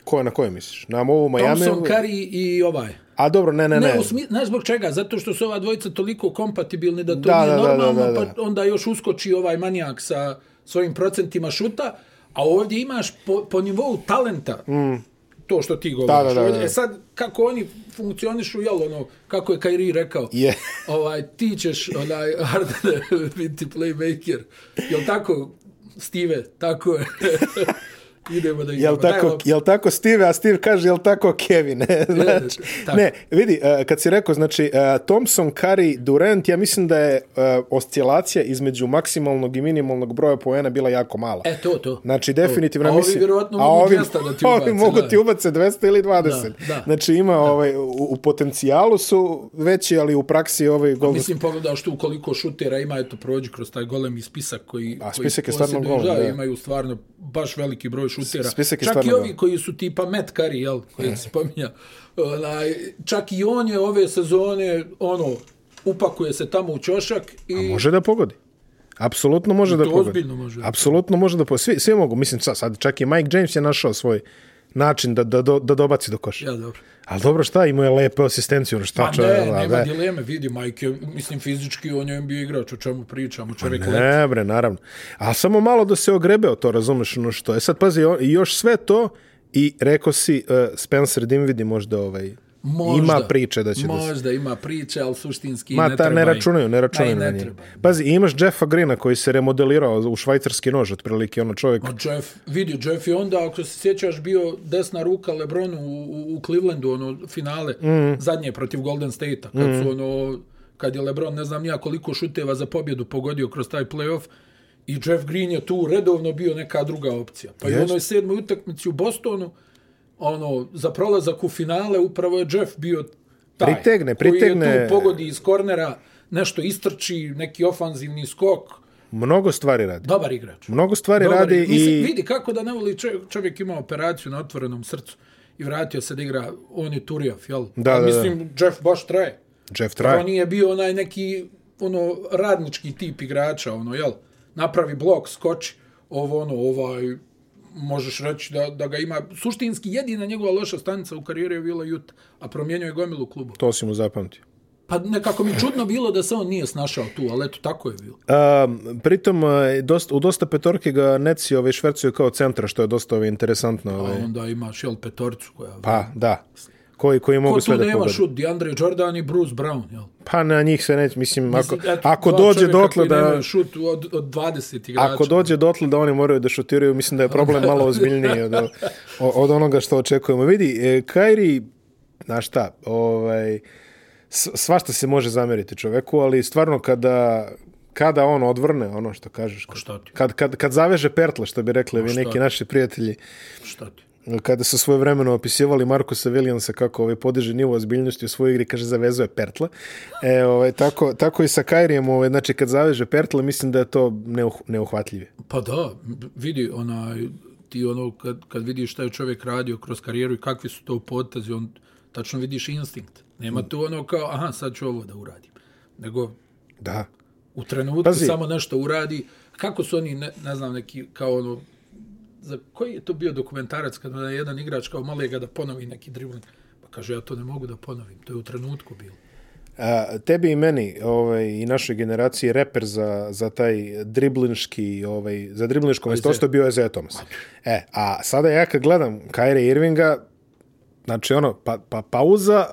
[SPEAKER 1] ko je na koje misliš? Na ovu Miami?
[SPEAKER 2] Thompson, Curry i ovaj.
[SPEAKER 1] A dobro, ne, ne, ne.
[SPEAKER 2] Ne, u smi, znaš zbog čega? Zato što su ova dvojica toliko kompatibilni da to
[SPEAKER 1] Da,
[SPEAKER 2] da, nije
[SPEAKER 1] da, da,
[SPEAKER 2] normalno,
[SPEAKER 1] da, da, da.
[SPEAKER 2] pa onda još uskoči ovaj manijak sa svojim procentima šuta, a ovdje imaš po, po nivou talenta mm. to što ti govoriš.
[SPEAKER 1] da, da,
[SPEAKER 2] Ovdje-
[SPEAKER 1] da.
[SPEAKER 2] E sad, kako oni funkcionišu, jel ono, kako je Kairi rekao,
[SPEAKER 1] Je.
[SPEAKER 2] <laughs> ovaj, ti ćeš onaj <laughs> Harden biti playmaker, jel tako, Steve, tako je. <laughs> Idemo da igramo.
[SPEAKER 1] Jel tako,
[SPEAKER 2] loptu.
[SPEAKER 1] jel tako Steve, a Steve kaže jel tako Kevin. <laughs> znači,
[SPEAKER 2] tako.
[SPEAKER 1] ne, vidi, eh, kad si rekao, znači, eh, Thompson, Curry, Durant, ja mislim da je eh, oscilacija između maksimalnog i minimalnog broja poena bila jako mala.
[SPEAKER 2] E, to, to.
[SPEAKER 1] Znači, definitivno,
[SPEAKER 2] A ovi
[SPEAKER 1] mislim...
[SPEAKER 2] vjerovatno
[SPEAKER 1] a
[SPEAKER 2] mogu
[SPEAKER 1] ovi-
[SPEAKER 2] 200 da
[SPEAKER 1] <laughs>
[SPEAKER 2] ti
[SPEAKER 1] Ovi
[SPEAKER 2] ubace,
[SPEAKER 1] mogu
[SPEAKER 2] da.
[SPEAKER 1] ti ubace 200 ili 20.
[SPEAKER 2] Da, da.
[SPEAKER 1] Znači, ima ovaj, u, u potencijalu su veći, ali u praksi ovaj Golden
[SPEAKER 2] Mislim, pogledaš tu koliko šutera ima, eto, prođi kroz taj golemi spisak koji...
[SPEAKER 1] A,
[SPEAKER 2] koji
[SPEAKER 1] spisak je stvarno
[SPEAKER 2] posjeduju,
[SPEAKER 1] golem,
[SPEAKER 2] da,
[SPEAKER 1] da.
[SPEAKER 2] Imaju stvarno baš veliki broj šutera.
[SPEAKER 1] spisak je
[SPEAKER 2] čak i
[SPEAKER 1] stvarno
[SPEAKER 2] ovi
[SPEAKER 1] golem. E.
[SPEAKER 2] koji su tipa Matt Curry, jel, koji se spominja. Onaj, čak i on je ove sezone, ono, upakuje se tamo u ćošak i...
[SPEAKER 1] A može da pogodi. Apsolutno može da
[SPEAKER 2] to
[SPEAKER 1] pogodi.
[SPEAKER 2] ozbiljno može.
[SPEAKER 1] Apsolutno može da pogodi. Svi, svi mogu. Mislim, sad, sad čak i Mike James je našao svoj način da, da, da, da dobaci do koša.
[SPEAKER 2] Ja, dobro.
[SPEAKER 1] Ali dobro, šta imao je lepe asistenciju, ono šta
[SPEAKER 2] Pa
[SPEAKER 1] čovjek,
[SPEAKER 2] ne,
[SPEAKER 1] da,
[SPEAKER 2] nema
[SPEAKER 1] da.
[SPEAKER 2] dileme, vidi, Mike je, mislim, fizički on je NBA igrač, o čemu pričamo, čovjek ne.
[SPEAKER 1] Pa Ne, bre, naravno. A samo malo da se ogrebeo to, razumeš, no što je. E Sad, pazi, on- još sve to i rekao si uh, Spencer Dinvidi možda ovaj,
[SPEAKER 2] Možda,
[SPEAKER 1] ima priče da će da se...
[SPEAKER 2] možda ima priče, ali suštinski
[SPEAKER 1] Ma
[SPEAKER 2] ne
[SPEAKER 1] ta
[SPEAKER 2] treba.
[SPEAKER 1] ne
[SPEAKER 2] im.
[SPEAKER 1] računaju, ne računaju
[SPEAKER 2] Ma i
[SPEAKER 1] na
[SPEAKER 2] ne
[SPEAKER 1] njih.
[SPEAKER 2] treba.
[SPEAKER 1] Pazi, imaš Jeffa Greena koji se remodelirao u švajcarski nož, otprilike ono čovjek.
[SPEAKER 2] Ma Pa Jeff, vidi, Jeff je onda, ako se sjećaš, bio desna ruka Lebronu u, u- u Clevelandu, ono, finale, mm. zadnje protiv Golden State-a, kad mm. su ono, kad je Lebron, ne znam nija koliko šuteva za pobjedu pogodio kroz taj playoff, i Jeff Green je tu redovno bio neka druga opcija. Pa i
[SPEAKER 1] Jest.
[SPEAKER 2] onoj sedmoj utakmici u Bostonu, ono, za prolazak u finale, upravo je Jeff bio taj.
[SPEAKER 1] Pritegne,
[SPEAKER 2] Koji je
[SPEAKER 1] pritegne.
[SPEAKER 2] tu pogodi iz kornera, nešto istrči, neki ofanzivni skok,
[SPEAKER 1] Mnogo stvari radi.
[SPEAKER 2] dobar igrač.
[SPEAKER 1] Mnogo stvari
[SPEAKER 2] Dobar,
[SPEAKER 1] radi
[SPEAKER 2] mislim,
[SPEAKER 1] i...
[SPEAKER 2] Vidi kako da ne voli čovjek, čovjek ima operaciju na otvorenom srcu i vratio se da igra, on je Turijev, jel?
[SPEAKER 1] Da, da,
[SPEAKER 2] A
[SPEAKER 1] da.
[SPEAKER 2] mislim, Jeff baš traje.
[SPEAKER 1] Jeff
[SPEAKER 2] On
[SPEAKER 1] Traje.
[SPEAKER 2] nije bio onaj neki ono radnički tip igrača, ono, jel? Napravi blok, skoči, ovo ono, ovaj, možeš reći da, da ga ima. Suštinski jedina njegova loša stanica u karijeri je bila Juta, a promijenio je gomilu klubu.
[SPEAKER 1] To si mu zapamtio.
[SPEAKER 2] Pa nekako mi čudno bilo da se on nije snašao tu, ali eto, tako je bilo.
[SPEAKER 1] Um, pritom, e, dosta, u dosta petorke ga Neci ovaj, švercuju kao centra, što je dosta ovaj, interesantno.
[SPEAKER 2] A
[SPEAKER 1] Ovaj.
[SPEAKER 2] onda imaš, jel, petorcu koja...
[SPEAKER 1] Pa, da. Koji, koji mogu
[SPEAKER 2] Ko Pa tu
[SPEAKER 1] sve da
[SPEAKER 2] nema
[SPEAKER 1] pogode.
[SPEAKER 2] šut, DeAndre Jordan i Bruce Brown, jel?
[SPEAKER 1] Pa na njih se neće, mislim, ako,
[SPEAKER 2] Mislim, eto,
[SPEAKER 1] ako
[SPEAKER 2] dva
[SPEAKER 1] dođe
[SPEAKER 2] čovjeka
[SPEAKER 1] dotle
[SPEAKER 2] koji
[SPEAKER 1] da...
[SPEAKER 2] nemaju šut od, od 20 igrača.
[SPEAKER 1] Ako dođe dotle da oni moraju da šutiraju, mislim da je problem malo ozbiljniji od, od onoga što očekujemo. Vidi, e, Kairi, znaš šta, ovaj, s- svašta se može zameriti čoveku, ali stvarno kada kada on odvrne ono što kažeš
[SPEAKER 2] Pa šta ti? Pa
[SPEAKER 1] kad, kad, kad zaveže pertle što bi rekli vi neki naši prijatelji
[SPEAKER 2] Šta ti?
[SPEAKER 1] kada su svoje vremeno opisivali Markusa Williamsa kako ovaj podiže nivo ozbiljnosti u svojoj igri, kaže zavezuje pertle. E, ovaj, tako, tako i sa Kairijem, ovaj, znači kad zaveže pertle, mislim da je to neuh, neuhvatljivo.
[SPEAKER 2] Pa da, vidi, onaj, ti ono, kad, kad vidiš šta je čovjek radio kroz karijeru i kakvi su to potezi, on tačno vidiš instinkt.
[SPEAKER 1] Mm.
[SPEAKER 2] Nema tu ono kao, aha, sad ću ovo da uradim. Nego
[SPEAKER 1] Da.
[SPEAKER 2] u trenutku
[SPEAKER 1] Pazi.
[SPEAKER 2] Pazi. samo nešto uradi. Kako su oni, ne, ne znam, neki, kao ono, za koji je to bio dokumentarac kada je jedan igrač kao malega da ponovi neki dribling? Pa kaže, ja to ne mogu da ponovim. To je u trenutku bilo.
[SPEAKER 1] A, tebi i meni ovaj, i našoj generaciji reper za, za taj driblinški, ovaj, za driblinško mjestostvo bio je Zé Thomas. E, a sada ja kad gledam Kaire Irvinga, znači ono, pa, pa pauza,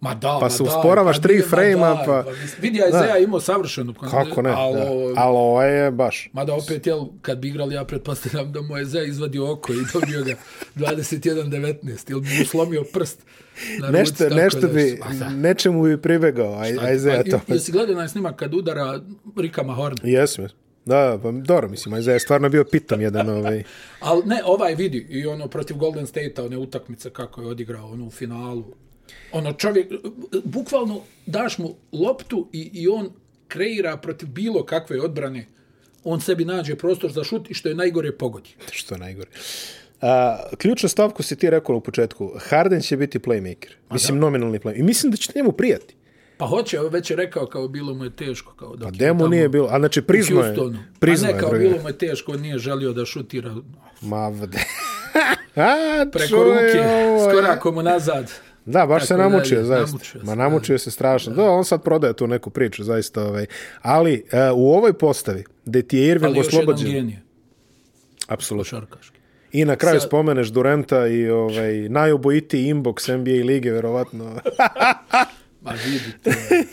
[SPEAKER 2] Ma da,
[SPEAKER 1] Pa
[SPEAKER 2] ma
[SPEAKER 1] se
[SPEAKER 2] da,
[SPEAKER 1] usporavaš
[SPEAKER 2] pa
[SPEAKER 1] tri
[SPEAKER 2] nije, ma
[SPEAKER 1] frejma,
[SPEAKER 2] da,
[SPEAKER 1] pa-
[SPEAKER 2] mislim, Vidi, Aizeja je imao savršenu...
[SPEAKER 1] kako ne,
[SPEAKER 2] ali,
[SPEAKER 1] da.
[SPEAKER 2] ovo-
[SPEAKER 1] ali ovaj je baš.
[SPEAKER 2] Mada opet, jel, kad bi igrali, ja pretpostavljam da mu je Zé izvadio oko i
[SPEAKER 1] <laughs>
[SPEAKER 2] dobio ga 21-19, ili bi mu slomio prst na ruci.
[SPEAKER 1] Nešto,
[SPEAKER 2] tako
[SPEAKER 1] nešto
[SPEAKER 2] da-
[SPEAKER 1] bi,
[SPEAKER 2] Ma da. pa-
[SPEAKER 1] nečemu bi pribegao, aj, aj Zé
[SPEAKER 2] A,
[SPEAKER 1] Thomas.
[SPEAKER 2] Jesi gledao onaj snimak kad udara Rika Mahorna?
[SPEAKER 1] Jesmo, jesmo. Da, pa dobro, mislim, Ajza je stvarno bio pitam jedan ovaj.
[SPEAKER 2] Ali ne, ovaj vidi i ono protiv Golden State-a, one utakmice kako je odigrao ono u finalu. Ono čovjek, bukvalno daš mu loptu i, i on kreira protiv bilo kakve odbrane. On sebi nađe prostor za šut i što je najgore pogodi.
[SPEAKER 1] Što je najgore. A, ključnu stavku si ti rekao u početku. Harden će biti playmaker. Mislim, nominalni playmaker. I mislim da će njemu prijati.
[SPEAKER 2] Pa hoće, evo već je rekao kao bilo mu je teško. Kao dok je
[SPEAKER 1] Demu
[SPEAKER 2] tamo
[SPEAKER 1] Pa nije bilo. A znači,
[SPEAKER 2] u
[SPEAKER 1] priznao je.
[SPEAKER 2] Houstonu.
[SPEAKER 1] Priznao
[SPEAKER 2] Pa ne,
[SPEAKER 1] je.
[SPEAKER 2] kao
[SPEAKER 1] drugi.
[SPEAKER 2] bilo mu je teško, on nije želio da šutira
[SPEAKER 1] Ma,
[SPEAKER 2] <laughs>
[SPEAKER 1] vde. A,
[SPEAKER 2] preko
[SPEAKER 1] čuj,
[SPEAKER 2] ruke,
[SPEAKER 1] ovo
[SPEAKER 2] s
[SPEAKER 1] je-
[SPEAKER 2] korakom unazad.
[SPEAKER 1] Da, baš se
[SPEAKER 2] Tako dalje.
[SPEAKER 1] namučio, zaista.
[SPEAKER 2] Namučio se,
[SPEAKER 1] Ma namučio se strašno. Da, on sad prodaje tu neku priču, zaista. Ovaj. Ali e, u ovoj postavi, gde ti je Irving
[SPEAKER 2] Ali još jedan
[SPEAKER 1] oslobođen...
[SPEAKER 2] genije,
[SPEAKER 1] Apsolutno.
[SPEAKER 2] šarkaški.
[SPEAKER 1] I na kraju
[SPEAKER 2] Sa-
[SPEAKER 1] spomeneš Durenta i ovaj, najubojitiji inbox NBA lige, verovatno.
[SPEAKER 2] Ma vidite,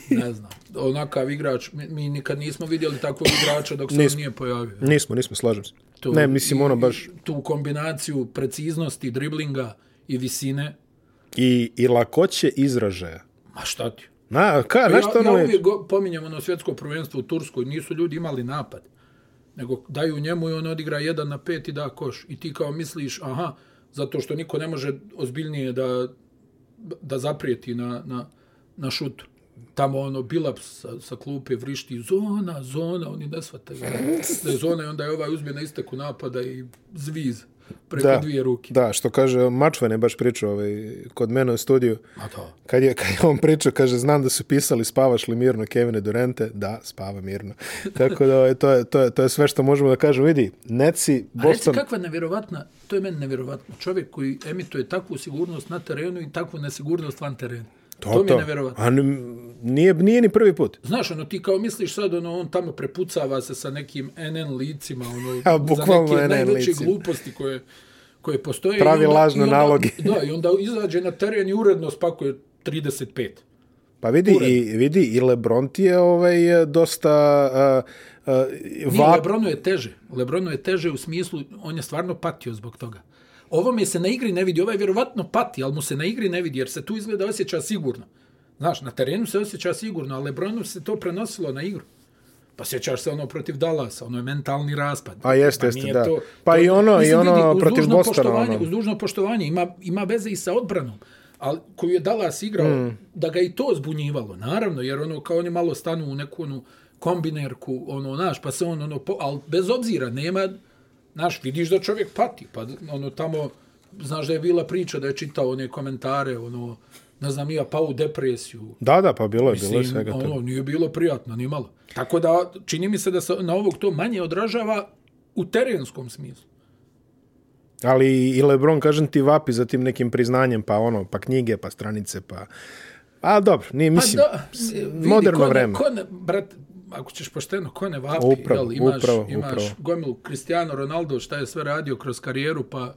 [SPEAKER 2] ne znam. Onakav igrač, mi, mi nikad nismo vidjeli takvog igrača dok se on nije pojavio.
[SPEAKER 1] nismo, nismo, slažem se.
[SPEAKER 2] To-
[SPEAKER 1] ne, mislim,
[SPEAKER 2] i-
[SPEAKER 1] ono baš
[SPEAKER 2] Tu kombinaciju preciznosti, driblinga i visine,
[SPEAKER 1] i, i lakoće izražaja.
[SPEAKER 2] ma šta ti?
[SPEAKER 1] Na, ka,
[SPEAKER 2] Ja,
[SPEAKER 1] znaš što
[SPEAKER 2] Pa ja
[SPEAKER 1] ono je?
[SPEAKER 2] uvijek go- pominjem ono svjetsko prvenstvo u Turskoj, nisu ljudi imali napad, nego daju njemu i on odigra jedan na pet i da koš. I ti kao misliš, aha, zato što niko ne može ozbiljnije da, da zaprijeti na, na, na šutu. Tamo ono Bilaps sa, sa klupe vrišti zona, zona, oni ne shvataju da je zona i onda je ovaj uzme na isteku napada i zviz. preko da. dvije ruke.
[SPEAKER 1] Da, što kaže, Mačvan je baš pričao ovaj, kod mene u studiju.
[SPEAKER 2] A to.
[SPEAKER 1] Kad je, kad je on pričao, kaže, znam da su pisali spavaš li mirno Kevine Durente, da, spava
[SPEAKER 2] <laughs>
[SPEAKER 1] mirno. Tako da ovaj, to, je, to, je, to je sve što možemo da kažemo. Vidi, Neci,
[SPEAKER 2] A reci
[SPEAKER 1] Boston...
[SPEAKER 2] kakva nevjerovatna, to je meni nevjerovatno, čovjek koji emituje takvu sigurnost na terenu i takvu nesigurnost van terena. To, to mi je nevjerovatno.
[SPEAKER 1] A n- nije, nije ni prvi put.
[SPEAKER 2] Znaš, ono, ti kao misliš sad, ono, on tamo prepucava se sa nekim NN licima,
[SPEAKER 1] <laughs>
[SPEAKER 2] ono,
[SPEAKER 1] A, bukvalno
[SPEAKER 2] za neke
[SPEAKER 1] NN
[SPEAKER 2] najveće
[SPEAKER 1] licima.
[SPEAKER 2] gluposti koje, koje postoje.
[SPEAKER 1] Pravi
[SPEAKER 2] I onda-
[SPEAKER 1] lažne
[SPEAKER 2] i onda-
[SPEAKER 1] naloge.
[SPEAKER 2] <laughs> Da, i onda izađe na teren i uredno spakuje 35.
[SPEAKER 1] Pa vidi, i, vidi i Lebron ti je ovaj, e, dosta uh, uh,
[SPEAKER 2] Nije,
[SPEAKER 1] va...
[SPEAKER 2] Lebronu je teže. Lebronu je teže u smislu, on je stvarno patio zbog toga. Ovo mi se na igri ne vidi, ovaj vjerovatno pati, ali mu se na igri ne vidi, jer se tu izgleda osjeća sigurno. Znaš, na terenu se osjeća sigurno, a Lebronu se to prenosilo na igru. Pa sjećaš se ono protiv Dallasa, ono je mentalni raspad.
[SPEAKER 1] A jeste,
[SPEAKER 2] Pa
[SPEAKER 1] jeste,
[SPEAKER 2] nije
[SPEAKER 1] da. Pa i ono- i ono
[SPEAKER 2] uz
[SPEAKER 1] protiv
[SPEAKER 2] dužno
[SPEAKER 1] Bostona,
[SPEAKER 2] poštovanje-
[SPEAKER 1] ono.
[SPEAKER 2] Uz dužno poštovanje, ima, ima veze i sa odbranom, ali koju je Dallas igrao, mm. da ga i to zbunjivalo, naravno, jer ono, kao oni malo stanu u neku onu kombinerku, ono, naš, pa se on, ono, po, ali bez obzira, nema, naš, vidiš da čovjek pati, pa ono, tamo, znaš da je bila priča da je čitao one komentare, ono, ne znam, nija pao u depresiju,
[SPEAKER 1] Da, da, pa bilo je, bilo je
[SPEAKER 2] Mislim,
[SPEAKER 1] svega toga.
[SPEAKER 2] Ono, nije bilo prijatno, ni malo. Tako da, čini mi se da se na ovog to manje odražava u terenskom smislu.
[SPEAKER 1] Ali i Lebron, kažem ti, vapi za tim nekim priznanjem, pa ono, pa knjige, pa stranice, pa... A dobro, nije,
[SPEAKER 2] Pa
[SPEAKER 1] mislim,
[SPEAKER 2] vidi,
[SPEAKER 1] moderno
[SPEAKER 2] ko ne-
[SPEAKER 1] vreme.
[SPEAKER 2] Ko ne, brat, ako ćeš pošteno, ko ne vapi,
[SPEAKER 1] Upravo,
[SPEAKER 2] jel, imaš,
[SPEAKER 1] upravo,
[SPEAKER 2] imaš
[SPEAKER 1] upravo.
[SPEAKER 2] gomilu Cristiano Ronaldo, šta je sve radio kroz karijeru, pa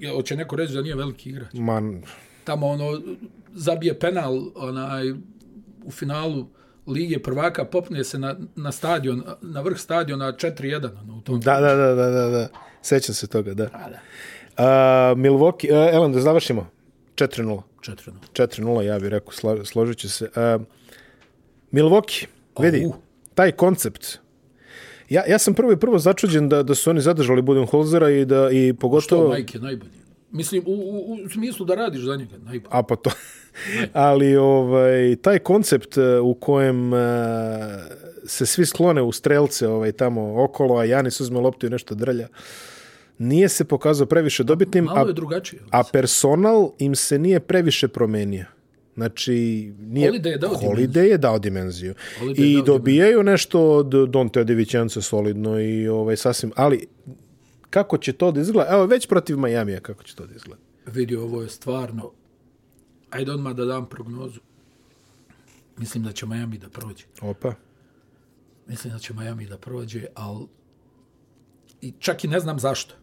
[SPEAKER 2] jel, hoće neko reći da nije veliki igrač.
[SPEAKER 1] man,
[SPEAKER 2] Tamo ono, zabije penal onaj, u finalu Lige prvaka, popne se na, na stadion, na vrh stadiona 4-1, ono, u tom
[SPEAKER 1] da, da, da, da, da, da. Sećam se toga, da.
[SPEAKER 2] da.
[SPEAKER 1] A, Milwaukee, uh, Ellen, da završimo. 4-0.
[SPEAKER 2] 4
[SPEAKER 1] 4-0, ja bih rekao, sla, složit ću se. Uh, Milwaukee, vidi,
[SPEAKER 2] Au.
[SPEAKER 1] taj koncept. Ja, ja sam prvo i prvo začuđen da, da su oni zadržali Budenholzera i da i
[SPEAKER 2] To,
[SPEAKER 1] pogotovo...
[SPEAKER 2] Mike je najbolji. Mislim, u, u, u smislu da radiš za njega, najbolji.
[SPEAKER 1] A pa to... <laughs> Ali ovaj, taj koncept e, u kojem e, se svi sklone u strelce ovaj, tamo okolo, a Janis uzme loptu i nešto drlja, nije se pokazao previše dobitnim,
[SPEAKER 2] Malo
[SPEAKER 1] a,
[SPEAKER 2] je drugačije.
[SPEAKER 1] a personal im se nije previše promenio. Znači, nije...
[SPEAKER 2] Holiday je dao
[SPEAKER 1] Holiday je dao dimenziju.
[SPEAKER 2] Holiday je
[SPEAKER 1] I
[SPEAKER 2] dao
[SPEAKER 1] dobijaju nešto od Donte Divićanca solidno i ovaj, sasvim... Ali kako će to da izgleda? Evo, već protiv Majamija kako će to da izgleda.
[SPEAKER 2] Vidio, ovo je stvarno... Ajde odmah da dam prognozu. Mislim da će Miami da prođe.
[SPEAKER 1] Opa.
[SPEAKER 2] Mislim da će Miami da prođe, ali... I čak i ne znam zašto.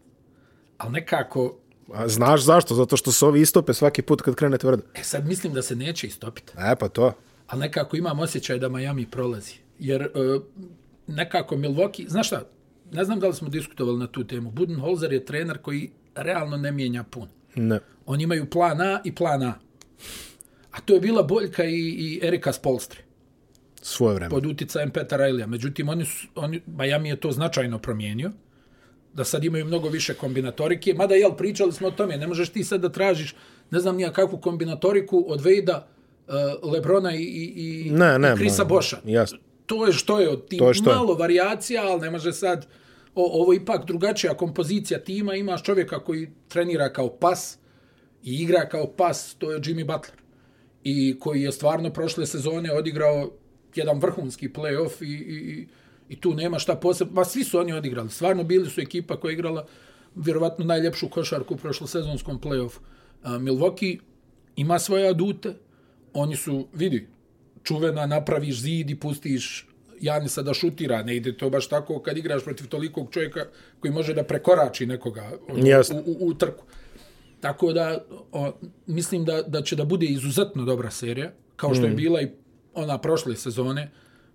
[SPEAKER 2] Ali nekako...
[SPEAKER 1] A znaš zašto? Zato što se ovi istope svaki put kad krene tvrdo.
[SPEAKER 2] E sad mislim da se neće istopiti.
[SPEAKER 1] E, pa to.
[SPEAKER 2] ali nekako imam osjećaj da Miami prolazi. Jer e, nekako Milwaukee, znaš šta, ne znam da li smo diskutovali na tu temu, Budenholzer je trener koji realno ne mijenja puno.
[SPEAKER 1] Ne.
[SPEAKER 2] Oni imaju plan A i plan A. A to je bila boljka i, i Erika Spolstre
[SPEAKER 1] Svoje vreme.
[SPEAKER 2] pod uticajem Peta Rajlija. Međutim, oni su, oni, Miami je to značajno promijenio, da sad imaju mnogo više kombinatorike, mada, jel, pričali smo o tome, ne možeš ti sad da tražiš, ne znam nija kakvu kombinatoriku od Vejda, uh, Lebrona i, i, i,
[SPEAKER 1] Ne, ne.
[SPEAKER 2] i Krisa
[SPEAKER 1] ma-
[SPEAKER 2] Boša.
[SPEAKER 1] Jasno.
[SPEAKER 2] To je što je od tim.
[SPEAKER 1] To je što je.
[SPEAKER 2] Malo varijacija, ali ne može sad... O, ovo je ipak drugačija kompozicija tima. Imaš čovjeka koji trenira kao pas i igra kao pas, to je Jimmy Butler. I koji je stvarno prošle sezone odigrao jedan vrhunski playoff i, i, i- i tu nema šta posebno. Ma svi su oni odigrali. Stvarno bili su ekipa koja je igrala vjerovatno najljepšu košarku u prošlosezonskom playoffu. A, Milwaukee ima svoje adute. Oni su, vidi, čuvena napraviš zid i pustiš Janisa da šutira, ne ide to baš tako kad igraš protiv tolikog čovjeka koji može da prekorači nekoga ono,
[SPEAKER 1] Jasno.
[SPEAKER 2] u, u, u trku. Tako da o, mislim da, da će da bude izuzetno dobra serija, kao
[SPEAKER 1] Mm.
[SPEAKER 2] što je bila i ona prošle sezone,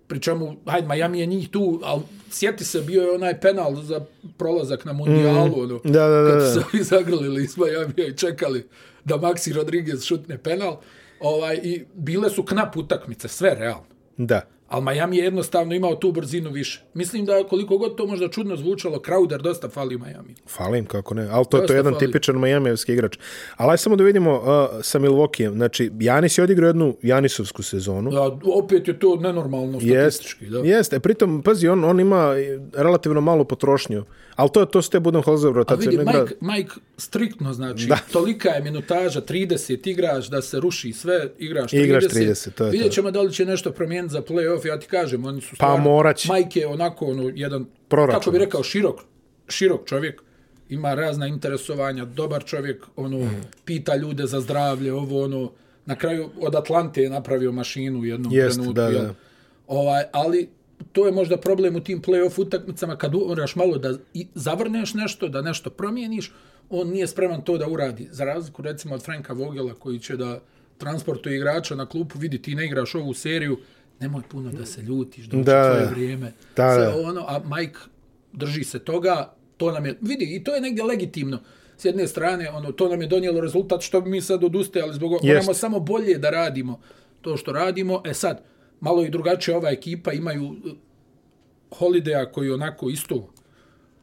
[SPEAKER 2] pri čemu, hajde, Miami je njih tu, ali sjeti se, bio je onaj penal za prolazak na mundijalu, ono,
[SPEAKER 1] Mm. Da, da, da,
[SPEAKER 2] kad
[SPEAKER 1] da.
[SPEAKER 2] su ovi zagrlili iz Majamija i čekali da Maxi Rodriguez šutne penal. Ovaj, I bile su knap utakmice, sve realno.
[SPEAKER 1] Da.
[SPEAKER 2] Ali Miami je jednostavno imao tu brzinu više. Mislim da koliko god to možda čudno zvučalo, Crowder dosta fali Miami.
[SPEAKER 1] Falim, kako ne. Ali to, to
[SPEAKER 2] Dosta
[SPEAKER 1] je jedan
[SPEAKER 2] fali.
[SPEAKER 1] tipičan majamijevski igrač. Ali aj samo da vidimo uh, sa Milvokijem. Znači, Janis je odigrao jednu Janisovsku sezonu.
[SPEAKER 2] Da, opet je to nenormalno statistički. Da.
[SPEAKER 1] Jeste, pritom, pazi, on, on ima relativno malu potrošnju, ali to, to su te Budenholzer
[SPEAKER 2] A vidi,
[SPEAKER 1] rotacije.
[SPEAKER 2] Mike, Mike striktno znači, da. tolika je minutaža, 30 igraš da se ruši sve, igraš 30.
[SPEAKER 1] Igraš 30, to je to.
[SPEAKER 2] Vidjet ćemo da li će nešto promijeniti za play-off, ja ti kažem, oni su
[SPEAKER 1] morat će.
[SPEAKER 2] Mike je onako ono, jedan,
[SPEAKER 1] Proračunac.
[SPEAKER 2] kako bi rekao, širok, širok čovjek, ima razna interesovanja, dobar čovjek, ono,
[SPEAKER 1] Mhm.
[SPEAKER 2] mm. pita ljude za zdravlje, ovo, ono, na kraju od Atlante je napravio mašinu u jednom
[SPEAKER 1] Jeste,
[SPEAKER 2] trenutku.
[SPEAKER 1] da,
[SPEAKER 2] jel?
[SPEAKER 1] da.
[SPEAKER 2] Ovaj, ali to je možda problem u tim play-off utakmicama kad moraš malo da i zavrneš nešto, da nešto promijeniš, on nije spreman to da uradi. Za razliku recimo od Franka Vogela koji će da transportuje igrača na klupu, vidi ti ne igraš ovu seriju, nemoj puno da se ljutiš, dođe
[SPEAKER 1] Da.
[SPEAKER 2] da, tvoje vrijeme.
[SPEAKER 1] Da,
[SPEAKER 2] Sve
[SPEAKER 1] da.
[SPEAKER 2] ono, a Mike drži se toga, to nam je, vidi, i to je negdje legitimno. S jedne strane, ono, to nam je donijelo rezultat što bi mi sad odustajali zbog
[SPEAKER 1] Jest.
[SPEAKER 2] moramo samo bolje da radimo to što radimo. E sad, malo i drugačije ova ekipa, imaju eh, Holideja koji onako isto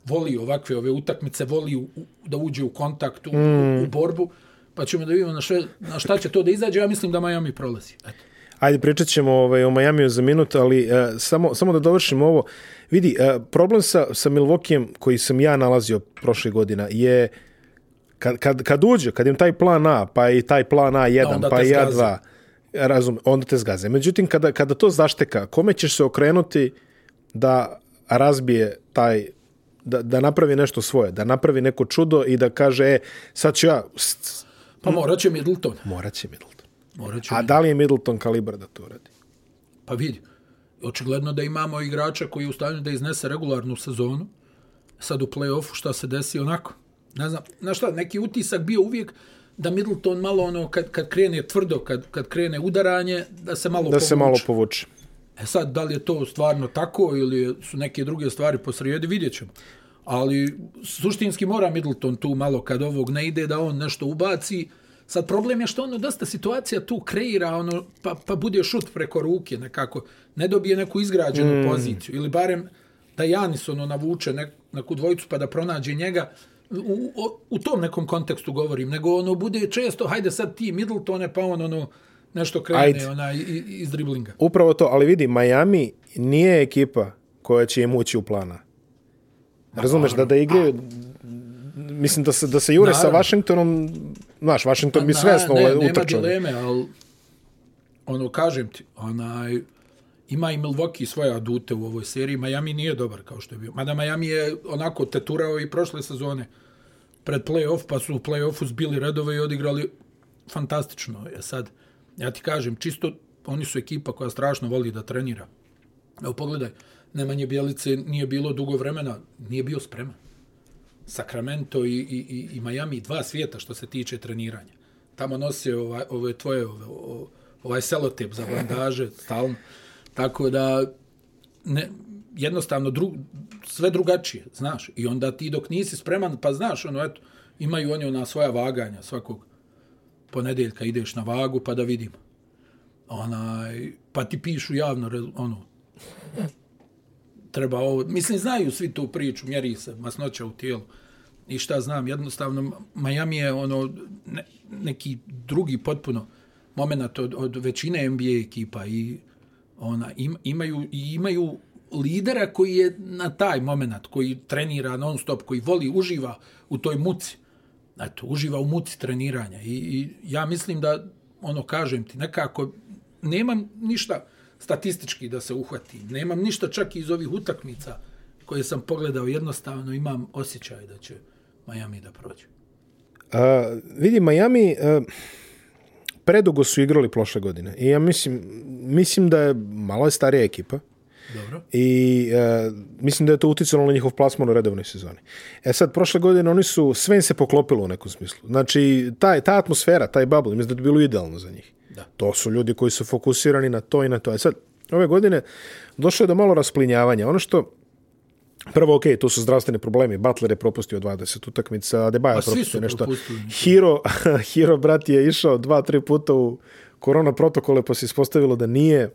[SPEAKER 2] voli ovakve ove utakmice, voli u, u- da uđe u kontakt, u, mm. u, borbu, pa ćemo da vidimo na, še, na šta će to da izađe. Ja mislim da Miami prolazi. Eto.
[SPEAKER 1] Ajde, pričat ćemo ovaj, o Majamiju za minut, ali e, samo, samo da dovršimo ovo. Vidi, e, problem sa, sa Milvokijem koji sam ja nalazio prošle godina je kad, kad, kad uđe, kad im taj plan A, pa i taj plan A1,
[SPEAKER 2] onda
[SPEAKER 1] pa
[SPEAKER 2] te
[SPEAKER 1] i
[SPEAKER 2] zgaze.
[SPEAKER 1] A2, razum, onda te zgaze. Međutim, kada, kada to zašteka, kome ćeš se okrenuti da razbije taj Da, da napravi nešto svoje, da napravi neko čudo i da kaže, e, sad ću ja, s-
[SPEAKER 2] Pa morat će Middleton.
[SPEAKER 1] morat će Middleton.
[SPEAKER 2] Morat će
[SPEAKER 1] A da li je Middleton kalibar da to uradi?
[SPEAKER 2] Pa vidi, očigledno da imamo igrača koji je u stanju da iznese regularnu sezonu. Sad u play-offu šta se desi onako. Ne znam, znaš šta, neki utisak bio uvijek da Middleton malo ono, kad, kad krene tvrdo, kad, kad krene udaranje, da se malo
[SPEAKER 1] Da se malo
[SPEAKER 2] povuče.
[SPEAKER 1] povuče.
[SPEAKER 2] E sad, da li je to stvarno tako ili su neke druge stvari posrijedi, vidjet ćemo. Ali suštinski mora Middleton tu malo kad ovog ne ide da on nešto ubaci. Sad problem je što ono dosta situacija tu kreira, ono, pa, pa bude šut preko ruke nekako. Ne dobije neku izgrađenu mm. poziciju. Ili barem da Janis ono navuče nek, neku dvojicu pa da pronađe njega. U, u, u tom nekom kontekstu govorim. Nego ono bude često, hajde sad ti Middletone pa on ono nešto krene
[SPEAKER 1] Ajde.
[SPEAKER 2] Ajde. onaj, i- iz driblinga.
[SPEAKER 1] Upravo to, ali vidi, Miami nije ekipa koja će im ući u plana. Razumeš, da da igraju, mislim da se, da se jure sa
[SPEAKER 2] Naravno.
[SPEAKER 1] Washingtonom, znaš, Washington bi
[SPEAKER 2] Na,
[SPEAKER 1] svesno
[SPEAKER 2] ne,
[SPEAKER 1] ne,
[SPEAKER 2] nema
[SPEAKER 1] utrčao.
[SPEAKER 2] dileme, ali ono, kažem ti, onaj, ima i Milwaukee svoje adute u ovoj seriji, Miami nije dobar kao što je bio. Mada Miami je onako teturao i prošle sezone pred play-off, pa su u play-offu zbili redove i odigrali fantastično. E sad, ja ti kažem, čisto oni su ekipa koja strašno voli da trenira. Evo pogledaj, Nemanje Bjelice nije bilo dugo vremena, nije bio spreman. Sacramento i, i, i, i Miami, dva svijeta što se tiče treniranja. Tamo nose ovaj, ove tvoje, ove, o- ovaj selotep za bandaže, stalno. Tako da, ne, jednostavno, dru, sve drugačije, znaš. I onda ti dok nisi spreman, pa znaš, ono, eto, imaju oni ona svoja vaganja svakog ponedeljka ideš na vagu pa da vidimo. Onaj, pa ti pišu javno, re- ono, treba ovo, mislim, znaju svi tu priču, mjeri se masnoća u tijelu i šta znam, jednostavno, Miami je ono, ne, neki drugi potpuno moment od, od većine NBA ekipa i ona, im, imaju, i imaju lidera koji je na taj moment, koji trenira non stop, koji voli, uživa u toj muci. Eto, uživa u muci treniranja i, i ja mislim da, ono, kažem ti, nekako nemam ništa statistički da se uhvatim, nemam ništa čak i iz ovih utakmica koje sam pogledao, jednostavno imam osjećaj da će Miami da prođe.
[SPEAKER 1] A, vidi, Miami a, predugo su igrali prošle godine i ja mislim, mislim da je malo je starija ekipa.
[SPEAKER 2] Dobro?
[SPEAKER 1] i e, mislim da je to uticalo na njihov plasman u redovnoj sezoni. E sad, prošle godine oni su, sve im se poklopilo u nekom smislu. Znači, taj, ta atmosfera, taj bubble, mislim da bi bilo idealno za njih.
[SPEAKER 2] Da.
[SPEAKER 1] To su ljudi koji su fokusirani na to i na to. E sad, ove godine došlo je do malo rasplinjavanja. Ono što Prvo, okej, okay, tu su zdravstveni problemi. Butler je propustio 20 utakmica, Adebayo
[SPEAKER 2] Pa svi su
[SPEAKER 1] propustio nešto.
[SPEAKER 2] propustili
[SPEAKER 1] <laughs>
[SPEAKER 2] nešto.
[SPEAKER 1] Hiro, Hiro, brat, je išao dva, tri puta u korona protokole, pa se ispostavilo da nije.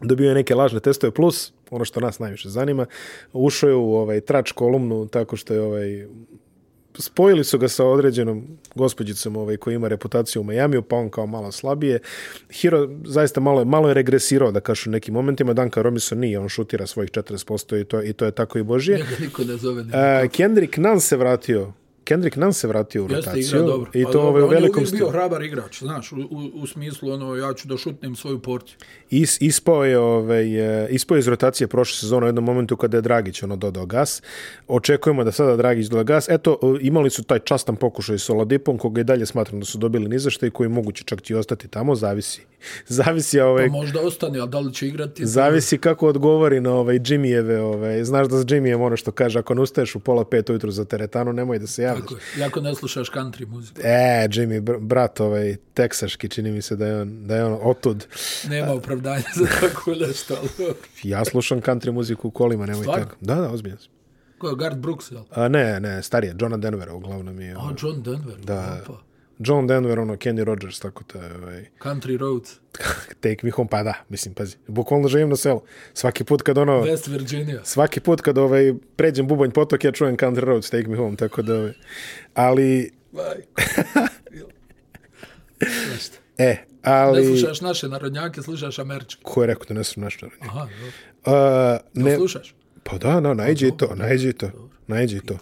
[SPEAKER 1] dobio je neke lažne testove plus, ono što nas najviše zanima, ušao je u ovaj trač kolumnu tako što je ovaj spojili su ga sa određenom gospođicom ovaj, koja ima reputaciju u Majamiju, pa on kao malo slabije. Hiro zaista malo, je- malo je regresirao, da kažu, u nekim momentima. Danka Robinson nije, on šutira svojih 40% i to, i to je tako i božje.
[SPEAKER 2] Njega niko ne zove. Ne.
[SPEAKER 1] E, Kendrick Nunn se vratio Kendrick Nunn se vratio u
[SPEAKER 2] Jeste
[SPEAKER 1] rotaciju
[SPEAKER 2] igrao dobro.
[SPEAKER 1] i
[SPEAKER 2] Pa
[SPEAKER 1] to
[SPEAKER 2] dobro,
[SPEAKER 1] ovaj, u
[SPEAKER 2] on je
[SPEAKER 1] velikom
[SPEAKER 2] uvijek
[SPEAKER 1] stilu.
[SPEAKER 2] bio hrabar igrač, znaš, u, u, u smislu ono, ja ću da šutnem svoju portiju.
[SPEAKER 1] Is, ispao je ovaj, e, ispao je iz rotacije prošle sezone u jednom momentu kada je Dragić ono dodao gas. Očekujemo da sada Dragić doda gas. Eto, e, imali su taj častan pokušaj s Oladipom, koga i dalje smatram da su dobili ni za šta i koji moguće čak i ostati tamo, zavisi. <laughs> Zavisi,
[SPEAKER 2] Pa
[SPEAKER 1] ovaj,
[SPEAKER 2] možda ostane, ali da li će igrati?
[SPEAKER 1] zavisi kako odgovori na ovaj Jimmyjeve, ovaj, znaš da s Jimmyjem ono što kaže, ako ne ustaješ u pola pet ujutru za teretanu, nemoj da se javljaš.
[SPEAKER 2] Tako je. Jako ne slušaš country muziku.
[SPEAKER 1] E, Jimmy, br brat ovaj, teksaški, čini mi se da je on, da je on otud.
[SPEAKER 2] Nema opravdanja za tako nešto. ali dobro.
[SPEAKER 1] Ja slušam country muziku u kolima, nemoj
[SPEAKER 2] Stvarno?
[SPEAKER 1] tako. Da, da, ozbiljno sam.
[SPEAKER 2] Ko je Gard Brooks, jel?
[SPEAKER 1] A, ne, ne, starije, Johna Denvera uglavnom je.
[SPEAKER 2] A,
[SPEAKER 1] ovaj,
[SPEAKER 2] John Denver. Da. Opa.
[SPEAKER 1] John Denver, ono, Kenny Rogers, tako to je, ovaj, <laughs>
[SPEAKER 2] Country Roads.
[SPEAKER 1] take me home, pa da, mislim, pazi, bukvalno živim na selu. Svaki put kad ono,
[SPEAKER 2] West Virginia.
[SPEAKER 1] svaki put kad ovaj, pređem bubanj potok, ja čujem Country Roads, take me home, tako da, ovaj, ali,
[SPEAKER 2] Majko. Zašto?
[SPEAKER 1] e,
[SPEAKER 2] Ne
[SPEAKER 1] ali,
[SPEAKER 2] slušaš naše narodnjake, slušaš američke.
[SPEAKER 1] ko je rekao da ne sam naš narodnjak?
[SPEAKER 2] Aha, dobro.
[SPEAKER 1] A, ne,
[SPEAKER 2] Ne. Slušaš?
[SPEAKER 1] Pa da, no, najđe i to, najđe i to, najđe i to.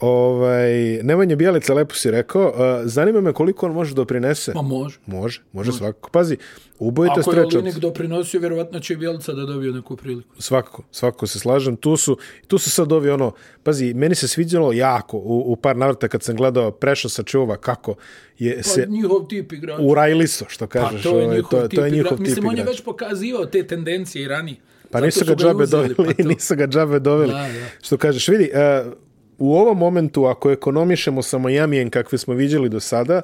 [SPEAKER 1] Ovaj, Nemanja Bijelica, lepo si rekao, uh, zanima me koliko on može doprinese.
[SPEAKER 2] Pa može.
[SPEAKER 1] Može, može svakako. Pazi, ubojite
[SPEAKER 2] Ako je
[SPEAKER 1] strečat.
[SPEAKER 2] Olinik doprinosio, vjerovatno će i Bjelica da dobije neku priliku.
[SPEAKER 1] Svakako, svakako se slažem. Tu su, tu su sad ovi ono, pazi, meni se sviđalo jako u, u par navrata kad sam gledao Preša sa Čuva kako je
[SPEAKER 2] Pa
[SPEAKER 1] se
[SPEAKER 2] njihov tip igrača.
[SPEAKER 1] urajliso, što kažeš.
[SPEAKER 2] to je
[SPEAKER 1] ovaj,
[SPEAKER 2] njihov
[SPEAKER 1] to,
[SPEAKER 2] tip
[SPEAKER 1] to je
[SPEAKER 2] igra-
[SPEAKER 1] njihov tip
[SPEAKER 2] Mislim, on je
[SPEAKER 1] igrača.
[SPEAKER 2] već pokazivao te tendencije i rani.
[SPEAKER 1] Pa nisu ga džabe doveli, pa <laughs> nisu ga džabe doveli.
[SPEAKER 2] Da, da.
[SPEAKER 1] Što kažeš, vidi, uh, u ovom momentu, ako ekonomišemo sa Miamijem kakve smo viđeli do sada,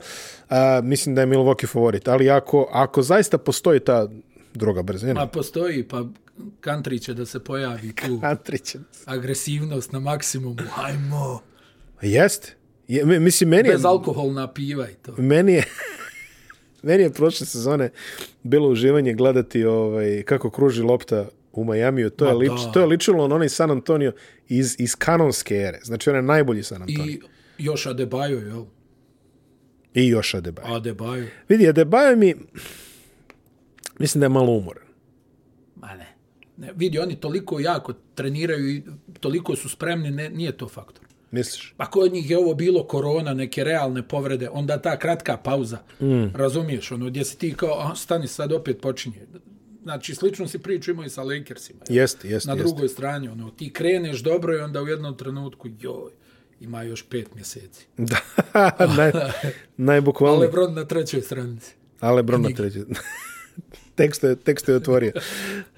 [SPEAKER 1] uh, mislim da je Milwaukee favorit. Ali ako, ako zaista postoji ta druga
[SPEAKER 2] Pa
[SPEAKER 1] brzina,
[SPEAKER 2] postoji, pa country će da se pojavi
[SPEAKER 1] <laughs>
[SPEAKER 2] tu.
[SPEAKER 1] Antrić.
[SPEAKER 2] Agresivnost na maksimumu, hajmo.
[SPEAKER 1] Jeste. Pa Je, mi- mislim, meni je,
[SPEAKER 2] Bezalkoholna piva i to.
[SPEAKER 1] meni je, <laughs> meni je prošle sezone bilo uživanje gledati ovaj, kako kruži lopta u Majamiju. To je,
[SPEAKER 2] Ma
[SPEAKER 1] lič,
[SPEAKER 2] da.
[SPEAKER 1] to je ličilo na onaj San Antonio iz, iz kanonske ere. Znači, on je najbolji San Antonio. I,
[SPEAKER 2] I još Adebayo, jel?
[SPEAKER 1] I još Adebayo.
[SPEAKER 2] Adebayo.
[SPEAKER 1] Vidi, Adebayo mi... Mislim da je malo umoran.
[SPEAKER 2] Ma ne. ne. Vidi, oni toliko jako treniraju i toliko su spremni, ne, nije to faktor.
[SPEAKER 1] Misliš?
[SPEAKER 2] Pa kod njih je ovo bilo korona, neke realne povrede, onda ta kratka pauza, mm. razumiješ, ono, gdje si ti kao, a, stani sad opet počinje. Znači, slično si priču imao i sa Lakersima. jel?
[SPEAKER 1] Jeste, jeste,
[SPEAKER 2] Na
[SPEAKER 1] jeste.
[SPEAKER 2] drugoj strani, ono, ti kreneš dobro i onda u jednom trenutku, joj, ima još pet mjeseci.
[SPEAKER 1] <laughs> Da,
[SPEAKER 2] <laughs>
[SPEAKER 1] naj,
[SPEAKER 2] A
[SPEAKER 1] najbukvalnije.
[SPEAKER 2] Lebron na trećoj stranici.
[SPEAKER 1] Ale Bron na treće. <laughs> tekst, je, tekst je otvorio.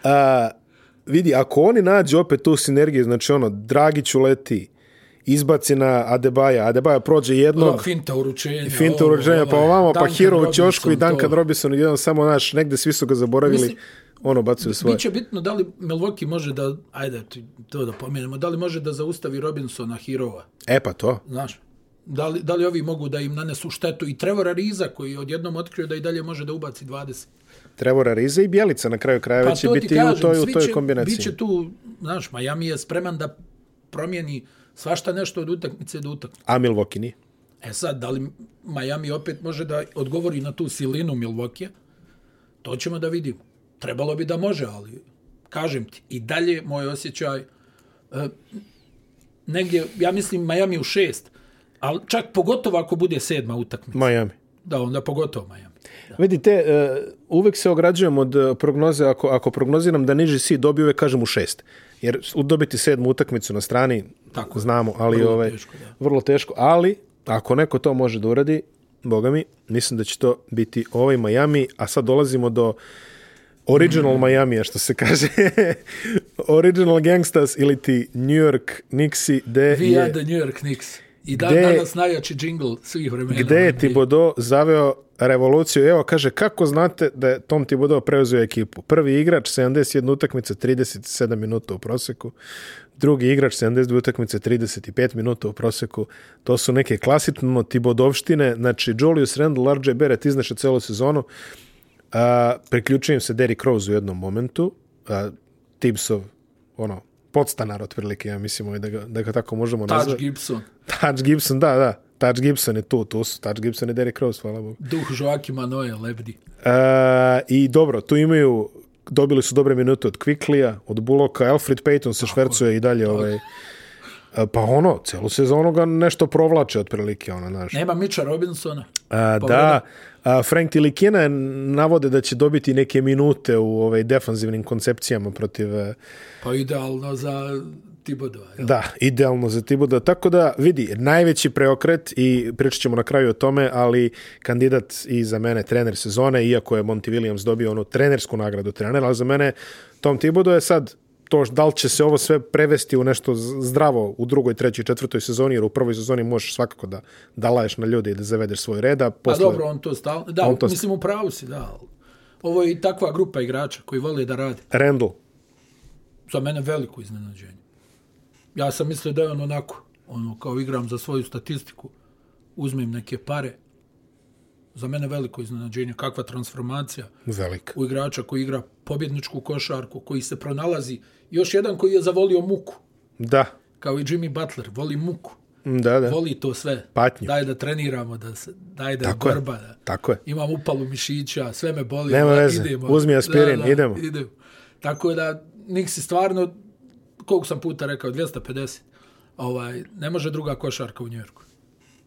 [SPEAKER 1] A, vidi, ako oni nađu opet tu sinergiju, znači ono, Dragić uleti, izbaci na Adebaja, Adebaja prođe jednog,
[SPEAKER 2] Pa, finta uručenja.
[SPEAKER 1] Finta
[SPEAKER 2] ovo,
[SPEAKER 1] urođenja, pa
[SPEAKER 2] ovaj,
[SPEAKER 1] ovamo, pa
[SPEAKER 2] Duncan
[SPEAKER 1] Hiro u
[SPEAKER 2] Robinson,
[SPEAKER 1] Ćošku i Duncan
[SPEAKER 2] to.
[SPEAKER 1] Robinson, jedan samo, naš, negde svi su ga zaboravili,
[SPEAKER 2] Mislim-
[SPEAKER 1] ono, bacuju svoje.
[SPEAKER 2] Biće bitno da li Milwaukee može da, ajde ti- to da pomenemo, da li može da zaustavi Robinsona Hirova,
[SPEAKER 1] E pa to,
[SPEAKER 2] znaš? Da li, da li ovi mogu da im nanesu štetu i Trevora Riza koji je odjednom otkrio da i dalje može da ubaci 20.
[SPEAKER 1] Trevora Riza i Bjelica na kraju krajeva će
[SPEAKER 2] Pa to ti
[SPEAKER 1] biti i u toj, u
[SPEAKER 2] svi
[SPEAKER 1] toj
[SPEAKER 2] će-
[SPEAKER 1] kombinaciji.
[SPEAKER 2] Biće tu, znaš, Miami je spreman da promijeni svašta nešto od utakmice do utakmice.
[SPEAKER 1] A Milwaukee nije.
[SPEAKER 2] E sad, da li Miami opet može da odgovori na tu silinu Milwaukee-a? To ćemo da vidimo. Trebalo bi da može, ali kažem ti, i dalje moj osjećaj e, negdje, ja mislim Miami u šest, ali čak pogotovo ako bude sedma utakmica.
[SPEAKER 1] Miami.
[SPEAKER 2] Da, onda pogotovo Miami.
[SPEAKER 1] Vidite, e, uvek se ograđujem od e, prognoze, ako, ako prognoziram da niži si dobije, uvek kažem u šest. Jer u- dobiti sedmu utakmicu na strani,
[SPEAKER 2] Tako
[SPEAKER 1] Tako,
[SPEAKER 2] je.
[SPEAKER 1] znamo, ali
[SPEAKER 2] Vrlo
[SPEAKER 1] ovaj,
[SPEAKER 2] teško, da.
[SPEAKER 1] vrlo teško, ali ako neko to može da uradi, boga mi, mislim da će to biti ovaj Miami, a sad dolazimo do original Miami, što se kaže <laughs> original Gangstas ili ti New York Knicksi, gde
[SPEAKER 2] Vi yeah.
[SPEAKER 1] je,
[SPEAKER 2] the New York Knicks. I dan
[SPEAKER 1] Gde-
[SPEAKER 2] danas najjači džingl svih vremena.
[SPEAKER 1] gde je Thibodeau zaveo revoluciju. Evo, kaže, kako znate da je Tom Thibodeau preuzeo ekipu? Prvi igrač, 71 utakmice, 37 minuta u proseku. Drugi igrač, 72 utakmice, 35 minuta u proseku. To su neke klasično Thibodeauščine. Znači, Julius Randle, RJ Barrett izneše celu sezonu. Uh, A, priključujem se Derrick Rose u jednom momentu. A, Tibbsov, ono, podstanar otprilike, ja mislim ovaj, da, ga, da ga tako možemo
[SPEAKER 2] Touch
[SPEAKER 1] nazvati.
[SPEAKER 2] Gibson,
[SPEAKER 1] Touch Gibson, da, da. Touch Gibson je tu, tu su Touch Gibson i Derrick Rose, hvala Bogu.
[SPEAKER 2] duh Joakima Noe lebdi.
[SPEAKER 1] E, I dobro, tu imaju, dobili su dobre minute od Quiklija, od Buloka, Alfred Payton se švercuje i dalje. Ovaj, e, pa ono, celu sezonu ga nešto provlače otprilike, ono, znaš.
[SPEAKER 2] Nema Mitcha Robinsona.
[SPEAKER 1] A, da, a, Frank Tilikina navode da će dobiti neke minute u ovaj defanzivnim koncepcijama protiv e,
[SPEAKER 2] Pa idealno za Tibodova. jel?
[SPEAKER 1] Da, idealno za Tibuda. Tako da, vidi, najveći preokret i pričat ćemo na kraju o tome, ali kandidat i za mene trener sezone, iako je Monty Williams dobio onu trenersku nagradu trenera, ali za mene Tom Tibudo je sad to š- da li će se ovo sve prevesti u nešto z- zdravo u drugoj, trećoj, četvrtoj sezoni, jer u prvoj sezoni možeš svakako da, da laješ na ljude i da zavedeš svoj red, a
[SPEAKER 2] Pa
[SPEAKER 1] posle...
[SPEAKER 2] dobro, on to stalno... Da,
[SPEAKER 1] On
[SPEAKER 2] on
[SPEAKER 1] to-
[SPEAKER 2] to... mislim, u pravu si, da. ali Ovo je i takva grupa igrača koji vole da rade.
[SPEAKER 1] Randall,
[SPEAKER 2] Za mene veliko iznenađenje. Ja sam mislio da je on onako, ono, kao igram za svoju statistiku, uzmem neke pare. Za mene veliko iznenađenje, kakva transformacija
[SPEAKER 1] velik.
[SPEAKER 2] u igrača koji igra pobjedničku košarku, koji se pronalazi. Još jedan koji je zavolio muku,
[SPEAKER 1] Da,
[SPEAKER 2] kao i Jimmy Butler, voli muku,
[SPEAKER 1] da, da.
[SPEAKER 2] voli to sve.
[SPEAKER 1] Patnju.
[SPEAKER 2] Daj da treniramo, da se, daj da
[SPEAKER 1] Tako
[SPEAKER 2] Tako
[SPEAKER 1] je.
[SPEAKER 2] borba. Da.
[SPEAKER 1] Tako je.
[SPEAKER 2] Imam upalu mišića, sve me boli.
[SPEAKER 1] Nema
[SPEAKER 2] da,
[SPEAKER 1] veze, uzmi aspirin, idemo.
[SPEAKER 2] idemo. Tako da, Nix je stvarno, koliko sam puta rekao, 250. Ovaj, ne može druga košarka u Njujorku.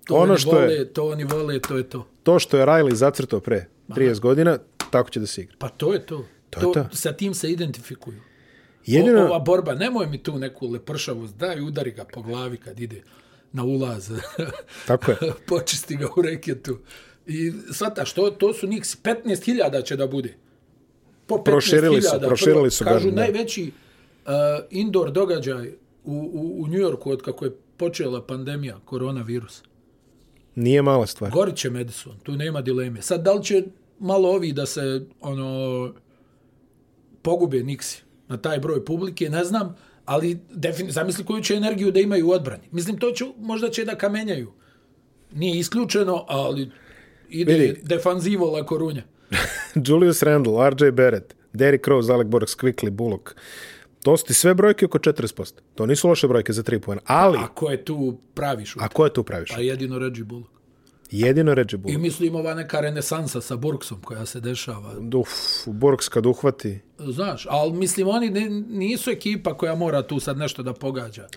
[SPEAKER 2] To
[SPEAKER 1] Ono
[SPEAKER 2] ono oni
[SPEAKER 1] što
[SPEAKER 2] vole,
[SPEAKER 1] je-
[SPEAKER 2] to oni vole, to je to.
[SPEAKER 1] To što je Riley zacrtao pre 30 godina, tako će da se igra.
[SPEAKER 2] Pa to je to.
[SPEAKER 1] To je to.
[SPEAKER 2] Sa tim se identifikuju.
[SPEAKER 1] Jedino...
[SPEAKER 2] O, ova borba, nemoj mi tu neku lepršavost, daj udari ga po glavi kad ide na ulaz.
[SPEAKER 1] <laughs> Tako je.
[SPEAKER 2] <laughs> Počisti ga u reketu. I svata, što, to su njih 15.000 će da bude. Po 15.000.
[SPEAKER 1] Proširili su, proširili su
[SPEAKER 2] Kažu
[SPEAKER 1] barem, da.
[SPEAKER 2] najveći uh, indoor događaj u, u, u Njujorku od kako je počela pandemija koronavirusa.
[SPEAKER 1] Nije mala stvar.
[SPEAKER 2] Gorit će Madison, tu nema dileme. Sad, da li će malo ovi da se ono pogube Nixi na taj broj publike, ne znam, ali defini, zamisli koju će energiju da imaju u odbrani. Mislim, to će, možda će da kamenjaju. Nije isključeno, ali ide
[SPEAKER 1] Vidi.
[SPEAKER 2] Vidi. defanzivo la korunja.
[SPEAKER 1] <laughs> Julius Randle, RJ Barrett, Derrick Rose, Alec Borg, Quickly, Bullock. To su ti sve brojke oko 40%. To nisu loše brojke za 3 poena. Ali,
[SPEAKER 2] Ako Pa je tu pravi šut,
[SPEAKER 1] a ko je tu praviš?
[SPEAKER 2] a jedino Reggie Bullock.
[SPEAKER 1] Jedino Reggie
[SPEAKER 2] I
[SPEAKER 1] Bullock.
[SPEAKER 2] mislim ova neka renesansa sa Burksom koja se dešava.
[SPEAKER 1] Uf, Borgs kad uhvati.
[SPEAKER 2] Znaš, ali mislim oni ne, nisu ekipa koja mora tu sad nešto da pogađa.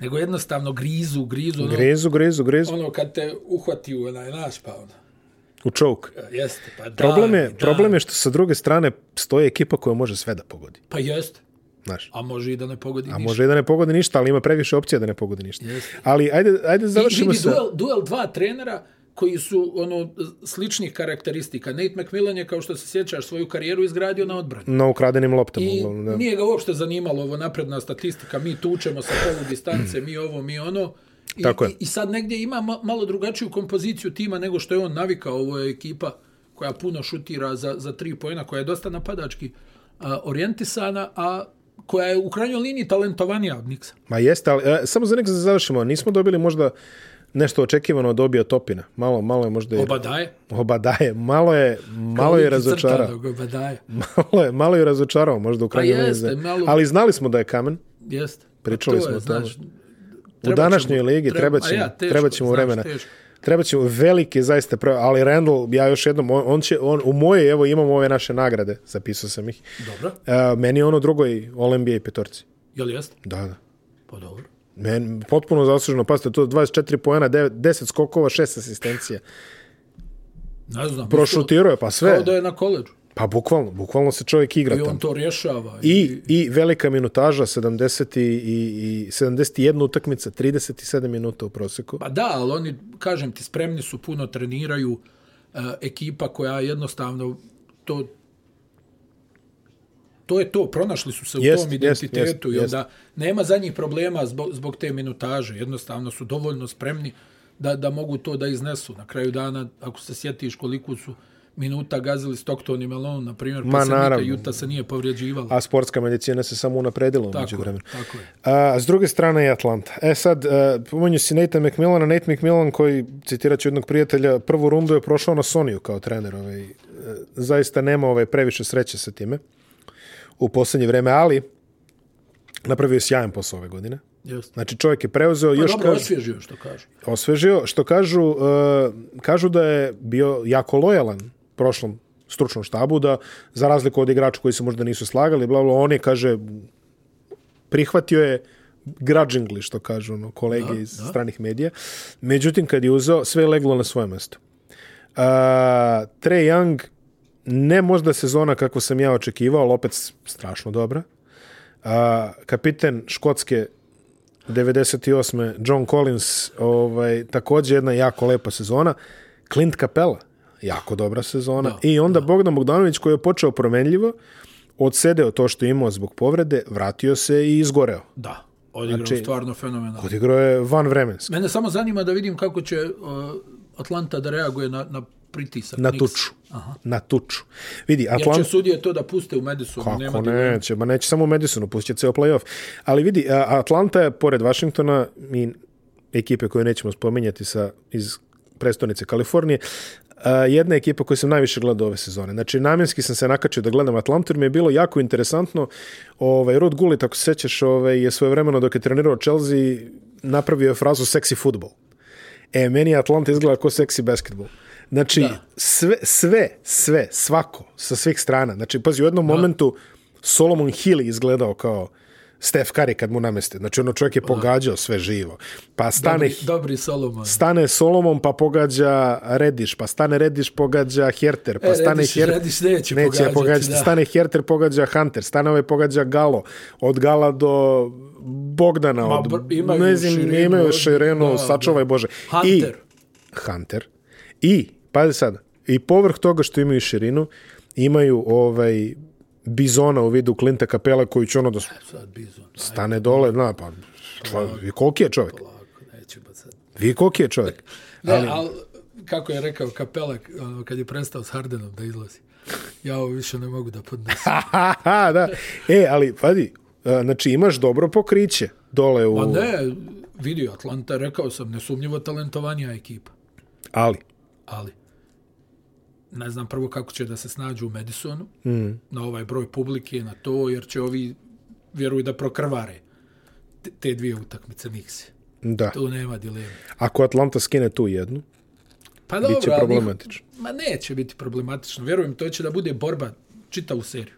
[SPEAKER 2] Nego jednostavno grizu, grizu. Ono,
[SPEAKER 1] Grizu, grizu, grizu.
[SPEAKER 2] ono kad te uhvati u onaj naš pa ono.
[SPEAKER 1] U čovk.
[SPEAKER 2] Jeste, pa da.
[SPEAKER 1] Problem je,
[SPEAKER 2] da.
[SPEAKER 1] problem je što sa druge strane stoji ekipa koja može sve da pogodi.
[SPEAKER 2] Pa jeste.
[SPEAKER 1] Znaš.
[SPEAKER 2] A može i da ne pogodi
[SPEAKER 1] A
[SPEAKER 2] ništa.
[SPEAKER 1] može i da ne pogodi ništa, ali ima previše opcija da ne pogodi ništa.
[SPEAKER 2] Jeste.
[SPEAKER 1] Ali ajde, ajde završimo
[SPEAKER 2] vidi
[SPEAKER 1] sa...
[SPEAKER 2] duel, duel dva trenera koji su ono sličnih karakteristika. Nate McMillan je, kao što se sjećaš, svoju karijeru izgradio na odbrani.
[SPEAKER 1] Na ukradenim loptama.
[SPEAKER 2] I
[SPEAKER 1] uglavnom, da.
[SPEAKER 2] nije ga uopšte zanimalo ovo napredna statistika, mi tučemo sa polu distance, mi ovo, mi ono. I,
[SPEAKER 1] Tako je.
[SPEAKER 2] i, I sad negdje ima ma- malo drugačiju kompoziciju tima nego što je on navikao. Ovo je ekipa koja puno šutira za, za tri pojena, koja je dosta napadački a, orijentisana, a koja je u krajnjoj liniji talentovanija od Niksa.
[SPEAKER 1] Ma jeste, ali e, samo za nek se završimo. Nismo dobili možda nešto očekivano od Obija Topina. Malo, malo je možda... i-
[SPEAKER 2] Oba daje.
[SPEAKER 1] Oba daje. Malo je, malo je razočarao.
[SPEAKER 2] Oba daje.
[SPEAKER 1] <laughs> Malo je, malo je razočarao možda u kraju.
[SPEAKER 2] Pa jeste, malo-
[SPEAKER 1] Ali znali smo da je kamen.
[SPEAKER 2] Jeste.
[SPEAKER 1] Pričali
[SPEAKER 2] To
[SPEAKER 1] smo o
[SPEAKER 2] je,
[SPEAKER 1] tome.
[SPEAKER 2] znaš,
[SPEAKER 1] U
[SPEAKER 2] treba
[SPEAKER 1] današnjoj
[SPEAKER 2] ćemo-
[SPEAKER 1] ligi
[SPEAKER 2] treba-
[SPEAKER 1] treba
[SPEAKER 2] a
[SPEAKER 1] ćemo,
[SPEAKER 2] ja, teško,
[SPEAKER 1] treba ćemo
[SPEAKER 2] znaš,
[SPEAKER 1] vremena.
[SPEAKER 2] teško.
[SPEAKER 1] Treba ćemo velike zaista prave, ali Randall, ja još jednom, on, on će, on, u moje, evo imamo ove naše nagrade, zapisao sam ih.
[SPEAKER 2] Dobro,
[SPEAKER 1] E, meni je ono drugoj All-NBA petorci.
[SPEAKER 2] jel jeste?
[SPEAKER 1] Da, da.
[SPEAKER 2] Pa dobro.
[SPEAKER 1] Men, potpuno zasluženo, pasite, to je 24 poena, 9, 10 skokova, 6 asistencija.
[SPEAKER 2] Ne znam.
[SPEAKER 1] Prošutirao je, pa sve.
[SPEAKER 2] Kao da je na koleđu.
[SPEAKER 1] Pa bukvalno, bukvalno se čovjek igra
[SPEAKER 2] I
[SPEAKER 1] tamo.
[SPEAKER 2] on to rješava.
[SPEAKER 1] I, I velika minutaža, 70 i, i, i 71 utakmica, 37 minuta u proseku.
[SPEAKER 2] Pa da, ali oni, kažem ti, spremni su, puno treniraju. E, ekipa koja jednostavno to to je to, pronašli su se u
[SPEAKER 1] Jest,
[SPEAKER 2] tom
[SPEAKER 1] jest,
[SPEAKER 2] identitetu
[SPEAKER 1] jest,
[SPEAKER 2] i
[SPEAKER 1] jest.
[SPEAKER 2] onda nema za njih problema zbog, zbog te minutaže. Jednostavno su dovoljno spremni da, da mogu to da iznesu. Na kraju dana, ako se sjetiš koliko su minuta gazili Stockton i Malone, na primjer, pa se nikad
[SPEAKER 1] naravno.
[SPEAKER 2] Juta se nije povrijeđivala.
[SPEAKER 1] A sportska medicina se samo unapredila u
[SPEAKER 2] tako,
[SPEAKER 1] međuvremenu.
[SPEAKER 2] tako je.
[SPEAKER 1] A, s druge strane je Atlanta. E sad, e, pomenju si Nate McMillana, Nate McMillan koji, citirat ću jednog prijatelja, prvu rundu je prošao na Soniju kao trener ovaj, zaista nema ovaj, previše sreće sa time u posljednje vreme, ali napravio je sjajan posao ove godine.
[SPEAKER 2] Jeste.
[SPEAKER 1] Znači čovjek je preuzeo
[SPEAKER 2] Pa
[SPEAKER 1] još
[SPEAKER 2] dobro,
[SPEAKER 1] kaže,
[SPEAKER 2] osvježio što kažu.
[SPEAKER 1] osvežio, što kažu, uh, kažu da je bio jako lojalan prošlom stručnom štabu, da za razliku od igrača koji se možda nisu slagali, bla, bla, on je, kaže, prihvatio je grudgingly, što kažu ono, kolege da, iz da. stranih medija. Međutim, kad je uzeo, sve je leglo na svoje mesto. Uh, Trae Young, ne možda sezona kako sam ja očekivao, ali opet s- strašno dobra. Uh, kapiten Škotske 98. John Collins, ovaj, takođe jedna jako lepa sezona. Clint Capella, jako dobra sezona. Da, I onda da. Bogdan Bogdanović koji je počeo promenljivo, odsedeo to što je imao zbog povrede, vratio se i izgoreo.
[SPEAKER 2] Da, odigrao
[SPEAKER 1] Znači-
[SPEAKER 2] znači, stvarno fenomenalno.
[SPEAKER 1] Odigrao je van vremenski,
[SPEAKER 2] Mene samo zanima da vidim kako će uh, Atlanta da reaguje na, na pritisak.
[SPEAKER 1] na
[SPEAKER 2] Knicks.
[SPEAKER 1] tuču. Na tuču. Vidi,
[SPEAKER 2] Jer će
[SPEAKER 1] Atlanta...
[SPEAKER 2] sudije to da puste u Madisonu. nema
[SPEAKER 1] Kako
[SPEAKER 2] dileme.
[SPEAKER 1] neće, ma neće samo u Madisonu, pustit će ceo playoff. Ali vidi, a- Atlanta je pored Washingtona i ekipe koju nećemo spominjati sa, iz prestonice Kalifornije, a, jedna ekipa koju sam najviše gledao ove sezone. Znači, namjenski sam se nakačio da gledam Atlantu, jer mi je bilo jako interesantno. Ovaj, Rod Gullit, ako se sećaš, ovaj, je svoje vremeno dok je trenirao Chelsea, napravio je frazu sexy football. E, meni Atlanta izgleda kao seksi basketbol. Znači, da. sve, sve, sve, svako, sa svih strana. Znači, pazi, u jednom da. momentu Solomon Hill je izgledao kao Steph Curry kad mu nameste. Znači, ono čovjek je pogađao sve živo. Pa stane,
[SPEAKER 2] Dobri, dobri Solomon.
[SPEAKER 1] stane Solomon, pa pogađa Rediš, pa stane Rediš, pogađa Herter, pa
[SPEAKER 2] E,
[SPEAKER 1] stane
[SPEAKER 2] Reddish- Reddish neće pogađati, da.
[SPEAKER 1] Stane Herter, pogađa Hunter, stane ovaj pogađa Galo, od Gala do Bogdana,
[SPEAKER 2] Ma,
[SPEAKER 1] od,
[SPEAKER 2] br- imaju
[SPEAKER 1] ne znam,
[SPEAKER 2] širinu,
[SPEAKER 1] imaju
[SPEAKER 2] od-
[SPEAKER 1] širenu,
[SPEAKER 2] da,
[SPEAKER 1] sačuvaj
[SPEAKER 2] da.
[SPEAKER 1] Bože.
[SPEAKER 2] Hunter.
[SPEAKER 1] I, Hunter. I, pazi sad, i povrh toga što imaju širinu, imaju ovaj bizona u vidu Klinta Kapela koji će ono da
[SPEAKER 2] Sad Bizon.
[SPEAKER 1] stane dole, na, pa čovjek, i koliki je čovjek?
[SPEAKER 2] Lako, neće ba sad.
[SPEAKER 1] Vi koliki je čovjek?
[SPEAKER 2] Ne, ali, ali kako je rekao Kapelak ono, kad je prestao s Hardenom da izlazi. Ja ovo više ne mogu da podnesem.
[SPEAKER 1] Ha, ha, da. E, ali, pazi, a, znači imaš dobro pokriće dole u...
[SPEAKER 2] Pa ne, vidio, Atlanta, rekao sam, nesumnjivo talentovanija ekipa.
[SPEAKER 1] Ali,
[SPEAKER 2] ali ne znam prvo kako će da se snađu u Madisonu, mm. na ovaj broj publike, na to, jer će ovi, vjeruju da prokrvare te, te dvije utakmice Nixi.
[SPEAKER 1] da.
[SPEAKER 2] Tu nema dileme.
[SPEAKER 1] Ako Atlanta skine tu jednu,
[SPEAKER 2] Pa
[SPEAKER 1] Biće
[SPEAKER 2] dobro, ali njih-
[SPEAKER 1] problematično.
[SPEAKER 2] Ma neće biti problematično. Vjerujem, to će da bude borba čitavu seriju.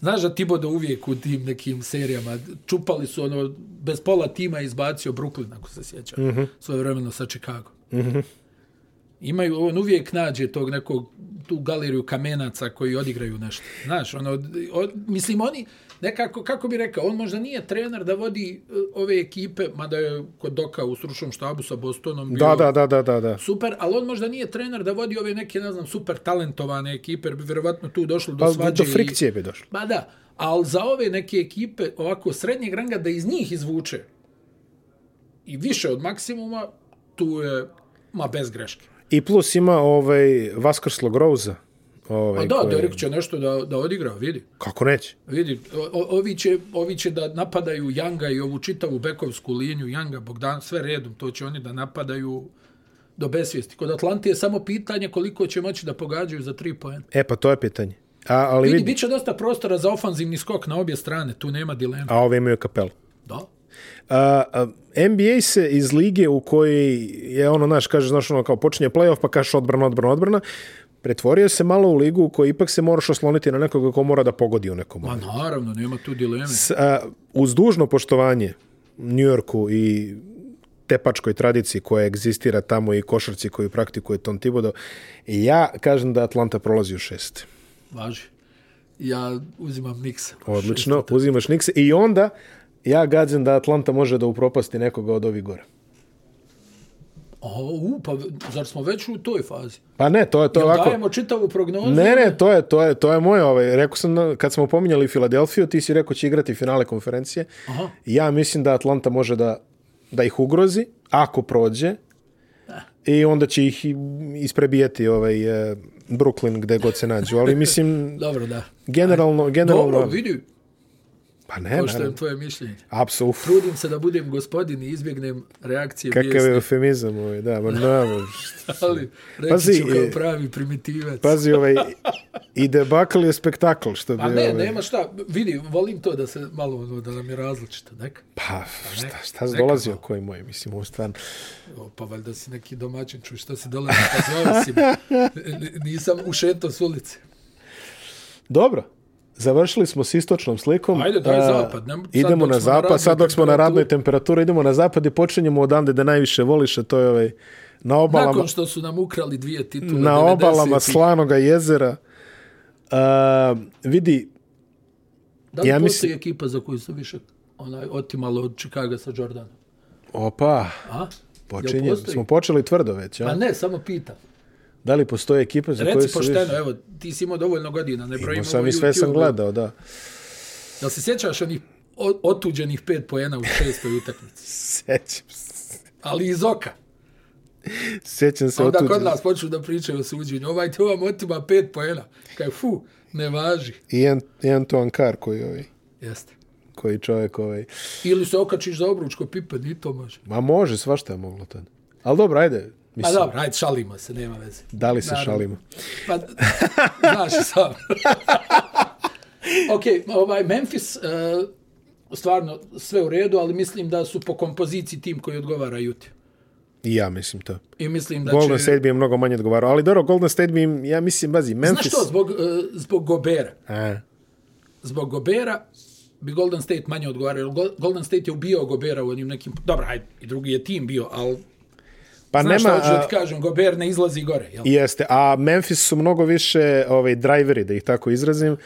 [SPEAKER 2] Znaš da Tibodo uvijek u tim nekim serijama čupali su ono, bez pola tima je izbacio Brooklyn, ako se sjeća, mm -hmm. svoje vremeno sa Chicago. Mm -hmm. Imaju, on uvijek nađe tog nekog, tu galeriju kamenaca koji odigraju nešto. Znaš, ono, od, mislim, oni, nekako, kako bi rekao, on možda nije trener da vodi e, ove ekipe, mada je kod Doka u stručnom štabu sa Bostonom bio
[SPEAKER 1] da, da, da, da, da, da.
[SPEAKER 2] super, ali on možda nije trener da vodi ove neke, ne znam, super talentovane ekipe, jer bi vjerovatno tu došlo do
[SPEAKER 1] Pa
[SPEAKER 2] svađe.
[SPEAKER 1] do frikcije bi došlo.
[SPEAKER 2] I, ba da, ali za ove neke ekipe ovako srednjeg ranga da iz njih izvuče i više od maksimuma, tu je, ma bez greške.
[SPEAKER 1] I plus ima ovaj Vaskrslo Groza. Ovaj,
[SPEAKER 2] Pa da,
[SPEAKER 1] koji-
[SPEAKER 2] Derek će nešto da, da odigra, vidi.
[SPEAKER 1] Kako neće?
[SPEAKER 2] Vidi, o- o- ovi će, ovi će da napadaju Janga i ovu čitavu bekovsku liniju, Janga, Bogdan, sve redom, to će oni da napadaju do besvijesti. Kod Atlante je samo pitanje koliko će moći da pogađaju za tri poena.
[SPEAKER 1] E, pa to je pitanje. A, ali
[SPEAKER 2] Vidi,
[SPEAKER 1] vidi,
[SPEAKER 2] bit će dosta prostora za ofanzivni skok na obje strane, tu nema dilema.
[SPEAKER 1] a ove imaju kapelu.
[SPEAKER 2] Da.
[SPEAKER 1] A, a, NBA se iz lige u kojoj je ono, znaš, kaže, znaš, ono, kao počinje playoff, pa kažeš odbrana, odbrana, odbrana, pretvorio se malo u ligu u kojoj ipak se moraš osloniti na nekoga ko mora da pogodi u nekom.
[SPEAKER 2] Pa naravno, nema tu dileme.
[SPEAKER 1] S, a, uz dužno poštovanje Njujorku i tepačkoj tradiciji koja egzistira tamo i košarci koju praktikuje Tom Thibodeau, ja kažem da Atlanta prolazi u šest.
[SPEAKER 2] Važi. Ja uzimam Niksa.
[SPEAKER 1] Odlično, uzimaš Nikse i onda ja gađam da Atlanta može da upropasti nekoga od ovih gore.
[SPEAKER 2] O, u, pa zar smo već u toj fazi?
[SPEAKER 1] Pa ne, to je to je
[SPEAKER 2] Jel
[SPEAKER 1] ovako.
[SPEAKER 2] Dajemo čitavu prognozu.
[SPEAKER 1] Ne, ne, to je, to je, to je moje, ovaj, rekao sam, na- kad smo pominjali Filadelfiju, ti si rekao će igrati finale konferencije.
[SPEAKER 2] Aha.
[SPEAKER 1] Ja mislim da Atlanta može da, da ih ugrozi, ako prođe, i onda će ih i- isprebijeti ovaj, eh,
[SPEAKER 2] <laughs>
[SPEAKER 1] Brooklyn gde god se nađu. Ali mislim,
[SPEAKER 2] Dobro, da.
[SPEAKER 1] generalno, generalno
[SPEAKER 2] Dobro, vidi,
[SPEAKER 1] Pa ne,
[SPEAKER 2] Pošto
[SPEAKER 1] naravno.
[SPEAKER 2] je tvoje mišljenje.
[SPEAKER 1] Apsolutno.
[SPEAKER 2] Trudim se da budem gospodin i izbjegnem reakcije
[SPEAKER 1] Kakav je
[SPEAKER 2] bijesne,
[SPEAKER 1] eufemizam ovaj, da, ma naravno.
[SPEAKER 2] <laughs> ali reći
[SPEAKER 1] Pazi,
[SPEAKER 2] ću kao
[SPEAKER 1] e,
[SPEAKER 2] pravi primitivac.
[SPEAKER 1] Pazi, ovaj, i debakl je spektakl, što bi...
[SPEAKER 2] A Pa ne,
[SPEAKER 1] ovaj,
[SPEAKER 2] nema šta, vidi, volim to da se malo, ono, da nam je različito, neka.
[SPEAKER 1] Pa, šta, šta
[SPEAKER 2] neka
[SPEAKER 1] dolazi o koji moj, mislim, ovo stvarno.
[SPEAKER 2] O, pa valjda si neki domaćin, čuj šta si dolazi, pa zove si me. N- Nisam ušetao s ulice.
[SPEAKER 1] Dobro, završili smo s istočnom slikom.
[SPEAKER 2] Ajde, daj
[SPEAKER 1] A,
[SPEAKER 2] zapad, ne- sad
[SPEAKER 1] idemo na
[SPEAKER 2] dok smo na radnoj
[SPEAKER 1] zapad, sad dok smo na radnoj temperaturi, idemo na zapad i počinjemo odande da najviše voliš, a to je ovaj, na obalama,
[SPEAKER 2] Nakon što su nam ukrali dvije titule
[SPEAKER 1] na
[SPEAKER 2] 90-ih.
[SPEAKER 1] obalama Slanoga jezera. A, vidi,
[SPEAKER 2] Da li
[SPEAKER 1] ja
[SPEAKER 2] ja
[SPEAKER 1] mislim-
[SPEAKER 2] postoji ekipa za koju su više onaj, otimalo od Čikaga sa Jordanom?
[SPEAKER 1] opa,
[SPEAKER 2] A?
[SPEAKER 1] počinje,
[SPEAKER 2] Jel postoji?
[SPEAKER 1] smo počeli tvrdo već,
[SPEAKER 2] Pa
[SPEAKER 1] a?
[SPEAKER 2] ne, samo pitam.
[SPEAKER 1] Da li postoje ekipa za koju
[SPEAKER 2] Reci
[SPEAKER 1] se
[SPEAKER 2] pošteno, evo, ti si imao dovoljno godina, ne brojimo
[SPEAKER 1] Imao sam i sve sam gledao, da.
[SPEAKER 2] Da se sjećaš onih o- otuđenih pet poena u šestoj utakmici?
[SPEAKER 1] Sećam se.
[SPEAKER 2] Ali iz oka.
[SPEAKER 1] Sjećam se
[SPEAKER 2] Onda kod
[SPEAKER 1] otuđen.
[SPEAKER 2] nas počnu da pričaju o suđenju. Ovaj te ovam otima pet poena. Kaj, fu, ne važi.
[SPEAKER 1] I, Ant- i Antoine Carr koji, ovaj,
[SPEAKER 2] Jeste.
[SPEAKER 1] koji čovjek ovaj,
[SPEAKER 2] Ili se okačiš za obručko pipe, ni to može.
[SPEAKER 1] Ma može, svašta je moglo tad. Ali dobro, ajde.
[SPEAKER 2] Pa
[SPEAKER 1] Mislim,
[SPEAKER 2] dobro, ajde, šalimo se, nema veze.
[SPEAKER 1] da li se
[SPEAKER 2] naravno.
[SPEAKER 1] šalimo?
[SPEAKER 2] Pa, <laughs> znaš i sam. ok, ovaj, Memphis, uh, stvarno sve u redu, ali mislim da su po kompoziciji tim koji odgovara Juti.
[SPEAKER 1] I ja mislim to.
[SPEAKER 2] I mislim da
[SPEAKER 1] Golden
[SPEAKER 2] će...
[SPEAKER 1] State bi im mnogo manje odgovarao. Ali dobro, Golden State bi im, ja mislim, bazi,
[SPEAKER 2] Znaš
[SPEAKER 1] Memphis...
[SPEAKER 2] što, zbog, uh, zbog Gobera.
[SPEAKER 1] A,
[SPEAKER 2] Zbog Gobera bi Golden State manje odgovarao. jer Go- Golden State je ubio Gobera u onim nekim... Dobro, ajde, i drugi je tim bio, ali...
[SPEAKER 1] pa
[SPEAKER 2] Znaš
[SPEAKER 1] nema...
[SPEAKER 2] šta hoću da
[SPEAKER 1] A,
[SPEAKER 2] ti kažem, Gober ne izlazi gore, jel?
[SPEAKER 1] jeste, a Memphis su mnogo više ovaj, driveri, da ih tako izrazim,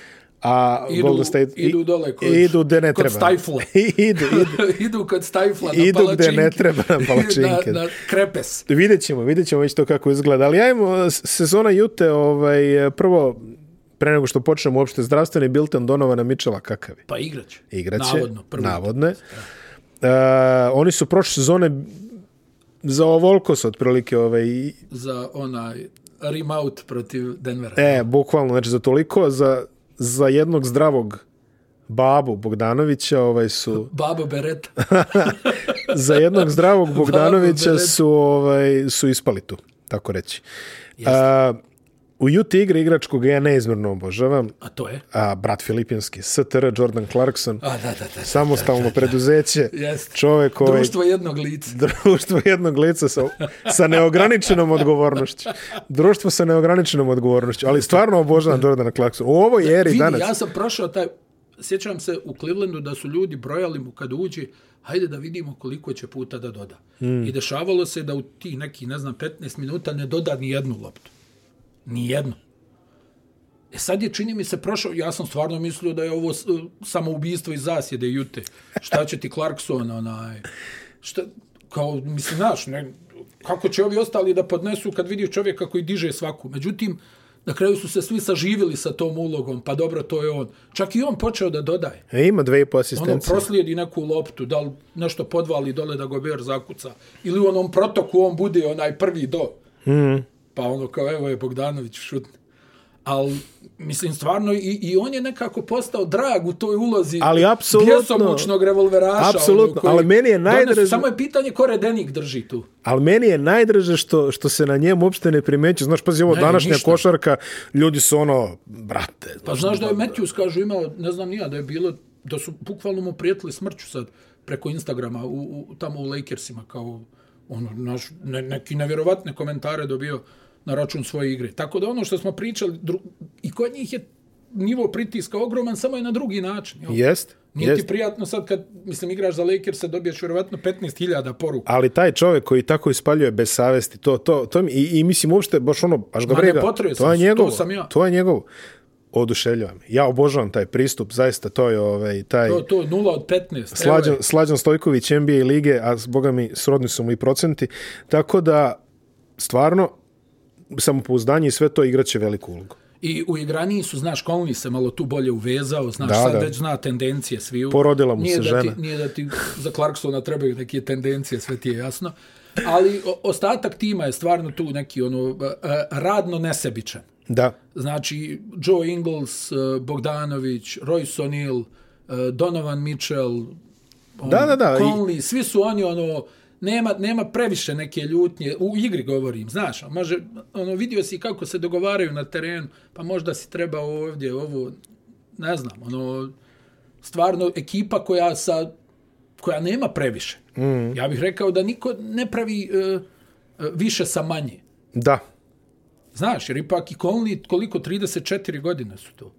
[SPEAKER 1] a
[SPEAKER 2] Idu-
[SPEAKER 1] Golden State... i-
[SPEAKER 2] idu dole kod-
[SPEAKER 1] idu gde ne
[SPEAKER 2] kod
[SPEAKER 1] treba. <laughs>
[SPEAKER 2] Stifle.
[SPEAKER 1] idu, idu.
[SPEAKER 2] idu kod Stajfla na
[SPEAKER 1] Idu gde
[SPEAKER 2] palačinke.
[SPEAKER 1] ne treba
[SPEAKER 2] <laughs>
[SPEAKER 1] na palačinke.
[SPEAKER 2] na, na krepes.
[SPEAKER 1] Vidjet ćemo, vidjet ćemo već to kako izgleda. Ali ajmo, s- sezona Jute, ovaj, prvo, pre nego što počnemo uopšte zdravstveni bilten Donovana Mičela kakav je?
[SPEAKER 2] Pa igraće.
[SPEAKER 1] igraće.
[SPEAKER 2] Navodno, prvo.
[SPEAKER 1] Navodne. Uh, oni su prošle sezone za ovolko su otprilike ovaj, i-
[SPEAKER 2] Za onaj remote protiv Denvera.
[SPEAKER 1] e, bukvalno, znači za toliko, za, za jednog zdravog babu Bogdanovića ovaj
[SPEAKER 2] <laughs>
[SPEAKER 1] su
[SPEAKER 2] Babo
[SPEAKER 1] <laughs>
[SPEAKER 2] Bereta.
[SPEAKER 1] za jednog zdravog Bogdanovića
[SPEAKER 2] Babu
[SPEAKER 1] su ovaj su ispali tu tako reći. Uh, u Juti igre igrač koga ja neizmjerno obožavam,
[SPEAKER 2] A to je?
[SPEAKER 1] a, brat Filipinski, STR, Jordan Clarkson,
[SPEAKER 2] A, da, da, da.
[SPEAKER 1] samostalno preduzeće,
[SPEAKER 2] Jeste.
[SPEAKER 1] čovjek ovaj,
[SPEAKER 2] Društvo jednog lica.
[SPEAKER 1] Društvo jednog lica sa, sa neograničenom odgovornošću. Društvo sa neograničenom odgovornošću. Ali stvarno obožavam Jordana Clarksona. U ovoj eri
[SPEAKER 2] Vidi,
[SPEAKER 1] danas...
[SPEAKER 2] ja sam prošao taj... Sjećam se u Clevelandu da su ljudi brojali mu kad uđe, hajde da vidimo koliko će puta da doda.
[SPEAKER 1] Hmm.
[SPEAKER 2] Mm. I dešavalo se da u ti neki, ne znam, 15 minuta ne doda ni jednu loptu. Ni jednu. E sad je, čini mi se, prošao, ja sam stvarno mislio da je ovo s- samoubistvo iz zasjede Jute. Šta će ti Clarkson, onaj... Šta, kao, mislim, znaš, ne, kako će ovi ostali da podnesu kad vidiš čovjeka koji diže svaku. Međutim, na kraju su se svi saživili sa tom ulogom, pa dobro, to je on. Čak i on počeo da dodaje.
[SPEAKER 1] E, ima dve i po
[SPEAKER 2] Ono,
[SPEAKER 1] asistencije.
[SPEAKER 2] proslijedi neku loptu, da li nešto podvali dole da Gober zakuca. Ili u onom protoku on bude onaj prvi do.
[SPEAKER 1] Hmm.
[SPEAKER 2] Mm. Pa ono kao, evo je Bogdanović šutni. Ali, mislim, stvarno, i, i on je nekako postao drag u toj ulozi
[SPEAKER 1] Ali apsolutno.
[SPEAKER 2] bjesomučnog revolveraša.
[SPEAKER 1] Apsolutno,
[SPEAKER 2] ono, koji
[SPEAKER 1] ali meni je
[SPEAKER 2] danas-
[SPEAKER 1] najdraži-
[SPEAKER 2] Samo je pitanje ko redenik drži tu.
[SPEAKER 1] Ali meni je najdraže što, što se na njemu uopšte ne primeću. Znaš, pazi, ovo
[SPEAKER 2] Ne,
[SPEAKER 1] današnja
[SPEAKER 2] ništa.
[SPEAKER 1] košarka, ljudi su ono, brate,
[SPEAKER 2] Pa znaš da je Matthews, kažu, imao, ne znam nija, da je bilo, da su bukvalno mu prijetili smrću sad preko Instagrama, u, u, tamo u Lakersima, kao ono, naš, ne, neki nevjerovatne komentare dobio na račun svoje igre. Tako da ono što smo pričali, dru, i kod njih je nivo pritiska ogroman, samo je na drugi način. Jel?
[SPEAKER 1] jest,
[SPEAKER 2] Nije
[SPEAKER 1] jest.
[SPEAKER 2] ti prijatno sad kad, mislim, igraš za Lakersa, dobiješ vjerovatno 15.000 poruka.
[SPEAKER 1] Ali taj čovjek koji tako ispaljuje bez savesti, to, to, to mi, i, i mislim uopšte, baš ono, baš ga
[SPEAKER 2] Ma ne,
[SPEAKER 1] briga.
[SPEAKER 2] potrudio
[SPEAKER 1] To
[SPEAKER 2] sam
[SPEAKER 1] je
[SPEAKER 2] se, to
[SPEAKER 1] njegovo.
[SPEAKER 2] sam ja.
[SPEAKER 1] To je njegovo. Oduševljavam. Ja obožavam taj pristup, zaista to je ovaj, taj...
[SPEAKER 2] To, to je 0 od 15.
[SPEAKER 1] Slađan,
[SPEAKER 2] Evo je.
[SPEAKER 1] Slađan Stojković NBA lige, a s boga mi srodni su mu i procenti. Tako da, stvarno, samopouzdanje i sve to igraće veliku ulogu.
[SPEAKER 2] I u igraniji su, znaš, Conley se malo tu bolje uvezao, znaš,
[SPEAKER 1] Da,
[SPEAKER 2] da, sad
[SPEAKER 1] da.
[SPEAKER 2] da. već zna tendencije sviju.
[SPEAKER 1] Porodila mu
[SPEAKER 2] nije
[SPEAKER 1] se
[SPEAKER 2] da
[SPEAKER 1] žena.
[SPEAKER 2] Ti, nije da ti za Clarksona trebaju neke tendencije, sve ti je jasno. Ali o- ostatak tima je stvarno tu neki ono e, e, radno nesebičan.
[SPEAKER 1] Da,
[SPEAKER 2] Znači, Joe Ingles, e, Bogdanović, eh, Royce O'Neal, e, Donovan Mitchell, on,
[SPEAKER 1] Da, da, da, i-
[SPEAKER 2] Conley, svi su oni ono, nema, nema previše neke ljutnje, u igri govorim, znaš, a može, ono, vidio si kako se dogovaraju na terenu, pa možda si treba ovdje ovo, ne znam, ono, stvarno ekipa koja sa koja nema previše. Mm. Ja bih rekao da niko ne pravi e, e, više sa manje.
[SPEAKER 1] Da.
[SPEAKER 2] Znaš, jer ipak i Conley, koliko, 34 godine su to.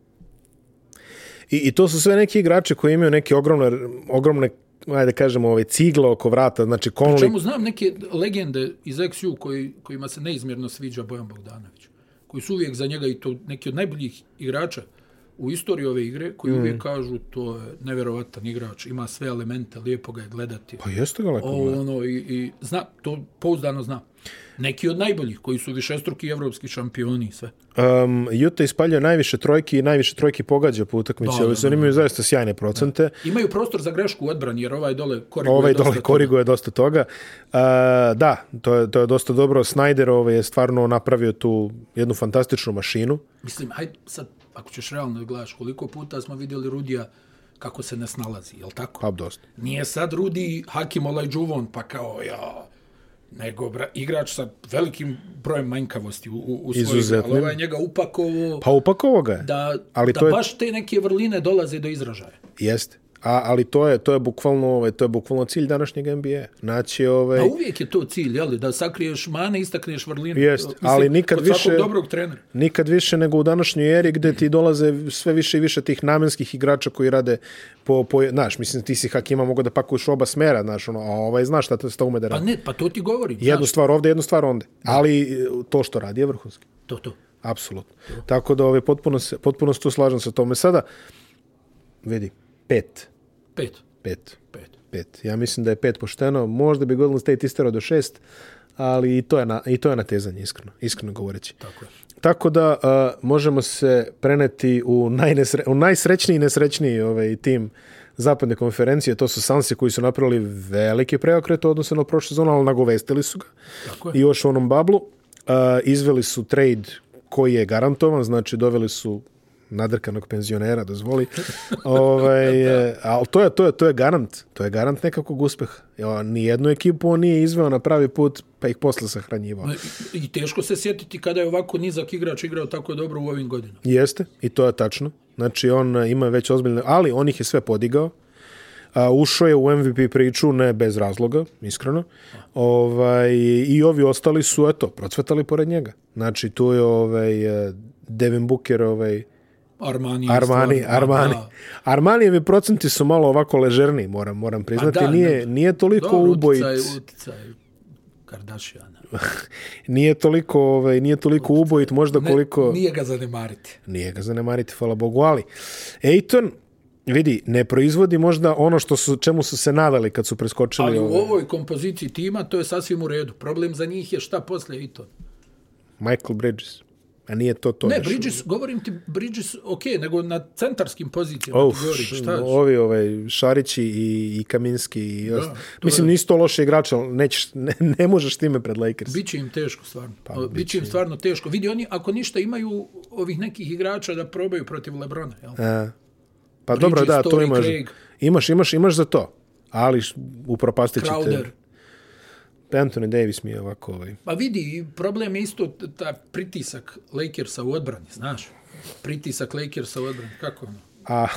[SPEAKER 1] I, I to su sve neki igrači koji imaju neke ogromne, ogromne ajde kažemo, ove cigle oko vrata, znači Conley,
[SPEAKER 2] Pa Čemu znam neke legende iz XU koji, kojima se neizmjerno sviđa Bojan Bogdanović, koji su uvijek za njega i to neki od najboljih igrača u istoriji ove igre, koji mm. uvijek kažu to je nevjerovatan igrač, ima sve elemente, lijepo ga je gledati.
[SPEAKER 1] pa jeste ga lepo.
[SPEAKER 2] Ovo, ono, i, i zna, to pouzdano znam. Neki od najboljih, koji su višestruki evropski šampioni i sve.
[SPEAKER 1] Um, Juta ispaljuje najviše trojki i najviše trojki pogađa po utakmici.
[SPEAKER 2] Da,
[SPEAKER 1] Ovi
[SPEAKER 2] da,
[SPEAKER 1] su oni imaju zaista sjajne procente.
[SPEAKER 2] Imaju prostor za grešku u odbrani, jer ovaj dole koriguje
[SPEAKER 1] Ovaj
[SPEAKER 2] dosta
[SPEAKER 1] dole
[SPEAKER 2] toga.
[SPEAKER 1] koriguje dosta toga. Uh, da, to je, to je dosta dobro. Snyder ovaj je stvarno napravio tu jednu fantastičnu mašinu.
[SPEAKER 2] Mislim, hajde sad, ako ćeš realno da gledaš, koliko puta smo vidjeli Rudija kako se ne snalazi, jel tako?
[SPEAKER 1] Pa dosta.
[SPEAKER 2] Nije sad Rudi Hakim Olajđuvon, pa kao ja, nego bra, igrač sa velikim brojem manjkavosti u, u, u svojoj igri,
[SPEAKER 1] Izuzetnim.
[SPEAKER 2] ali ovaj njega upakovo
[SPEAKER 1] Pa upakovo ga je.
[SPEAKER 2] da,
[SPEAKER 1] ali
[SPEAKER 2] da
[SPEAKER 1] to je-
[SPEAKER 2] baš te neke vrline dolaze do izražaja.
[SPEAKER 1] Jeste. A, ali to je to je bukvalno ovaj to je bukvalno cilj današnjeg NBA. Naći ovaj
[SPEAKER 2] A uvijek je to cilj, jel, da sakriješ mane, istakneš vrline.
[SPEAKER 1] Jest,
[SPEAKER 2] Mislim,
[SPEAKER 1] ali nikad
[SPEAKER 2] kod svakog
[SPEAKER 1] više-
[SPEAKER 2] dobrog trenera.
[SPEAKER 1] nikad više nego u današnjoj eri gde ti dolaze sve više i više tih namenskih igrača koji rade po, po znaš, mislim ti si Hakima mogo da pakuješ u oba smera, znaš, ono, a ovaj znaš šta, te- šta ume da
[SPEAKER 2] Pa
[SPEAKER 1] radi.
[SPEAKER 2] ne, pa to ti govorim.
[SPEAKER 1] Jednu
[SPEAKER 2] Znaš,
[SPEAKER 1] stvar ovde, jednu stvar onda. Ali e, to što radi je vrhunski.
[SPEAKER 2] to, to.
[SPEAKER 1] Apsolutno. Tako da ove, potpuno, se, potpuno se tu slažem sa tome. Sada, vidi, pet.
[SPEAKER 2] Pet,
[SPEAKER 1] Pet.
[SPEAKER 2] pet.
[SPEAKER 1] Pet. Ja mislim da je pet pošteno. Možda bi Golden State isterao do šest, ali i to je, na, i to je natezanje, iskreno, iskreno govoreći.
[SPEAKER 2] Tako je.
[SPEAKER 1] Tako da uh, možemo se preneti u, najnesre, u najsrećniji i nesrećniji ovaj, tim zapadne konferencije. To su Sansi koji su napravili veliki preokret u odnosu na prošle sezonu, ali nagovestili su ga.
[SPEAKER 2] Tako je.
[SPEAKER 1] I još u onom bablu. Uh, izveli su trade koji je garantovan, znači doveli su nadrkanog penzionera, dozvoli. <laughs> ovaj, e, ali to je, to, je, to je garant. To je garant nekakvog uspeha. Ja, nijednu ekipu on nije izveo na pravi put, pa ih posle sahranjivao.
[SPEAKER 2] I- I teško se sjetiti kada je ovako nizak igrač igrao tako dobro u ovim godinama.
[SPEAKER 1] Jeste, i to je tačno. Znači, on e, ima već ozbiljne... Ali on ih je sve podigao. A, ušao je u MVP priču, ne bez razloga, iskreno. Ovaj, I ovi ostali su, eto, procvetali pored njega. Znači, tu je ovaj, e, Devin Booker, ovaj,
[SPEAKER 2] Armani. je
[SPEAKER 1] Armani,
[SPEAKER 2] stvarno,
[SPEAKER 1] Armani.
[SPEAKER 2] da.
[SPEAKER 1] Armanijevi procenti su malo ovako ležerni, moram, moram priznati.
[SPEAKER 2] da,
[SPEAKER 1] nije,
[SPEAKER 2] da.
[SPEAKER 1] nije toliko
[SPEAKER 2] Dobro,
[SPEAKER 1] ubojic. <laughs>
[SPEAKER 2] uticaj, uticaj Kardashiana.
[SPEAKER 1] Nije toliko, ovaj, nije toliko ubojit, možda
[SPEAKER 2] Ne,
[SPEAKER 1] koliko...
[SPEAKER 2] Nije ga zanemariti.
[SPEAKER 1] Nije ga zanemariti, hvala Bogu, ali Ejton, vidi, ne proizvodi možda ono što su, čemu su se nadali kad su preskočili
[SPEAKER 2] Ali u
[SPEAKER 1] ovo.
[SPEAKER 2] ovoj kompoziciji tima to je sasvim u redu. Problem za njih je šta poslije i to.
[SPEAKER 1] Michael Bridges. A nije to to.
[SPEAKER 2] Ne,
[SPEAKER 1] znaš.
[SPEAKER 2] Bridges, govorim ti, Bridges, ok, nego na centarskim pozicijama
[SPEAKER 1] Of,
[SPEAKER 2] ti govorim,
[SPEAKER 1] š-
[SPEAKER 2] šta?
[SPEAKER 1] ovi ovaj, Šarići i, i Kaminski i da,
[SPEAKER 2] to
[SPEAKER 1] Mislim, nisu to loše igrače, ali nećeš, ne, ne možeš time pred Lakers.
[SPEAKER 2] Biće im teško, stvarno. Pa, Biće im stvarno teško. Vidi, oni, ako ništa, imaju ovih nekih igrača da probaju protiv Lebrona, jel?
[SPEAKER 1] A, pa dobro, da, to
[SPEAKER 2] Story,
[SPEAKER 1] imaš.
[SPEAKER 2] Craig.
[SPEAKER 1] Imaš, imaš, imaš za to. Ali š- upropastit ćete.
[SPEAKER 2] Crowder.
[SPEAKER 1] Anthony Davis mi je ovako ovaj.
[SPEAKER 2] Pa vidi, problem je isto t- ta pritisak Lakersa u odbrani, znaš. Pritisak Lakersa u odbrani, kako ono?
[SPEAKER 1] A, ah,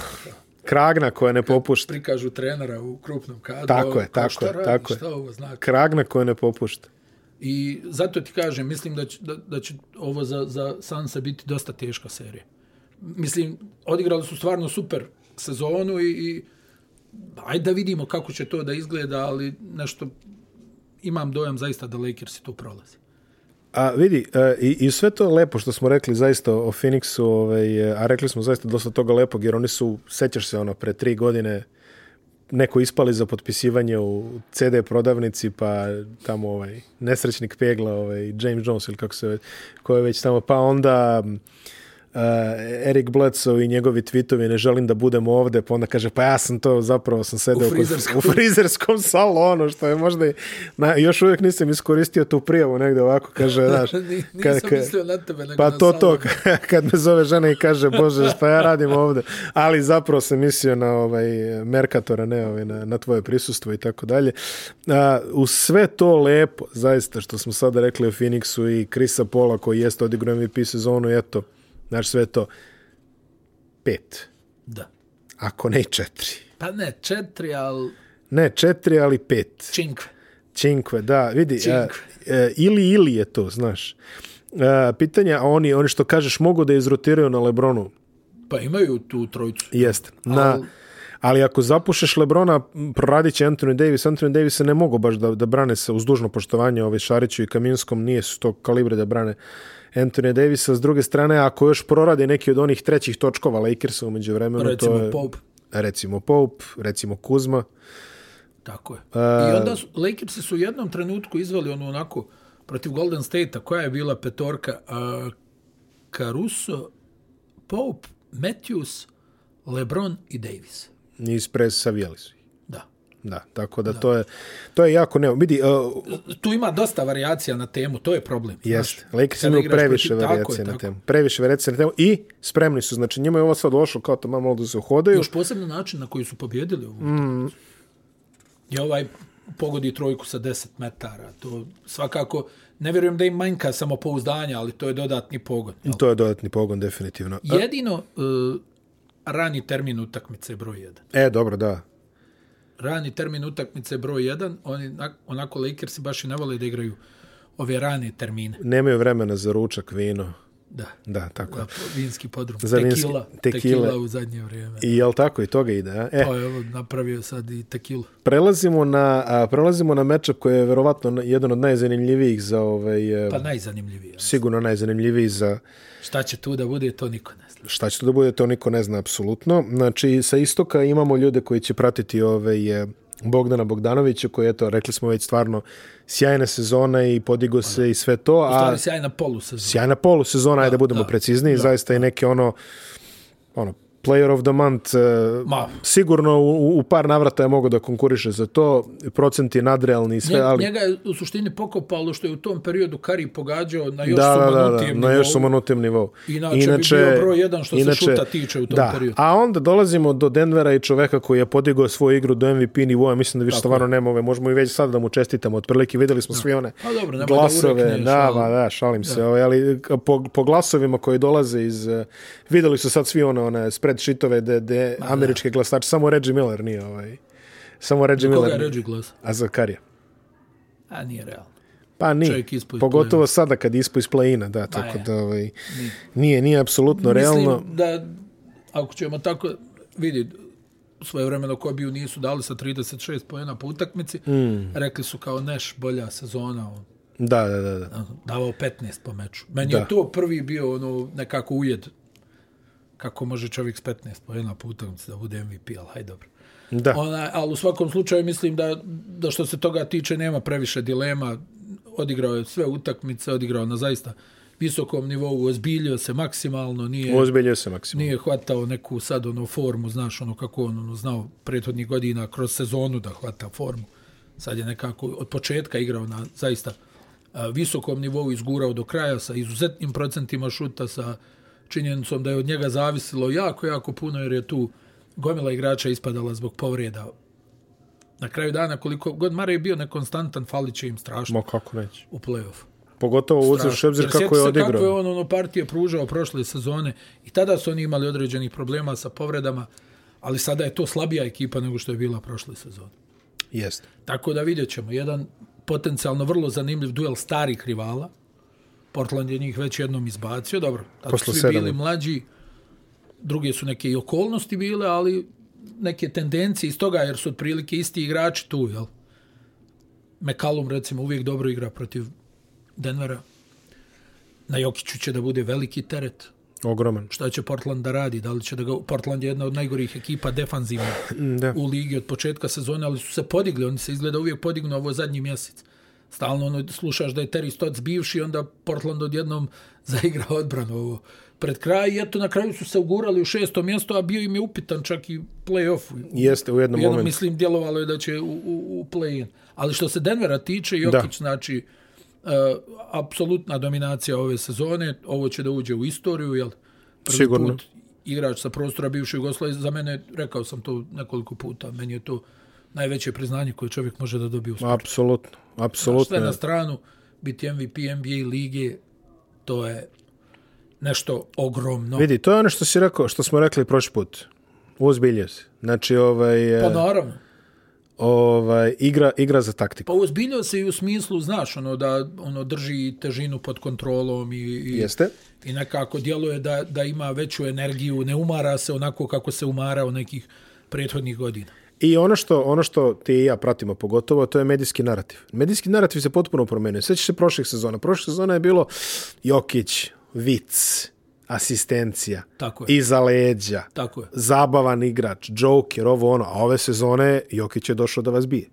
[SPEAKER 1] Kragna koja ne popušta.
[SPEAKER 2] Prikažu trenera u krupnom kadru.
[SPEAKER 1] Tako
[SPEAKER 2] ovo,
[SPEAKER 1] je,
[SPEAKER 2] kao,
[SPEAKER 1] tako
[SPEAKER 2] šta
[SPEAKER 1] je,
[SPEAKER 2] radi,
[SPEAKER 1] tako je.
[SPEAKER 2] Šta ovo znači?
[SPEAKER 1] Kragna koja ne popušta.
[SPEAKER 2] I zato ti kažem, mislim da će, da, da će ovo za, za Sansa biti dosta teška serija. Mislim, odigrali su stvarno super sezonu i, i ajde da vidimo kako će to da izgleda, ali nešto imam dojam zaista da Lakersi tu prolazi.
[SPEAKER 1] A vidi, e, i, i sve to lepo što smo rekli zaista o Phoenixu, ovaj, e, a rekli smo zaista dosta toga lepog, jer oni su, sećaš se ono, pre tri godine neko ispali za potpisivanje u CD prodavnici, pa tamo ovaj, nesrećnik pegla, ovaj, James Jones ili kako se, ve- ko je već tamo, pa onda m, uh, Erik Bledsoe i njegovi tweetovi ne želim da budem ovde, pa onda kaže pa ja sam to zapravo sam sedeo
[SPEAKER 2] U frizerskom.
[SPEAKER 1] kod, u frizerskom salonu, što je možda i, na, još uvijek nisam iskoristio tu prijavu negde ovako, kaže, znaš,
[SPEAKER 2] <laughs> Ni-
[SPEAKER 1] kad-
[SPEAKER 2] Nisam
[SPEAKER 1] kad-
[SPEAKER 2] mislio na tebe, nego
[SPEAKER 1] Pa
[SPEAKER 2] na
[SPEAKER 1] to to,
[SPEAKER 2] Salomona.
[SPEAKER 1] <laughs> kad me zove žena i kaže, bože, šta ja radim ovde. Ali zapravo sam mislio na ovaj Merkatora, ne ovaj, na, na tvoje prisustvo i tako dalje. A, U sve to lepo, zaista, što smo sada rekli o Phoenixu i Krisa Pola, koji jeste odigrao MVP sezonu, eto, znaš sve to. Pet,
[SPEAKER 2] Da.
[SPEAKER 1] ako ne i četiri.
[SPEAKER 2] Pa ne, četiri, ali
[SPEAKER 1] Ne, četiri, ali pet.
[SPEAKER 2] činkve.
[SPEAKER 1] Činkve, da, vidi,
[SPEAKER 2] Činkve.
[SPEAKER 1] e, e, ili ili je to, znaš. E, pitanja, a oni, oni što kažeš, mogu da izrotiraju na Lebronu.
[SPEAKER 2] Pa imaju tu trojicu.
[SPEAKER 1] Jeste. Na,
[SPEAKER 2] Al-
[SPEAKER 1] ali ako zapušeš Lebrona, m, proradit će Anthony Davis. Anthony Davis se ne mogu baš da, da brane se uz dužno poštovanje ovaj Šariću i Kaminskom, nije su to kalibre da brane Anthony Davisa. S druge strane, ako još proradi neki od onih trećih točkova Lakersa umeđu vremenu,
[SPEAKER 2] Recimo
[SPEAKER 1] to je...
[SPEAKER 2] Pope.
[SPEAKER 1] Recimo Pope, recimo Kuzma.
[SPEAKER 2] Tako je.
[SPEAKER 1] E,
[SPEAKER 2] I onda su, Lakersi su u jednom trenutku izveli ono onako protiv Golden State-a, koja je bila petorka, a, Caruso, Pope, Matthews, LeBron i Davis.
[SPEAKER 1] Iz pres savijali su ih.
[SPEAKER 2] Da.
[SPEAKER 1] Da, tako da, to je to je jako ne. Vidi, uh,
[SPEAKER 2] Tu ima dosta variacija na temu, to je problem.
[SPEAKER 1] Jeste, Lakers
[SPEAKER 2] kada
[SPEAKER 1] imaju
[SPEAKER 2] igraš
[SPEAKER 1] previše
[SPEAKER 2] protiv- tako je,
[SPEAKER 1] varijacije na
[SPEAKER 2] tako.
[SPEAKER 1] temu. Previše varijacije na temu i spremni su. Znači, njima je ovo sad došlo kao to malo da se uhodaju.
[SPEAKER 2] Još posebno način na koji su pobjedili ovu utakmicu.
[SPEAKER 1] Mm.
[SPEAKER 2] Je ovaj pogodi trojku sa 10 metara. To svakako, ne vjerujem da im manjka samopouzdanja, ali to je dodatni pogon. Jel?
[SPEAKER 1] To je dodatni pogon, definitivno.
[SPEAKER 2] Jedino uh, rani termin utakmice je broj 1.
[SPEAKER 1] E, dobro, da.
[SPEAKER 2] Rani termin utakmice je broj 1. Oni, na- onako, Lakersi baš i ne vole da igraju ove rane termine.
[SPEAKER 1] Nemaju vremena za ručak, vino.
[SPEAKER 2] Da.
[SPEAKER 1] Da, tako.
[SPEAKER 2] Za vinski podrum.
[SPEAKER 1] Za vinski-
[SPEAKER 2] tekila,
[SPEAKER 1] tekile.
[SPEAKER 2] tekila u
[SPEAKER 1] <laughs>
[SPEAKER 2] zadnje vrijeme.
[SPEAKER 1] I jel tako, i toga ide, a? E,
[SPEAKER 2] Pa evo, napravio sad i tekilu.
[SPEAKER 1] prelazimo na, a, prelazimo na matchup koji je verovatno na- jedan od najzanimljivijih za ovaj, e,
[SPEAKER 2] Pa najzanimljivije.
[SPEAKER 1] sigurno najzanimljiviji za
[SPEAKER 2] Šta će tu da bude, to niko ne zna.
[SPEAKER 1] šta će to da bude, to niko ne zna apsolutno. Znači, sa istoka imamo ljude koji će pratiti ovaj, e, Bogdana Bogdanovića, koji, eto, rekli smo već stvarno sjajna sezona i podigo Pa se i sve to, a
[SPEAKER 2] Stvari sjajna polusezona.
[SPEAKER 1] sjajna polusezona, ajde da budemo precizniji, zaista i neke ono, ono, player of the month, e,
[SPEAKER 2] Ma.
[SPEAKER 1] sigurno u, u par navrata je mogao da konkuriše za to, procenti nadrealni i sve,
[SPEAKER 2] Njega,
[SPEAKER 1] ali...
[SPEAKER 2] njega je u suštini pokopalo što je u tom periodu Kari pogađao na još
[SPEAKER 1] da, da, da, da,
[SPEAKER 2] sumanutijem
[SPEAKER 1] na još
[SPEAKER 2] nivou.
[SPEAKER 1] sumanutijem nivou.
[SPEAKER 2] Inače bi bio broj jedan što se šuta tiče u tom
[SPEAKER 1] da.
[SPEAKER 2] periodu.
[SPEAKER 1] A onda dolazimo do Denvera i čoveka koji je podigao svoju igru do MVP nivoa, mislim da više stvarno nema ove, možemo i već sad da mu čestitamo, otprilike videli smo svi one
[SPEAKER 2] Pa dobro, nemoj da
[SPEAKER 1] glasove,
[SPEAKER 2] urekneš,
[SPEAKER 1] da,
[SPEAKER 2] ali-
[SPEAKER 1] ma, da, šalim se, ovaj, ali k- po, po glasovima koji dolaze iz, eh, videli su sad svi one, one spreadsheetove de, de američke glasače, samo Reggie Miller nije ovaj, samo Reggie
[SPEAKER 2] Koga je
[SPEAKER 1] Miller,
[SPEAKER 2] Reggie glas?
[SPEAKER 1] a Zakarija.
[SPEAKER 2] A nije realno.
[SPEAKER 1] Pa nije,
[SPEAKER 2] Čovjek ispao iz Pa
[SPEAKER 1] pogotovo sada kad je ispao iz play-ina, da, tako
[SPEAKER 2] je.
[SPEAKER 1] da ovaj, nije, nije apsolutno realno.
[SPEAKER 2] Mislim da, ako ćemo tako, vidi, svoje vremeno Kobiju nisu dali sa 36 pojena po utakmici,
[SPEAKER 1] Hmm.
[SPEAKER 2] mm. rekli su kao Neš bolja sezona, on
[SPEAKER 1] Da, da, da. da.
[SPEAKER 2] davao 15 po meču. Meni
[SPEAKER 1] Da.
[SPEAKER 2] je to prvi bio ono nekako ujed kako može čovjek s 15 pojena po utakmici da bude MVP, ali hajde dobro.
[SPEAKER 1] da.
[SPEAKER 2] Ona, ali u svakom slučaju mislim da, da što se toga tiče nema previše dilema. Odigrao je sve utakmice, odigrao na zaista visokom nivou, ozbiljio se maksimalno, nije,
[SPEAKER 1] Ozbiljio se maksimum.
[SPEAKER 2] nije hvatao neku sad ono formu, znaš ono kako on ono, znao prethodnih godina kroz sezonu da hvata formu. Sad je nekako od početka igrao na zaista a, visokom nivou, izgurao do kraja sa izuzetnim procentima šuta, sa činjenicom da je od njega zavisilo jako, jako puno jer je tu gomila igrača ispadala zbog povreda. Na kraju dana koliko god Mare je bio nekonstantan, falit će im strašno
[SPEAKER 1] Ma kako neće.
[SPEAKER 2] u play-offu.
[SPEAKER 1] Pogotovo uzeš
[SPEAKER 2] Strašno.
[SPEAKER 1] obzir
[SPEAKER 2] Jer
[SPEAKER 1] kako
[SPEAKER 2] sjeti
[SPEAKER 1] je
[SPEAKER 2] se Kako je
[SPEAKER 1] odigrao.
[SPEAKER 2] on ono partije pružao prošle sezone i tada su oni imali određenih problema sa povredama, ali sada je to slabija ekipa nego što je bila prošle sezone.
[SPEAKER 1] Jeste.
[SPEAKER 2] Tako da vidjet ćemo jedan potencijalno vrlo zanimljiv duel starih rivala. Portland je njih već jednom izbacio, dobro. Tad
[SPEAKER 1] Posle
[SPEAKER 2] su svi
[SPEAKER 1] sedam.
[SPEAKER 2] bili mlađi, druge su neke i okolnosti bile, ali neke tendencije iz toga, jer su otprilike isti igrači tu, jel? McCallum, recimo, uvijek dobro igra protiv Denvera. Na Jokiću će da bude veliki teret.
[SPEAKER 1] Ogroman.
[SPEAKER 2] Šta će Portland da radi? Da li će da ga... Portland je jedna od najgorih ekipa defanzivnih
[SPEAKER 1] Da.
[SPEAKER 2] u ligi od početka sezone, ali su se podigli, oni se izgleda uvijek podignu ovo zadnji mjesec. Stalno ono, slušaš da je Terry Stotts bivši, onda Portland odjednom <laughs> zaigra odbranu ovo. Pred kraj, i eto, na kraju su se ugurali u šesto mjesto, a bio im je upitan čak i play-offu.
[SPEAKER 1] Jeste, u jednom
[SPEAKER 2] Jedno,
[SPEAKER 1] momentu.
[SPEAKER 2] mislim, djelovalo je da će u, u, u play-in. Ali što se Denvera tiče, Jokić, znači, uh, apsolutna dominacija ove sezone, ovo će da uđe u istoriju, jel? Prvi
[SPEAKER 1] Sigurno.
[SPEAKER 2] Put igrač sa prostora bivše Jugoslavije, za mene, rekao sam to nekoliko puta, meni je to najveće priznanje koje čovjek može da dobije u sportu.
[SPEAKER 1] Apsolutno, apsolutno.
[SPEAKER 2] Sve na stranu, biti MVP NBA lige, to je nešto ogromno.
[SPEAKER 1] Vidi, to je ono što si rekao, što smo rekli prošli put. Uzbilje se. Znači, ovaj,
[SPEAKER 2] Pa
[SPEAKER 1] eh,
[SPEAKER 2] naravno.
[SPEAKER 1] ovaj, igra, igra za taktiku.
[SPEAKER 2] Pa ozbiljio se i u smislu, znaš, ono da ono drži težinu pod kontrolom i, i,
[SPEAKER 1] Jeste?
[SPEAKER 2] i nekako djeluje da, da ima veću energiju, ne umara se onako kako se umarao nekih prethodnih godina.
[SPEAKER 1] I ono što, ono što ti i ja pratimo pogotovo, to je medijski narativ. Medijski narativ se potpuno promenio. Sjećaš se prošlih sezona. Prošle sezona je bilo Jokić, Vic, asistencija,
[SPEAKER 2] Tako je.
[SPEAKER 1] iza leđa,
[SPEAKER 2] Tako je.
[SPEAKER 1] zabavan igrač, joker, ovo ono. A ove sezone Jokić je došao da vas bije.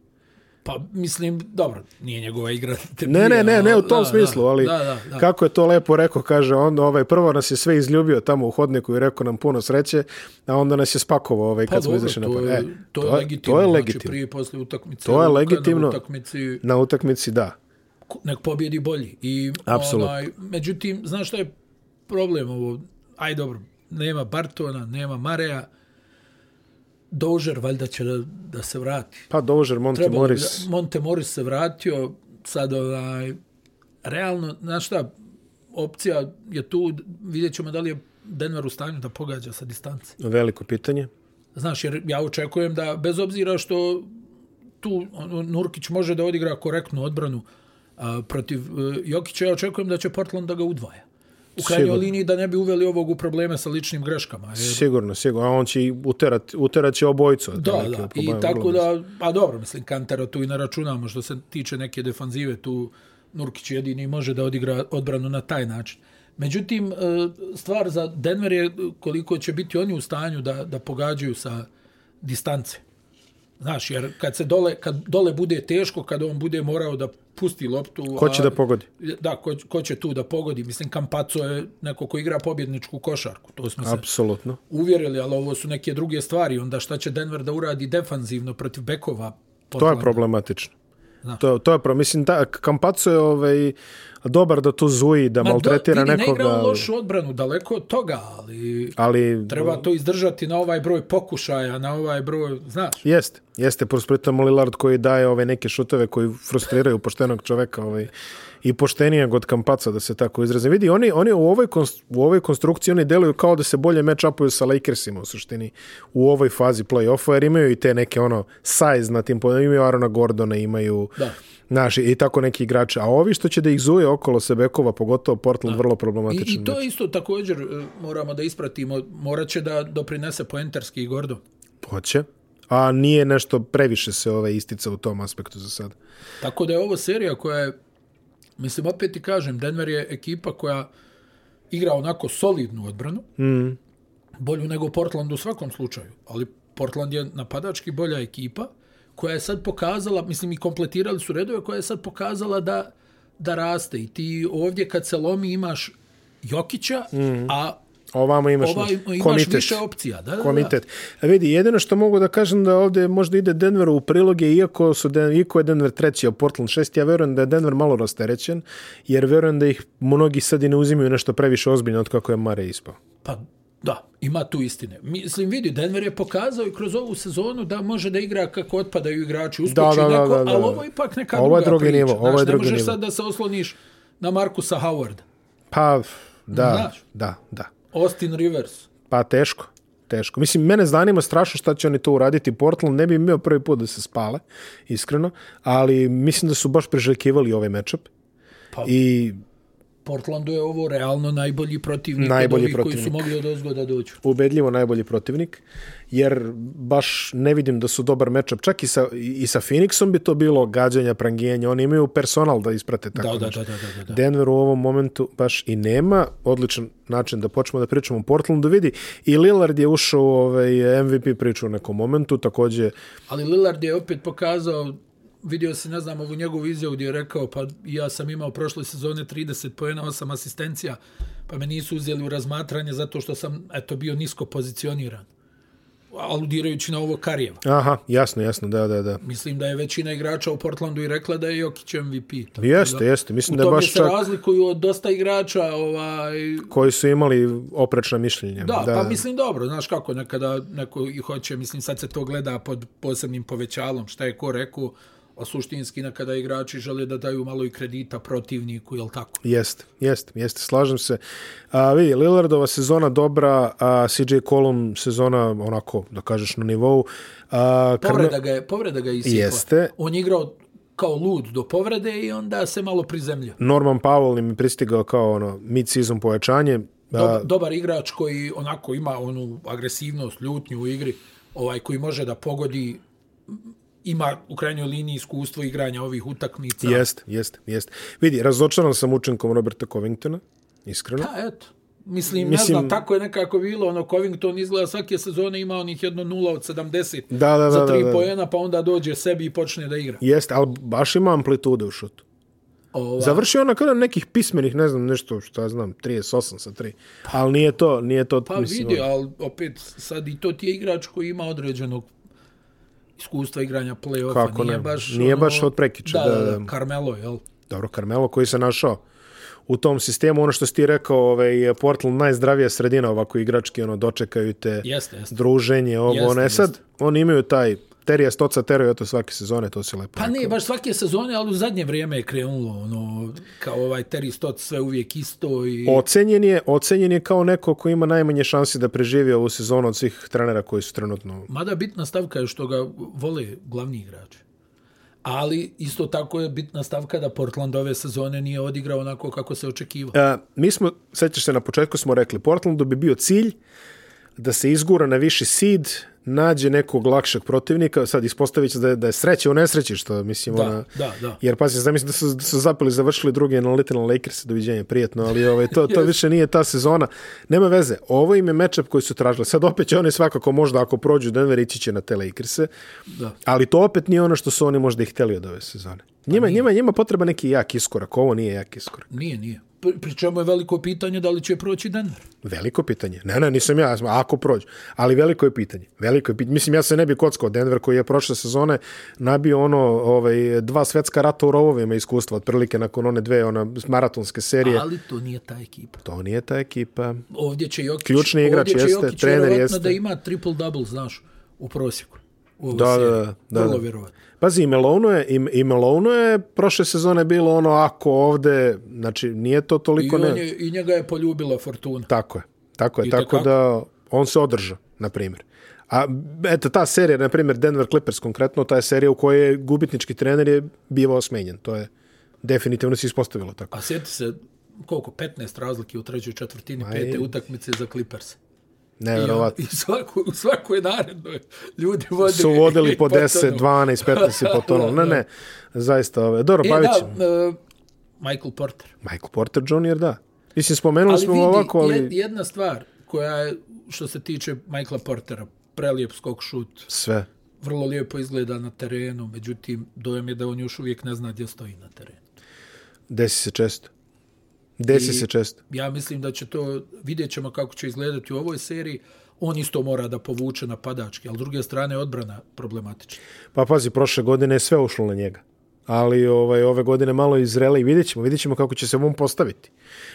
[SPEAKER 2] Pa mislim, dobro, nije njegova igra. <laughs> te
[SPEAKER 1] Ne, ne,
[SPEAKER 2] bije,
[SPEAKER 1] ne, ne u
[SPEAKER 2] ali-
[SPEAKER 1] tom
[SPEAKER 2] da,
[SPEAKER 1] smislu,
[SPEAKER 2] da,
[SPEAKER 1] ali
[SPEAKER 2] da, da, da.
[SPEAKER 1] kako je to lepo rekao, kaže, on ovaj, prvo nas je sve izljubio tamo u hodniku i rekao nam puno sreće, a onda nas je spakovao ovaj, kad smo
[SPEAKER 2] Pa dobro,
[SPEAKER 1] izašli na
[SPEAKER 2] to,
[SPEAKER 1] polje.
[SPEAKER 2] je,
[SPEAKER 1] E,
[SPEAKER 2] to, je legitimno.
[SPEAKER 1] To je
[SPEAKER 2] Znači,
[SPEAKER 1] legitimno.
[SPEAKER 2] prije i posle utakmice.
[SPEAKER 1] To je
[SPEAKER 2] kad
[SPEAKER 1] legitimno.
[SPEAKER 2] Na utakmici
[SPEAKER 1] Na utakmici, da.
[SPEAKER 2] nek pobjedi bolji. I,
[SPEAKER 1] Apsolutno.
[SPEAKER 2] Onaj, međutim, znaš šta je problem ovo? Aj dobro, nema Bartona, nema Mareja. Dožer valjda će da, da se vrati.
[SPEAKER 1] Pa Dožer, Monty
[SPEAKER 2] Trebalo bi da-
[SPEAKER 1] Morris.
[SPEAKER 2] Monte Morris se vratio, sad onaj, realno, znaš šta, opcija je tu, vidjet ćemo da li je Denver u stanju da pogađa sa distance.
[SPEAKER 1] Veliko pitanje.
[SPEAKER 2] Znaš, jer ja očekujem da, bez obzira što tu ono, Nurkić može da odigra korektnu odbranu a, protiv e, Jokića, ja očekujem da će Portland da ga udvaja. U krajnjoj
[SPEAKER 1] Sigurno.
[SPEAKER 2] liniji da ne bi uveli ovog u probleme sa ličnim greškama. Jer,
[SPEAKER 1] Sigurno, sigurno. A on će i uterat, uterat će obojicu.
[SPEAKER 2] da,
[SPEAKER 1] otprilike,
[SPEAKER 2] da.
[SPEAKER 1] po
[SPEAKER 2] I
[SPEAKER 1] mojem,
[SPEAKER 2] tako
[SPEAKER 1] vrlo
[SPEAKER 2] da, pa dobro, mislim, Kantara tu i ne računamo što se tiče neke defanzive, tu Nurkić jedini može da odigra odbranu na taj način. Međutim, e, stvar za Denver je koliko će biti oni u stanju da, da pogađaju sa distance. Znaš, jer kad se dole, kad dole bude teško, kad on bude morao da pusti loptu...
[SPEAKER 1] Ko će
[SPEAKER 2] a-
[SPEAKER 1] da pogodi?
[SPEAKER 2] Da, ko, ko će tu da pogodi? Mislim, Kampaco je neko ko igra pobjedničku košarku. To smo se
[SPEAKER 1] Apsolutno.
[SPEAKER 2] uvjerili, ali ovo su neke druge stvari. Onda šta će Denver da uradi defanzivno protiv bekova?
[SPEAKER 1] To je
[SPEAKER 2] Portlanda?
[SPEAKER 1] problematično.
[SPEAKER 2] Da.
[SPEAKER 1] To, to je pro, mislim, ta, Kampaco je ovaj, dobar da tu zuji, da
[SPEAKER 2] Ma,
[SPEAKER 1] maltretira
[SPEAKER 2] do- vidi,
[SPEAKER 1] nekoga.
[SPEAKER 2] Ne igra on
[SPEAKER 1] ali-
[SPEAKER 2] lošu odbranu, daleko od toga, ali
[SPEAKER 1] Ali
[SPEAKER 2] treba to izdržati na ovaj broj pokušaja, na ovaj broj, znaš.
[SPEAKER 1] Jeste, jeste, plus pritom Lillard koji daje ove neke šuteve koji frustriraju poštenog čoveka ovaj, i poštenijeg od Kampaca, da se tako izrazim. Vidi, oni, oni u, ovoj konst, u ovoj konstrukciji oni deluju kao da se bolje match-upuju sa Lakersima u suštini u ovoj fazi play-offa, jer imaju i te neke ono size na tim podima, imaju Arona Gordona, imaju
[SPEAKER 2] Da.
[SPEAKER 1] naši i tako neki igrači, a ovi što će da ih zuje okolo sebekova, pogotovo Portland, vrlo
[SPEAKER 2] I,
[SPEAKER 1] problematičan.
[SPEAKER 2] I to je isto također e, moramo da ispratimo, morat će da doprinese poentarski i Gordon.
[SPEAKER 1] Hoće, a nije nešto previše se ovaj istica u tom aspektu za sada.
[SPEAKER 2] Tako da je ovo serija koja je, mislim, opet ti kažem, Denver je ekipa koja igra onako solidnu odbranu, mm. bolju nego Portland u svakom slučaju, ali Portland je napadački bolja ekipa koja je sad pokazala, mislim i kompletirali su redove, koja je sad pokazala da, da raste i ti ovdje kad se lomi imaš Jokića, mm. a
[SPEAKER 1] Ovamo imaš,
[SPEAKER 2] ovaj, imaš
[SPEAKER 1] komitet.
[SPEAKER 2] više opcija. Da, da, Da.
[SPEAKER 1] komitet. A vidi, jedino što mogu da kažem da ovdje možda ide Denveru u priloge, iako, su Den, iako je Denver treći, a Portland šesti, ja verujem da je Denver malo rasterećen, jer verujem da ih mnogi sad i ne uzimaju nešto previše ozbiljno od kako je Mare ispao.
[SPEAKER 2] Pa da, ima tu istine. Mislim, vidi, Denver je pokazao i kroz ovu sezonu da može da igra kako otpadaju igrači. Uskoči
[SPEAKER 1] Da, da, da,
[SPEAKER 2] neko,
[SPEAKER 1] da, da.
[SPEAKER 2] ali ovo je ipak neka
[SPEAKER 1] Ovo je
[SPEAKER 2] druga
[SPEAKER 1] drugi
[SPEAKER 2] priča.
[SPEAKER 1] nivo, ovo je
[SPEAKER 2] Znaš,
[SPEAKER 1] drugi
[SPEAKER 2] ne možeš
[SPEAKER 1] nivo.
[SPEAKER 2] sad da se osloniš na Markusa Howarda,
[SPEAKER 1] Pa, da,
[SPEAKER 2] Znaš.
[SPEAKER 1] da, da.
[SPEAKER 2] Austin Rivers.
[SPEAKER 1] Pa teško, teško. Mislim, mene zanima strašno šta će oni to uraditi. Portland ne bi imao prvi put da se spale, iskreno, ali mislim da su baš priželjkivali ovaj matchup.
[SPEAKER 2] Pa-
[SPEAKER 1] I
[SPEAKER 2] Portlandu je ovo realno najbolji protivnik
[SPEAKER 1] Najbolji
[SPEAKER 2] od ovih koji su
[SPEAKER 1] protivnik.
[SPEAKER 2] mogli od ozgo da dođu.
[SPEAKER 1] ubedljivo najbolji protivnik, jer baš ne vidim da su dobar matchup. Čak i sa, i sa Phoenixom bi to bilo gađanja, prangijanja. Oni imaju personal da isprate tako
[SPEAKER 2] Da, da, da,
[SPEAKER 1] nešto.
[SPEAKER 2] da, da, da.
[SPEAKER 1] Denver u ovom momentu baš i nema. Odličan način da počnemo da pričamo o Portlandu. Vidi, i Lillard je ušao u ovaj MVP priču u nekom momentu, takođe
[SPEAKER 2] Ali Lillard je opet pokazao vidio se, ne znam, ovu njegovu izjavu gdje je rekao, pa ja sam imao prošle sezone 30 pojena, 8 asistencija, pa me nisu uzeli u razmatranje zato što sam, eto, bio nisko pozicioniran. Aludirajući na ovo Karijeva.
[SPEAKER 1] Aha, jasno, jasno, da, da, da.
[SPEAKER 2] Mislim da je većina igrača u Portlandu i rekla da je Jokić MVP. Tako
[SPEAKER 1] Jeste,
[SPEAKER 2] da,
[SPEAKER 1] jeste,
[SPEAKER 2] U
[SPEAKER 1] mislim da je
[SPEAKER 2] tome
[SPEAKER 1] baš
[SPEAKER 2] se
[SPEAKER 1] čak
[SPEAKER 2] razlikuju od dosta igrača ovaj,
[SPEAKER 1] koji su imali oprečna mišljenja.
[SPEAKER 2] Da, pa mislim dobro, znaš kako, nekada neko i hoće, mislim sad se to gleda pod posebnim povećalom, šta je ko rekao, a suštinski nekada igrači žele da daju malo i kredita protivniku, jel tako?
[SPEAKER 1] Jeste, jeste, jeste, slažem se. A, vidi, Lillardova sezona dobra, a CJ Colum sezona onako, da kažeš, na nivou. A, Karme-
[SPEAKER 2] Povreda ga je, povreda ga je isipla.
[SPEAKER 1] Jeste.
[SPEAKER 2] On je igrao kao lud do povrede i onda se malo prizemljio.
[SPEAKER 1] Norman Powell im je pristigao kao ono, mid-season pojačanje.
[SPEAKER 2] Dobar, dobar igrač koji onako ima onu agresivnost, ljutnju u igri, ovaj koji može da pogodi ima u krajnjoj liniji iskustvo igranja ovih utakmica.
[SPEAKER 1] Jeste, jeste, jeste. Vidi, razočaran sam učinkom Roberta Covingtona, iskreno.
[SPEAKER 2] Pa, eto. Mislim, ne
[SPEAKER 1] Mislim-
[SPEAKER 2] znam, tako je nekako bilo, ono, Covington izgleda svake sezone ima onih jedno nula od 70
[SPEAKER 1] Da, da, da,
[SPEAKER 2] za
[SPEAKER 1] da,
[SPEAKER 2] tri
[SPEAKER 1] da.
[SPEAKER 2] pojena, pa onda dođe sebi i počne da igra.
[SPEAKER 1] Jeste, ali baš ima amplitude u šutu.
[SPEAKER 2] Ova,
[SPEAKER 1] Završio je na kada nekih pismenih, ne znam, nešto što ja znam, 38 sa 3. Ali nije to, nije to,
[SPEAKER 2] pa vidi,
[SPEAKER 1] ono.
[SPEAKER 2] ali opet, sad i to ti je igrač koji ima određenog iskustva igranja play-offa.
[SPEAKER 1] Kako
[SPEAKER 2] nije
[SPEAKER 1] ne,
[SPEAKER 2] baš,
[SPEAKER 1] nije
[SPEAKER 2] ono,
[SPEAKER 1] baš od prekiča,
[SPEAKER 2] Da,
[SPEAKER 1] da,
[SPEAKER 2] da,
[SPEAKER 1] da.
[SPEAKER 2] da, Carmelo, jel?
[SPEAKER 1] Dobro, Carmelo koji se našao u tom sistemu, ono što si ti rekao, ovaj, Portland najzdravija sredina ovako igrački, ono, dočekaju te
[SPEAKER 2] Jeste, jeste.
[SPEAKER 1] druženje, ovo,
[SPEAKER 2] Jeste,
[SPEAKER 1] ono, e
[SPEAKER 2] jeste.
[SPEAKER 1] sad, oni imaju taj, Terija Stoca teraju, eto, svake sezone, to si lepo.
[SPEAKER 2] Pa ne, baš svake sezone, ali u zadnje vrijeme je krenulo, ono, kao ovaj Terry Stott sve uvijek isto i...
[SPEAKER 1] Ocenjen je, ocenjen je kao neko ko ima najmanje šansi da preživi ovu sezonu od svih trenera koji su trenutno...
[SPEAKER 2] Mada bitna stavka je što ga vole glavni igrači. Ali isto tako je bitna stavka da Portland ove sezone nije odigrao onako kako se očekivao.
[SPEAKER 1] E, mi smo, sećaš se, na početku smo rekli, Portlandu bi bio cilj da se izgura na viši seed, nađe nekog lakšeg protivnika, sad ispostavit će da je, da je sreće u nesreći, što mislim, ona,
[SPEAKER 2] Da, da, da.
[SPEAKER 1] Jer pazi, znam mislim da su, da su zapeli završili drugi na Little Lakers, doviđenje, prijetno, ali ovaj, to,
[SPEAKER 2] <laughs>
[SPEAKER 1] to više nije ta sezona. Nema veze, ovo im je matchup koji su tražili. Sad opet će oni svakako možda ako prođu Denver ići će na te Lakerse,
[SPEAKER 2] Da.
[SPEAKER 1] ali to opet nije ono što su oni možda i hteli od ove sezone.
[SPEAKER 2] Pa
[SPEAKER 1] Njima, njima, njima potreba neki jak iskorak, ovo nije jak iskorak.
[SPEAKER 2] Nije, nije. Pri, pri čemu je veliko pitanje da li će proći Denver.
[SPEAKER 1] Veliko pitanje. Ne, ne, nisam ja, ja sam, ako prođu. Ali veliko je pitanje. Veliko je pitanje. Mislim, ja se ne bi kockao Denver koji je prošle sezone nabio ono, ovaj, dva svetska rata u rovovima iskustva, otprilike nakon one dve ona, maratonske serije.
[SPEAKER 2] Ali to nije ta ekipa.
[SPEAKER 1] To nije ta ekipa.
[SPEAKER 2] Ovdje će Jokić,
[SPEAKER 1] Ključni
[SPEAKER 2] ovdje
[SPEAKER 1] igrač
[SPEAKER 2] će
[SPEAKER 1] jeste,
[SPEAKER 2] Jokić
[SPEAKER 1] trener
[SPEAKER 2] vjerovatno
[SPEAKER 1] jeste.
[SPEAKER 2] da ima triple-double, znaš, u prosjeku. U ovoj
[SPEAKER 1] Da, da,
[SPEAKER 2] seriji.
[SPEAKER 1] da, da,
[SPEAKER 2] Vrlo
[SPEAKER 1] da.
[SPEAKER 2] vjerovatno.
[SPEAKER 1] Pazi, i Melono je, i, i Melono je prošle sezone bilo ono ako ovde, znači nije to
[SPEAKER 2] I,
[SPEAKER 1] toliko
[SPEAKER 2] on
[SPEAKER 1] ne...
[SPEAKER 2] je, I njega je poljubila Fortuna.
[SPEAKER 1] Tako je. Tako je, tako
[SPEAKER 2] Itekako.
[SPEAKER 1] da on se održa, na primjer. A eto, ta serija, na primjer, Denver Clippers konkretno, ta je serija u kojoj je gubitnički trener je bivao smenjen. To je definitivno se ispostavilo tako.
[SPEAKER 2] A sjeti se koliko, 15 razlike u trećoj četvrtini, pete utakmice za Clippers.
[SPEAKER 1] Neverovatno.
[SPEAKER 2] I, on- i svako, u svakoj narednoj ljudi vode,
[SPEAKER 1] Su
[SPEAKER 2] <laughs>
[SPEAKER 1] vodili po 10,
[SPEAKER 2] tonu.
[SPEAKER 1] 12,
[SPEAKER 2] <laughs>
[SPEAKER 1] 15 i po tonu. Ne, ne, zaista. Ove. Dobro,
[SPEAKER 2] E,
[SPEAKER 1] Pavić,
[SPEAKER 2] da, e, Michael Porter.
[SPEAKER 1] Michael Porter Jr., da. Mislim, spomenuli
[SPEAKER 2] Ali
[SPEAKER 1] Pa smo
[SPEAKER 2] vidi,
[SPEAKER 1] ovako, ali...
[SPEAKER 2] jed- jedna stvar koja je, što se tiče Michaela Portera, prelijep skok šut,
[SPEAKER 1] Sve.
[SPEAKER 2] vrlo lijepo izgleda na terenu, međutim, dojem je da on još uvijek ne zna gdje stoji na terenu.
[SPEAKER 1] Desi se često. Desi I... se često.
[SPEAKER 2] Ja mislim da će to, vidjet ćemo kako će izgledati u ovoj seriji, on isto mora da povuče napadački, ali s druge strane odbrana problematična.
[SPEAKER 1] Pa pazi, prošle godine je sve ušlo na njega. Ali ovaj, ove godine malo izrela i vidjet ćemo, vidjet ćemo kako će se on postaviti.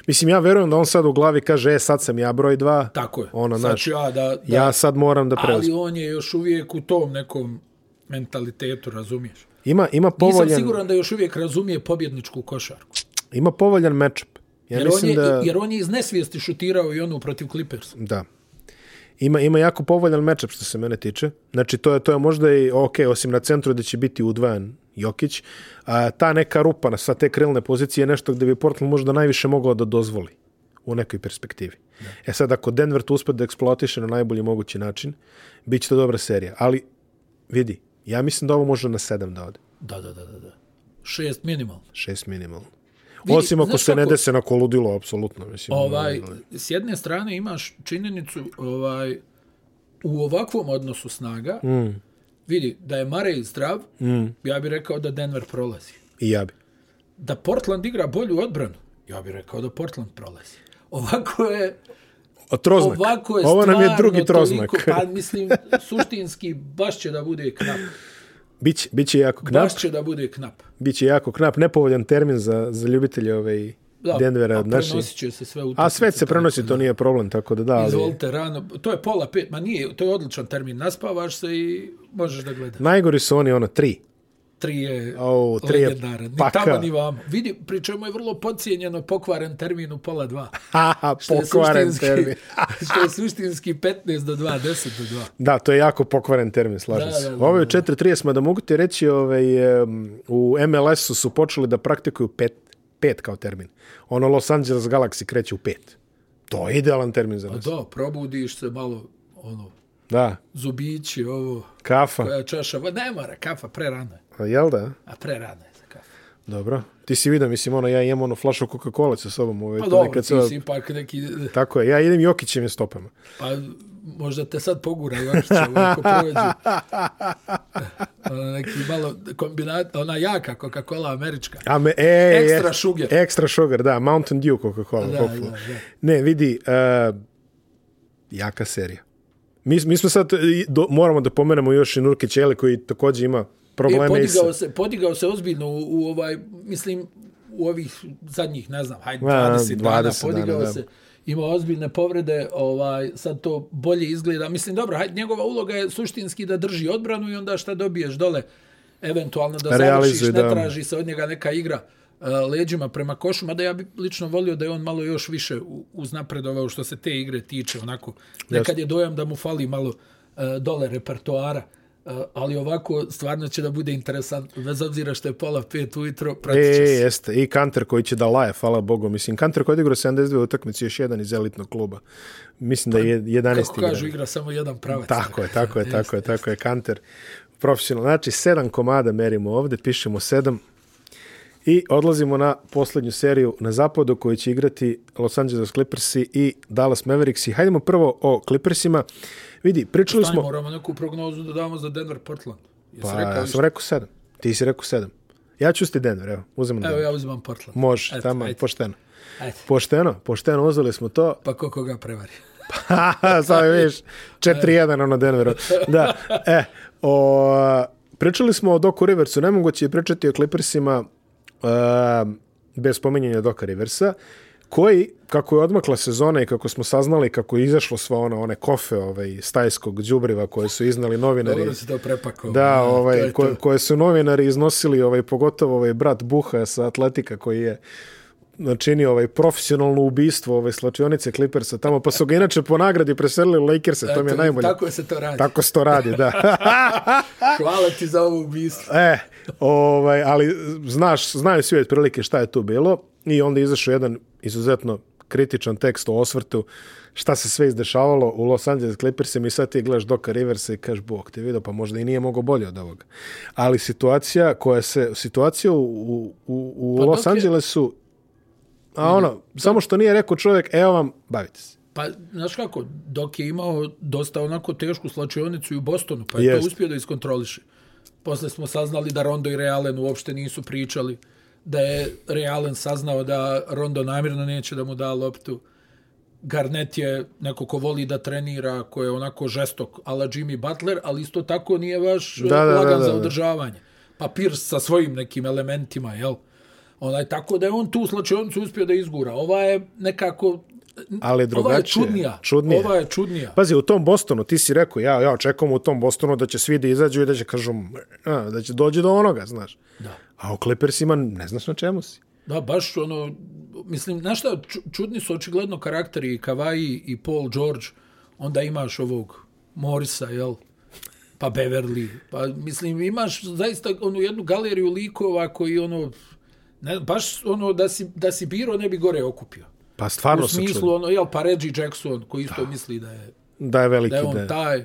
[SPEAKER 1] Mislim, ja verujem da on sad u glavi kaže, e, sad sam ja broj dva.
[SPEAKER 2] Tako je.
[SPEAKER 1] Ono,
[SPEAKER 2] Sad
[SPEAKER 1] znaš,
[SPEAKER 2] ću ja da, da
[SPEAKER 1] ja sad moram da
[SPEAKER 2] ali
[SPEAKER 1] preuzmem.
[SPEAKER 2] on je još uvijek u tom nekom mentalitetu, razumiješ?
[SPEAKER 1] Ima, ima
[SPEAKER 2] Nisam
[SPEAKER 1] povoljan,
[SPEAKER 2] siguran da još uvijek razumije pobjedničku košarku.
[SPEAKER 1] ima povoljan matchup. Ja
[SPEAKER 2] Jer, on
[SPEAKER 1] mislim
[SPEAKER 2] je,
[SPEAKER 1] da...
[SPEAKER 2] da... jer on je iz nesvijesti šutirao i onu protiv Clippersa.
[SPEAKER 1] Da. Ima, ima jako povoljan matchup što se mene tiče. Znači, to je, to je možda i, ok, osim na centru da će biti udvajan Jokić, a, ta neka rupa na sva te krilne pozicije je nešto gde bi Portland možda najviše mogao da dozvoli u nekoj perspektivi. E sad, ako Denver to uspe da eksploatiše na najbolji mogući način, bit će to dobra serija. Ali, vidi, ja mislim da ovo može na sedam da ode.
[SPEAKER 2] Da, da, da, da. da. Šest minimalno.
[SPEAKER 1] Šest minimalno.
[SPEAKER 2] Vidi,
[SPEAKER 1] Osim ako
[SPEAKER 2] znaš
[SPEAKER 1] se ne
[SPEAKER 2] kako-
[SPEAKER 1] dese na koludilo, apsolutno. Mislim, ono,
[SPEAKER 2] Ovaj, s jedne strane imaš činjenicu ovaj, u ovakvom odnosu snaga, mm. Vidi, da je Murray zdrav, mm. ja bih rekao da Denver prolazi.
[SPEAKER 1] I ja bi.
[SPEAKER 2] Da Portland igra bolju odbranu, ja bih rekao da Portland prolazi. Ovako je,
[SPEAKER 1] A troznak.
[SPEAKER 2] ovako je
[SPEAKER 1] Ovo nam je
[SPEAKER 2] stvarno
[SPEAKER 1] drugi troznak.
[SPEAKER 2] toliko, pa mislim, suštinski baš će da bude knap.
[SPEAKER 1] Bić, biće jako knap.
[SPEAKER 2] Baš će da bude knap.
[SPEAKER 1] Biće jako knap. Nepovoljan termin za, za ljubitelje ove
[SPEAKER 2] Da,
[SPEAKER 1] Denvera
[SPEAKER 2] a
[SPEAKER 1] od naših.
[SPEAKER 2] prenosit će se sve utakmice.
[SPEAKER 1] A sve se prenosi, to nije problem, tako da da. Ali...
[SPEAKER 2] Izvolite rano, to je pola pet, ma nije, to je odličan termin, naspavaš se i možeš da gledaš.
[SPEAKER 1] Najgori su oni, ono, tri. <laughs>
[SPEAKER 2] Tri je
[SPEAKER 1] Au, tri je
[SPEAKER 2] legendaran, ni
[SPEAKER 1] paka.
[SPEAKER 2] tamo ni vamo. Vidi, pri čemu je vrlo pocijenjeno pokvaren termin u pola
[SPEAKER 1] <laughs>
[SPEAKER 2] dva.
[SPEAKER 1] Haha,
[SPEAKER 2] Što je
[SPEAKER 1] pokvaren
[SPEAKER 2] suštinski-
[SPEAKER 1] termin.
[SPEAKER 2] <laughs>
[SPEAKER 1] <laughs>
[SPEAKER 2] što je suštinski 15 do 2, 10 do 2.
[SPEAKER 1] Da, to je jako pokvaren termin, slažem
[SPEAKER 2] Da,
[SPEAKER 1] se.
[SPEAKER 2] da, da,
[SPEAKER 1] Ovo je 4.30, mada mogu ti reći, ovaj, em, u MLS-u su počeli da praktikuju pet, pet kao termin. Ono Los Angeles Galaxy kreće u pet. To je idealan termin za nas.
[SPEAKER 2] Da, probudiš se malo, ono,
[SPEAKER 1] Da,
[SPEAKER 2] zubići, ovo,
[SPEAKER 1] kafa,
[SPEAKER 2] koja čaša, va- ne mora, kafa, pre rano je,
[SPEAKER 1] A jel da?
[SPEAKER 2] a pre rano je za kafu.
[SPEAKER 1] Dobro. Ti si vidio, mislim, ono, ja imam ono flašu Coca-Cola sa sobom. Ovaj,
[SPEAKER 2] Pa
[SPEAKER 1] to
[SPEAKER 2] dobro,
[SPEAKER 1] nekad
[SPEAKER 2] ti
[SPEAKER 1] sve-
[SPEAKER 2] si ipak neki,
[SPEAKER 1] Tako je, ja idem Jokićevim stopama.
[SPEAKER 2] pa možda te sad pogura Jokić, ovo, ako prođe. Ono, neki malo kombinat, ona jaka Coca-Cola američka.
[SPEAKER 1] A me, e,
[SPEAKER 2] Extra
[SPEAKER 1] jest-
[SPEAKER 2] sugar.
[SPEAKER 1] Extra sugar, da, Mountain Dew Coca-Cola.
[SPEAKER 2] Da,
[SPEAKER 1] popularno.
[SPEAKER 2] da, da.
[SPEAKER 1] Ne, vidi, uh, jaka serija. Mi, mi smo sad, i, do, moramo da pomenemo još i Nurkić Ele koji također ima
[SPEAKER 2] E,
[SPEAKER 1] probleme. i sa-
[SPEAKER 2] podigao se, podigao se ozbiljno u, u ovaj, mislim, u ovih zadnjih, ne znam, hajde,
[SPEAKER 1] Ma, 20
[SPEAKER 2] 20, dana,
[SPEAKER 1] dana,
[SPEAKER 2] podigao
[SPEAKER 1] da.
[SPEAKER 2] se. Ima ozbiljne povrede, ovaj, sad to bolje izgleda. Mislim, dobro, hajde, njegova uloga je suštinski da drži odbranu i onda šta dobiješ dole, eventualno da završiš,
[SPEAKER 1] Realizuje,
[SPEAKER 2] ne
[SPEAKER 1] da.
[SPEAKER 2] traži se od njega neka igra e, leđima prema košu, mada ja bi lično volio da je on malo još više u- uznapredovao što se te igre tiče, onako. Nekad je dojam da mu fali malo e, dole repertoara, e, ali ovako stvarno će da bude interesantno, bez obzira što je pola pet ujutro, pratit
[SPEAKER 1] E,
[SPEAKER 2] će se.
[SPEAKER 1] jeste. I Kanter koji će da laje, hvala Bogu. Mislim, Kanter koji je odigrao 72 utakmice, još jedan iz elitnog kluba. Mislim da je 11
[SPEAKER 2] Pa, Kako
[SPEAKER 1] igrač.
[SPEAKER 2] kažu, igra samo jedan pravac.
[SPEAKER 1] Tako je, tako je, tako je, tako je, kanter. Profesionalno. Znači, sedam komada merimo ovde, pišemo sedam i odlazimo na posljednju seriju na zapadu koju će igrati Los Angeles Clippersi i Dallas Mavericksi. Hajdemo prvo o Clippersima. Vidi, pričali
[SPEAKER 2] Ajmo,
[SPEAKER 1] smo...
[SPEAKER 2] moramo neku prognozu da damo za Denver Portland. Jesi
[SPEAKER 1] Pa,
[SPEAKER 2] rekao
[SPEAKER 1] ja
[SPEAKER 2] više?
[SPEAKER 1] sam rekao sedam. Ti si rekao sedam. Ja ću sti Denver, evo, uzemo
[SPEAKER 2] Evo
[SPEAKER 1] Denver.
[SPEAKER 2] ja uzimam Portland.
[SPEAKER 1] Može,
[SPEAKER 2] Eto,
[SPEAKER 1] tamo,
[SPEAKER 2] ajde,
[SPEAKER 1] pošteno.
[SPEAKER 2] ajde.
[SPEAKER 1] Pošteno, pošteno, uzeli smo to.
[SPEAKER 2] Pa ko koga prevari?
[SPEAKER 1] <laughs> Sada vidiš, 4-1 ono Denveru. Da, e, o, pričali smo o Doku Riversu, nemoguće je pričati o Clippersima e, bez spominjanja Doka Riversa, koji, kako je odmakla sezona i kako smo saznali kako je izašlo sva ona, one kofe ovaj, stajskog đubriva koje su iznali novinari
[SPEAKER 2] Dobro si to prepakao.
[SPEAKER 1] Da,
[SPEAKER 2] to
[SPEAKER 1] ovaj,
[SPEAKER 2] je to.
[SPEAKER 1] ko, koje su novinari iznosili, ovaj, pogotovo ovaj brat Buha sa Atletika koji je činio ovaj profesionalno ubistvo ove slačionice Clippersa tamo, pa su ga inače po nagradi preselili u Lakerse, to mi je
[SPEAKER 2] Eto,
[SPEAKER 1] najbolje. Tako,
[SPEAKER 2] Tako se to tá radi. Tako.
[SPEAKER 1] tako se to radi,
[SPEAKER 2] <laughs>
[SPEAKER 1] da.
[SPEAKER 2] Hvala ti za ovu misl.
[SPEAKER 1] E, ovaj, ali znaš, znaju svi otprilike šta je tu bilo i onda je izašao jedan izuzetno kritičan tekst o osvrtu šta se sve izdešavalo u Los Angeles Clippersima i sad ti gledaš Doka Riversa i kažeš Bog te vidio, pa možda i nije mogao bolje od ovoga. Ali situacija koja se, situacija u, u, u, u
[SPEAKER 2] Pa
[SPEAKER 1] pa
[SPEAKER 2] dok
[SPEAKER 1] Los
[SPEAKER 2] je-
[SPEAKER 1] Angelesu, a ono, samo što nije rekao čovjek, evo vam, bavite se.
[SPEAKER 2] Pa, znaš kako, dok je imao dosta onako tešku slačionicu i u Bostonu, pa je
[SPEAKER 1] Jest.
[SPEAKER 2] to uspio da iskontroliše. Posle smo saznali da Rondo i Realen uopšte nisu pričali, da je Realen saznao da Rondo namjerno neće da mu da loptu. Garnett je neko ko voli da trenira, ko je onako žestok, ala Jimmy Butler, ali isto tako nije baš da,
[SPEAKER 1] da, da,
[SPEAKER 2] lagan
[SPEAKER 1] da,
[SPEAKER 2] za
[SPEAKER 1] da.
[SPEAKER 2] održavanje. Pa Pierce sa svojim nekim elementima, jel? Onaj, tako da je on tu slačionicu uspio da izgura. Ova je nekako
[SPEAKER 1] Ali
[SPEAKER 2] Ova je
[SPEAKER 1] drugačije.
[SPEAKER 2] čudnija.
[SPEAKER 1] Čudnije.
[SPEAKER 2] Ova je čudnija.
[SPEAKER 1] Pazi, u tom Bostonu, ti si rekao, ja, ja očekujem u tom Bostonu da će svi da izađu i da će kažu, a, da će dođe do onoga, znaš. Da. A u Clippersima ne znaš na čemu si.
[SPEAKER 2] Da, baš ono, mislim, znaš šta, ču- čudni su očigledno karakteri i Kavaji i Paul George, onda imaš ovog Morisa, jel? Pa Beverly, pa mislim, imaš zaista onu jednu galeriju likova koji ono, ne, baš ono, da si, da si biro ne bi gore okupio.
[SPEAKER 1] Pa
[SPEAKER 2] U
[SPEAKER 1] stvarno se čudim.
[SPEAKER 2] smislu, ono, jel, pa Reggie Jackson, koji isto misli da je,
[SPEAKER 1] Da je veliki
[SPEAKER 2] da je on
[SPEAKER 1] da je.
[SPEAKER 2] taj,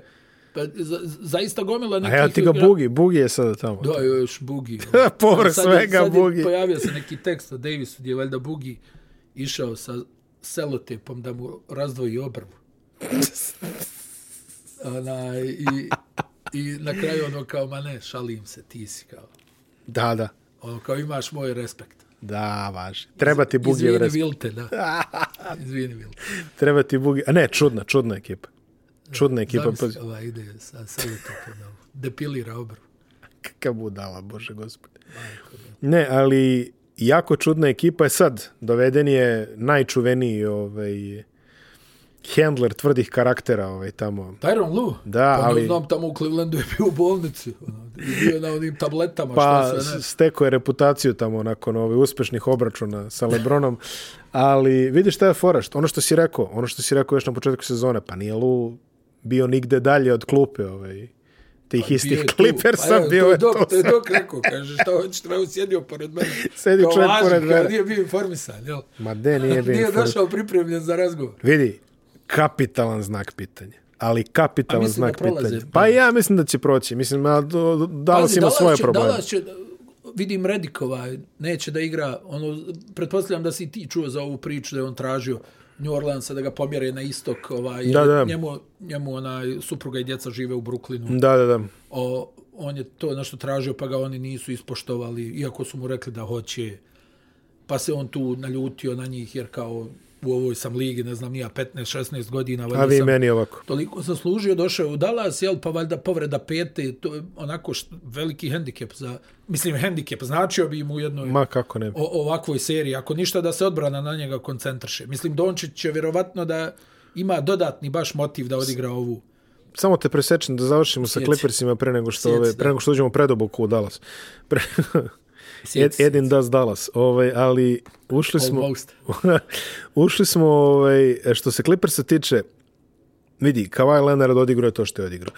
[SPEAKER 2] pa, za, zaista gomila nekih...
[SPEAKER 1] A evo ti ga
[SPEAKER 2] igra-
[SPEAKER 1] Bugi, Bugi je sada tamo.
[SPEAKER 2] Da, još
[SPEAKER 1] <laughs>
[SPEAKER 2] Bugi.
[SPEAKER 1] Povrh
[SPEAKER 2] Sad je-
[SPEAKER 1] svega
[SPEAKER 2] sad je
[SPEAKER 1] Boogie.
[SPEAKER 2] Pojavio se neki tekst o Davisu gdje je valjda Bugi išao sa selotepom
[SPEAKER 1] <laughs>
[SPEAKER 2] da mu razdvoji obrvu. Onaj, i, I na kraju ono kao, ma ne, šalim se, ti si kao.
[SPEAKER 1] Da, da.
[SPEAKER 2] Ono kao, imaš moj respekt.
[SPEAKER 1] Da, važi. Treba ti Bugijev
[SPEAKER 2] Izvini,
[SPEAKER 1] respekt.
[SPEAKER 2] Vilte, da.
[SPEAKER 1] <laughs>
[SPEAKER 2] Izvini, Vilte.
[SPEAKER 1] Treba ti Bugi... A ne, čudna, čudna ekipa. Čudna ekipa. Pa,
[SPEAKER 2] Zamisli, ova ide sa srvetom, ono, depilira obrv.
[SPEAKER 1] kaka budala, bože gospode. Ne, ali jako čudna ekipa je sad. Doveden je najčuveniji ovaj, handler tvrdih karaktera ovaj, tamo.
[SPEAKER 2] Tyron Lu?
[SPEAKER 1] Da,
[SPEAKER 2] pa
[SPEAKER 1] ali-
[SPEAKER 2] Ne znam, tamo u Clevelandu je bio u bolnici. Ono, i bio je na onim tabletama,
[SPEAKER 1] Pa
[SPEAKER 2] šta se ne.
[SPEAKER 1] steko je reputaciju tamo nakon ovih uspešnih obračuna sa Lebronom, ali vidiš šta je fora, što, ono što si rekao, ono što si rekao još na početku sezone, pa nije Lu bio nigde dalje od klupe ovaj, tih istih
[SPEAKER 2] Pa Bio je tu. pa
[SPEAKER 1] Clippersa,
[SPEAKER 2] evo,
[SPEAKER 1] bio
[SPEAKER 2] to
[SPEAKER 1] je
[SPEAKER 2] dok,
[SPEAKER 1] to.
[SPEAKER 2] To je dok rekao, kaže, šta hoćeš, treba sjedio pored mene.
[SPEAKER 1] Sedi
[SPEAKER 2] Kao
[SPEAKER 1] čovjek
[SPEAKER 2] laži,
[SPEAKER 1] pored
[SPEAKER 2] kao
[SPEAKER 1] mene.
[SPEAKER 2] Nije bio informisan, jel?
[SPEAKER 1] Ma de, nije bio
[SPEAKER 2] <laughs> Nije
[SPEAKER 1] informisan.
[SPEAKER 2] došao pripremljen za razgovor.
[SPEAKER 1] Vidi, kapitalan znak pitanja. Ali
[SPEAKER 2] A
[SPEAKER 1] kapitalan
[SPEAKER 2] mislim
[SPEAKER 1] znak
[SPEAKER 2] da prolaze.
[SPEAKER 1] pitanja. Pa ja mislim da će proći. Mislim, a do- do- Dallas
[SPEAKER 2] Pazi,
[SPEAKER 1] ima
[SPEAKER 2] Dallas
[SPEAKER 1] svoje
[SPEAKER 2] će-
[SPEAKER 1] probleme.
[SPEAKER 2] Dallas će, vidim Redikova, neće da igra, ono, pretpostavljam da si i ti čuo za ovu priču da je on tražio New Orleansa da ga pomjere na istok, ovaj,
[SPEAKER 1] Da, da.
[SPEAKER 2] njemu, njemu onaj, supruga i djeca žive u Brooklynu.
[SPEAKER 1] Da, da, da.
[SPEAKER 2] O, on je to nešto tražio, pa ga oni nisu ispoštovali, iako su mu rekli da hoće. Pa se on tu naljutio na njih, jer kao u ovoj sam ligi, ne znam, nija 15-16 godina,
[SPEAKER 1] A vi
[SPEAKER 2] sam
[SPEAKER 1] meni ovako.
[SPEAKER 2] toliko zaslužio, došao je u Dallas, jel, pa valjda povreda pete, to je onako što, veliki hendikep za, mislim, hendikep, značio bi im u jednoj
[SPEAKER 1] Ma kako ne. bi.
[SPEAKER 2] o, ovakvoj seriji, ako ništa da se odbrana na njega koncentriše. Mislim, Dončić će vjerovatno da ima dodatni baš motiv da odigra ovu.
[SPEAKER 1] Samo te presečem da završimo sa
[SPEAKER 2] Sjeci.
[SPEAKER 1] Clippersima pre nego što,
[SPEAKER 2] Sjeci,
[SPEAKER 1] ove,
[SPEAKER 2] da.
[SPEAKER 1] pre nego što uđemo predoboko u Dallas. Pre, <laughs> Ed,
[SPEAKER 2] Sjeci.
[SPEAKER 1] Edin das Dallas. Ove, ali ušli smo...
[SPEAKER 2] Almost.
[SPEAKER 1] <laughs> ušli smo, ovaj, što se Clippersa tiče, vidi, Kawhi Leonard odigrao je to što je odigrao.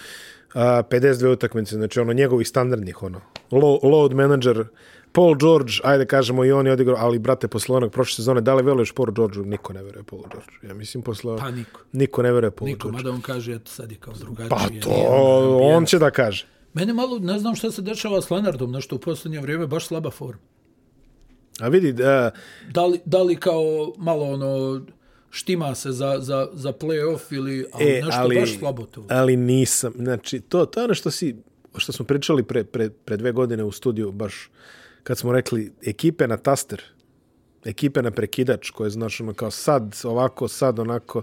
[SPEAKER 1] A, 52 utakmice, znači ono njegovih standardnih, ono, lo, load manager, Paul George, ajde kažemo i on je odigrao, ali brate, posle onog prošle sezone, da li veruješ Paul Georgeu? Niko ne veruje Paul Georgeu. Ja mislim, posle...
[SPEAKER 2] Pa niko.
[SPEAKER 1] Niko ne veruje Paul
[SPEAKER 2] Niko,
[SPEAKER 1] Georgeu.
[SPEAKER 2] mada on kaže, eto sad je kao drugačije.
[SPEAKER 1] Pa
[SPEAKER 2] nije
[SPEAKER 1] to,
[SPEAKER 2] ono,
[SPEAKER 1] on će da kaže.
[SPEAKER 2] Mene malo, ne znam šta se dešava s Lenardom, nešto u posljednje vrijeme, baš slaba forma.
[SPEAKER 1] A vidi, e, da,
[SPEAKER 2] Da li, da li kao malo ono, štima se za, za, za play-off ili ali e, nešto ali, baš slabo to.
[SPEAKER 1] Ali nisam, znači, to, to je ono što si, što smo pričali pre, pre, pre dve godine u studiju, baš kad smo rekli ekipe na taster, ekipe na prekidač, koje znaš ono kao sad ovako, sad onako,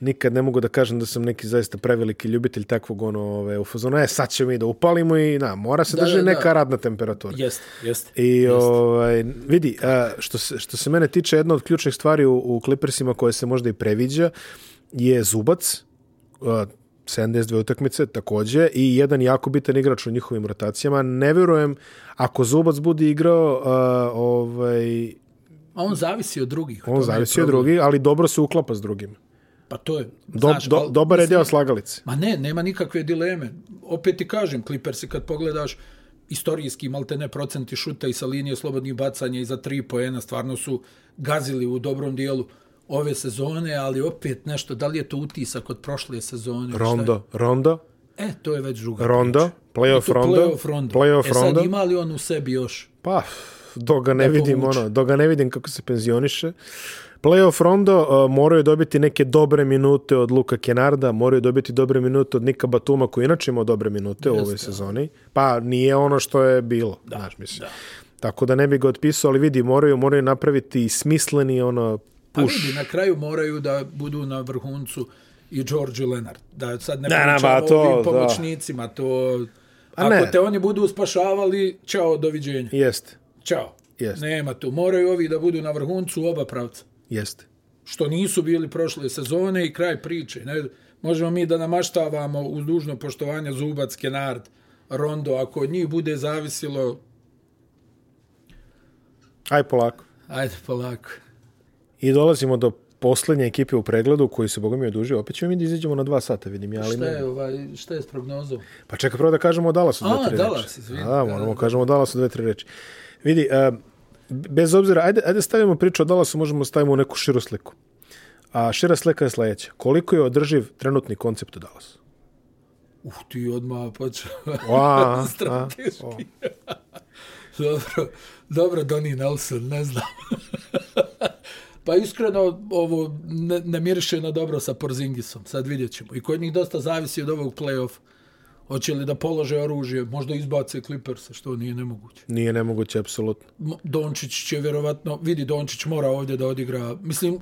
[SPEAKER 1] nikad ne mogu da kažem da sam neki zaista preveliki ljubitelj takvog ono, ove, u fazonu, e, sad ćemo mi da upalimo i na, mora se da,
[SPEAKER 2] Da,
[SPEAKER 1] drži
[SPEAKER 2] da, da.
[SPEAKER 1] neka radna temperatura.
[SPEAKER 2] Jeste, jeste.
[SPEAKER 1] I ovaj, vidi, a, što, se, što se mene tiče, jedna od ključnih stvari u, u Clippersima koje se možda i previđa je Zubac, a, 72 utakmice takođe i jedan jako bitan igrač u njihovim rotacijama. Ne verujem, ako Zubac bude igrao, a, ovaj,
[SPEAKER 2] A on zavisi od drugih. to mi
[SPEAKER 1] on
[SPEAKER 2] je
[SPEAKER 1] zavisi od
[SPEAKER 2] problem.
[SPEAKER 1] drugih, ali dobro se uklapa s drugim.
[SPEAKER 2] Pa to je,
[SPEAKER 1] Do,
[SPEAKER 2] znaš,
[SPEAKER 1] do,
[SPEAKER 2] ali-
[SPEAKER 1] dobar je deo slagalice.
[SPEAKER 2] Ma ne, nema nikakve dileme. Opet ti kažem, Clippersi kad pogledaš istorijski malte ne procenti šuta i sa linije slobodnih bacanja i za tri poena stvarno su gazili u dobrom dijelu ove sezone, ali opet nešto, da li je to utisak od prošle sezone? šta je?
[SPEAKER 1] Rondo, Rondo,
[SPEAKER 2] E, to je već druga.
[SPEAKER 1] Rondo, playoff
[SPEAKER 2] To je
[SPEAKER 1] Rondo,
[SPEAKER 2] Playoff rondo.
[SPEAKER 1] playoff
[SPEAKER 2] e sad
[SPEAKER 1] Rondo.
[SPEAKER 2] ima li on u sebi još?
[SPEAKER 1] Pa, dok ga ne vidim,
[SPEAKER 2] povuče.
[SPEAKER 1] ono, dok ga ne vidim kako se penzioniše. Playoff Rondo uh, moraju dobiti neke dobre minute od Luka Kenarda, moraju dobiti dobre minute od Nika Batuma, koji inače imao dobre minute u ovoj sezoni. Pa nije ono što je bilo, da, znaš, mislim. Da. Tako da ne bi ga otpisao, ali vidi, moraju, moraju napraviti smisleni ono,
[SPEAKER 2] Pa
[SPEAKER 1] puš.
[SPEAKER 2] vidi, na kraju moraju da budu na vrhuncu i George i Leonard. Da sad ne
[SPEAKER 1] Ne, ne,
[SPEAKER 2] pričamo
[SPEAKER 1] ba, to,
[SPEAKER 2] o ovim
[SPEAKER 1] da.
[SPEAKER 2] pomoćnicima. To,
[SPEAKER 1] A
[SPEAKER 2] ako
[SPEAKER 1] ne.
[SPEAKER 2] te oni budu spašavali, čao, doviđenja.
[SPEAKER 1] Jeste,
[SPEAKER 2] Ćao.
[SPEAKER 1] Jeste.
[SPEAKER 2] Nema tu. Moraju ovi da budu na vrhuncu u oba pravca.
[SPEAKER 1] jeste.
[SPEAKER 2] Što nisu bili prošle sezone i kraj priče. Ne, možemo mi da namaštavamo uz dužno poštovanje Zubac, Kenard, Rondo. Ako od njih bude zavisilo,
[SPEAKER 1] Aj polako.
[SPEAKER 2] ajde polako.
[SPEAKER 1] I dolazimo do poslednje ekipe u pregledu, koji se, boga mi, odužio. Opet ćemo mi da izađemo na dva sata, vidim ja. Ali
[SPEAKER 2] Šta
[SPEAKER 1] ne-
[SPEAKER 2] je, ovaj, šta je s prognozom?
[SPEAKER 1] Pa čekaj prvo da kažemo o Dallasu
[SPEAKER 2] A,
[SPEAKER 1] dve, tri
[SPEAKER 2] Dallas,
[SPEAKER 1] reči.
[SPEAKER 2] izvini.
[SPEAKER 1] Da, moramo kažemo o Dallasu dve, tri reči. Vidi, uh, bez obzira, ajde, ajde stavimo priču o Dallasu, možemo stavimo u neku širu sliku. A šira slika je sledeća. Koliko je održiv trenutni koncept u
[SPEAKER 2] <laughs>
[SPEAKER 1] Dallasu?
[SPEAKER 2] Uh, ti odmah počeo. <laughs>
[SPEAKER 1] Oa, a, o.
[SPEAKER 2] Strateški. <laughs> dobro, dobro, Donnie Nelson, ne znam. <laughs> pa iskreno, ovo ne, ne miriše na dobro sa Porzingisom. Sad vidjet ćemo. I kod njih dosta zavisi od ovog play-off Hoće li da polože oružje, možda izbace Clippersa, što nije nemoguće.
[SPEAKER 1] Nije nemoguće, apsolutno.
[SPEAKER 2] Mo- Dončić će vjerovatno, vidi Dončić mora ovdje da odigra. Mislim,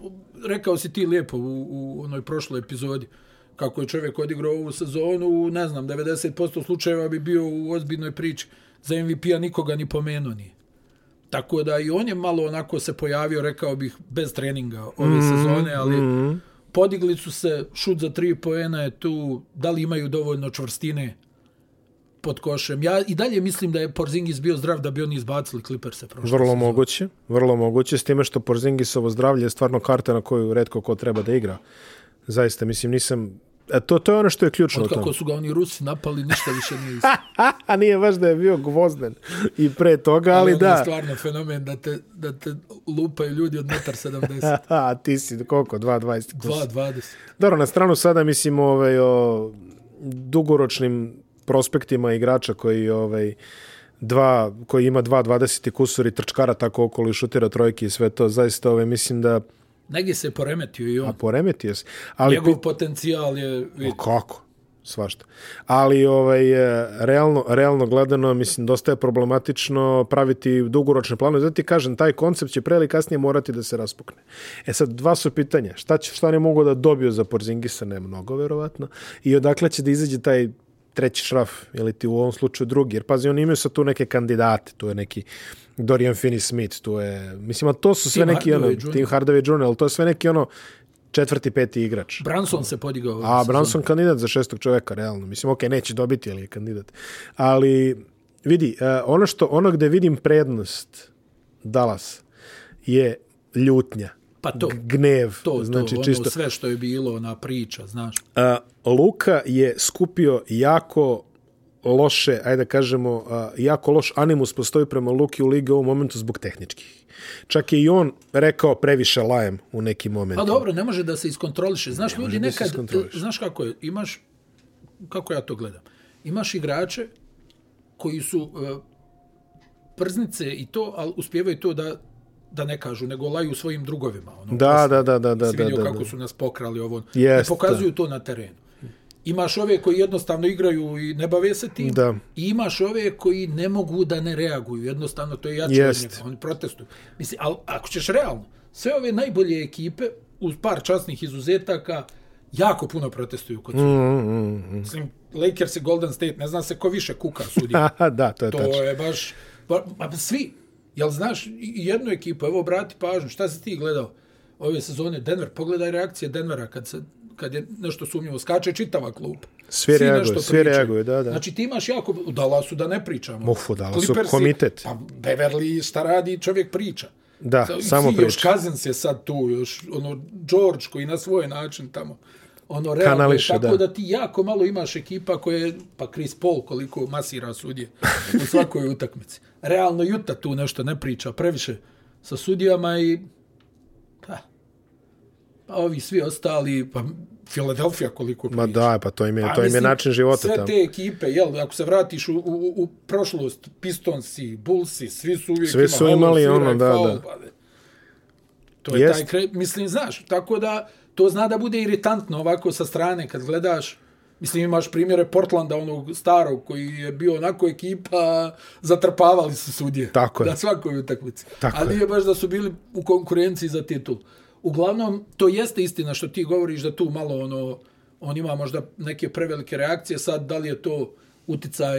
[SPEAKER 2] rekao si ti lijepo u, u onoj prošloj epizodi kako je čovjek odigrao ovu sezonu, u, ne znam, 90% slučajeva bi bio u ozbiljnoj priči. Za MVP-a nikoga ni pomenuo nije. Tako da i on je malo onako se pojavio, rekao bih, bez treninga ove mm, sezone, ali mm. podigli su se, šut za tri poena je tu, da li imaju dovoljno čvrstine pod košem. Ja i dalje mislim da je Porzingis bio zdrav da bi oni izbacili Clippers-e prošle.
[SPEAKER 1] Vrlo moguće, vrlo moguće, s time što Porzingisovo zdravlje je stvarno karta na koju redko ko treba da igra. Zaista, mislim, nisam... E, to, to je ono što je ključno u tome.
[SPEAKER 2] Kako su ga oni Rusi napali, ništa više nije isto.
[SPEAKER 1] <laughs> A nije baš da je bio gvozden i pre toga, ali,
[SPEAKER 2] Ono je
[SPEAKER 1] da.
[SPEAKER 2] stvarno fenomen da te, da te lupaju ljudi od
[SPEAKER 1] <laughs>
[SPEAKER 2] 1,70
[SPEAKER 1] A ti si koliko? 2.20? <laughs>
[SPEAKER 2] 2,20.
[SPEAKER 1] Dobro, na stranu sada mislim ovaj, o dugoročnim prospektima igrača koji ovaj dva, koji ima 2.20 i kusur i trčkara tako okolo i šutira trojke i sve to, zaista ovaj, mislim da
[SPEAKER 2] Negdje se je poremetio i on.
[SPEAKER 1] poremeti je se. Ali
[SPEAKER 2] Njegov potencijal je... vidi,
[SPEAKER 1] O, kako? Svašta. Ali ovaj e, realno realno gledano mislim dosta je problematično praviti dugoročne planove. Zato ti kažem taj koncept će pre ili kasnije morati da se raspukne. E sad dva su pitanja. Šta će šta ne mogu da dobiju za Porzingisa ne mnogo verovatno i odakle će da izađe taj treći šraf ili ti u ovom slučaju drugi. Jer pazi oni imaju sad tu neke kandidate, tu je neki Dorian Finney-Smith, tu je mislim a to su sve
[SPEAKER 2] Tim
[SPEAKER 1] neki ono
[SPEAKER 2] Hardaway Jr.
[SPEAKER 1] Tim Hardaway Jr., ali to je sve neki ono četvrti, peti igrač.
[SPEAKER 2] Branson se podigao. ove
[SPEAKER 1] A
[SPEAKER 2] sezone.
[SPEAKER 1] Branson kandidat za šestog čoveka, realno. Mislim, ok, neće dobiti, ali je kandidat. Ali, vidi, eh, ono što, ono gde vidim prednost Dallas je ljutnja.
[SPEAKER 2] Pa to,
[SPEAKER 1] g- Gnev.
[SPEAKER 2] to, to,
[SPEAKER 1] znači,
[SPEAKER 2] znači, ono,
[SPEAKER 1] čisto.
[SPEAKER 2] čisto... sve što je bilo, ona priča, znaš.
[SPEAKER 1] A, Luka je skupio jako loše, ajde da kažemo, a, jako loš animus postoji prema Luki u ligi u ovom momentu zbog tehničkih. Čak je i on rekao previše lajem u nekim
[SPEAKER 2] Pa
[SPEAKER 1] momentima.
[SPEAKER 2] dobro, ne može da se iskontroliše. Znaš, ljudi
[SPEAKER 1] da se
[SPEAKER 2] nekad,
[SPEAKER 1] iskontroliše.
[SPEAKER 2] znaš kako je, imaš, kako ja to gledam, imaš igrače koji su uh, prznice i to, ali uspjevaju to da, da ne kažu, nego laju svojim drugovima. Ono,
[SPEAKER 1] Da, da, da, da, da,
[SPEAKER 2] si
[SPEAKER 1] da,
[SPEAKER 2] vidio
[SPEAKER 1] da, da.
[SPEAKER 2] kako su nas pokrali ovo.
[SPEAKER 1] Jest,
[SPEAKER 2] I pokazuju to na terenu. Imaš ove koji jednostavno igraju i ne bave se tim.
[SPEAKER 1] Da.
[SPEAKER 2] I imaš ove koji ne mogu da ne reaguju. Jednostavno to je jače
[SPEAKER 1] Jest.
[SPEAKER 2] od njega. Oni protestuju. Mislim, ali ako ćeš realno, sve ove najbolje ekipe uz par časnih izuzetaka jako puno protestuju kod suda.
[SPEAKER 1] Mm,
[SPEAKER 2] Mislim, Lakers i Golden State, ne zna se ko više kuka
[SPEAKER 1] <laughs>
[SPEAKER 2] sudi.
[SPEAKER 1] Aha, <laughs> da, to je
[SPEAKER 2] To
[SPEAKER 1] tačno.
[SPEAKER 2] je baš... Ba, ba, svi. Jel znaš i- i jednu ekipu? Evo, brati pažnju, šta si ti gledao ove sezone? Denver, pogledaj reakcije Denvera kad se kad je nešto sumnjivo, skače čitava klupa.
[SPEAKER 1] Svi
[SPEAKER 2] nešto
[SPEAKER 1] reaguju, svi
[SPEAKER 2] pričaju.
[SPEAKER 1] reaguju, da, da.
[SPEAKER 2] Znači ti imaš jako, u Dallasu da ne pričamo.
[SPEAKER 1] Uf, u Dallasu
[SPEAKER 2] Clippersi-
[SPEAKER 1] komitet.
[SPEAKER 2] Pa Beverly šta radi, čovjek priča.
[SPEAKER 1] Da,
[SPEAKER 2] Sa-
[SPEAKER 1] samo
[SPEAKER 2] svi, Još
[SPEAKER 1] priča.
[SPEAKER 2] Cousins je sad tu, još ono, George koji na svoj način tamo ono realno
[SPEAKER 1] Kanališe,
[SPEAKER 2] tako
[SPEAKER 1] da.
[SPEAKER 2] da. ti jako malo imaš ekipa koje, pa Chris Paul koliko masira sudije u svakoj utakmici. Realno Juta tu nešto ne priča previše sa sudijama i pa, pa ovi svi ostali, pa Filadelfija koliko priča.
[SPEAKER 1] Ma da, pa to im je,
[SPEAKER 2] Pa,
[SPEAKER 1] to im je
[SPEAKER 2] mislim,
[SPEAKER 1] način života
[SPEAKER 2] Sve
[SPEAKER 1] tamo.
[SPEAKER 2] te ekipe, jel, ako se vratiš u, u, u prošlost, Pistonsi, Bullsi, svi su uvijek
[SPEAKER 1] Svi
[SPEAKER 2] ima
[SPEAKER 1] su
[SPEAKER 2] haul,
[SPEAKER 1] imali
[SPEAKER 2] sviraj
[SPEAKER 1] ono, da,
[SPEAKER 2] faul,
[SPEAKER 1] da.
[SPEAKER 2] pa ne. To je
[SPEAKER 1] Jest.
[SPEAKER 2] taj kre, mislim, znaš, tako da to zna da bude iritantno ovako sa strane kad gledaš Mislim, imaš primjere Portlanda, onog starog, koji je bio onako ekipa, zatrpavali su sudije.
[SPEAKER 1] Tako je.
[SPEAKER 2] Na svakoj utakmici.
[SPEAKER 1] Tako
[SPEAKER 2] Ali
[SPEAKER 1] je.
[SPEAKER 2] nije baš da su bili u konkurenciji za titul. Uglavnom, to jeste istina što ti govoriš da tu malo ono, on ima možda neke prevelike reakcije. Sad, da li je to uticaj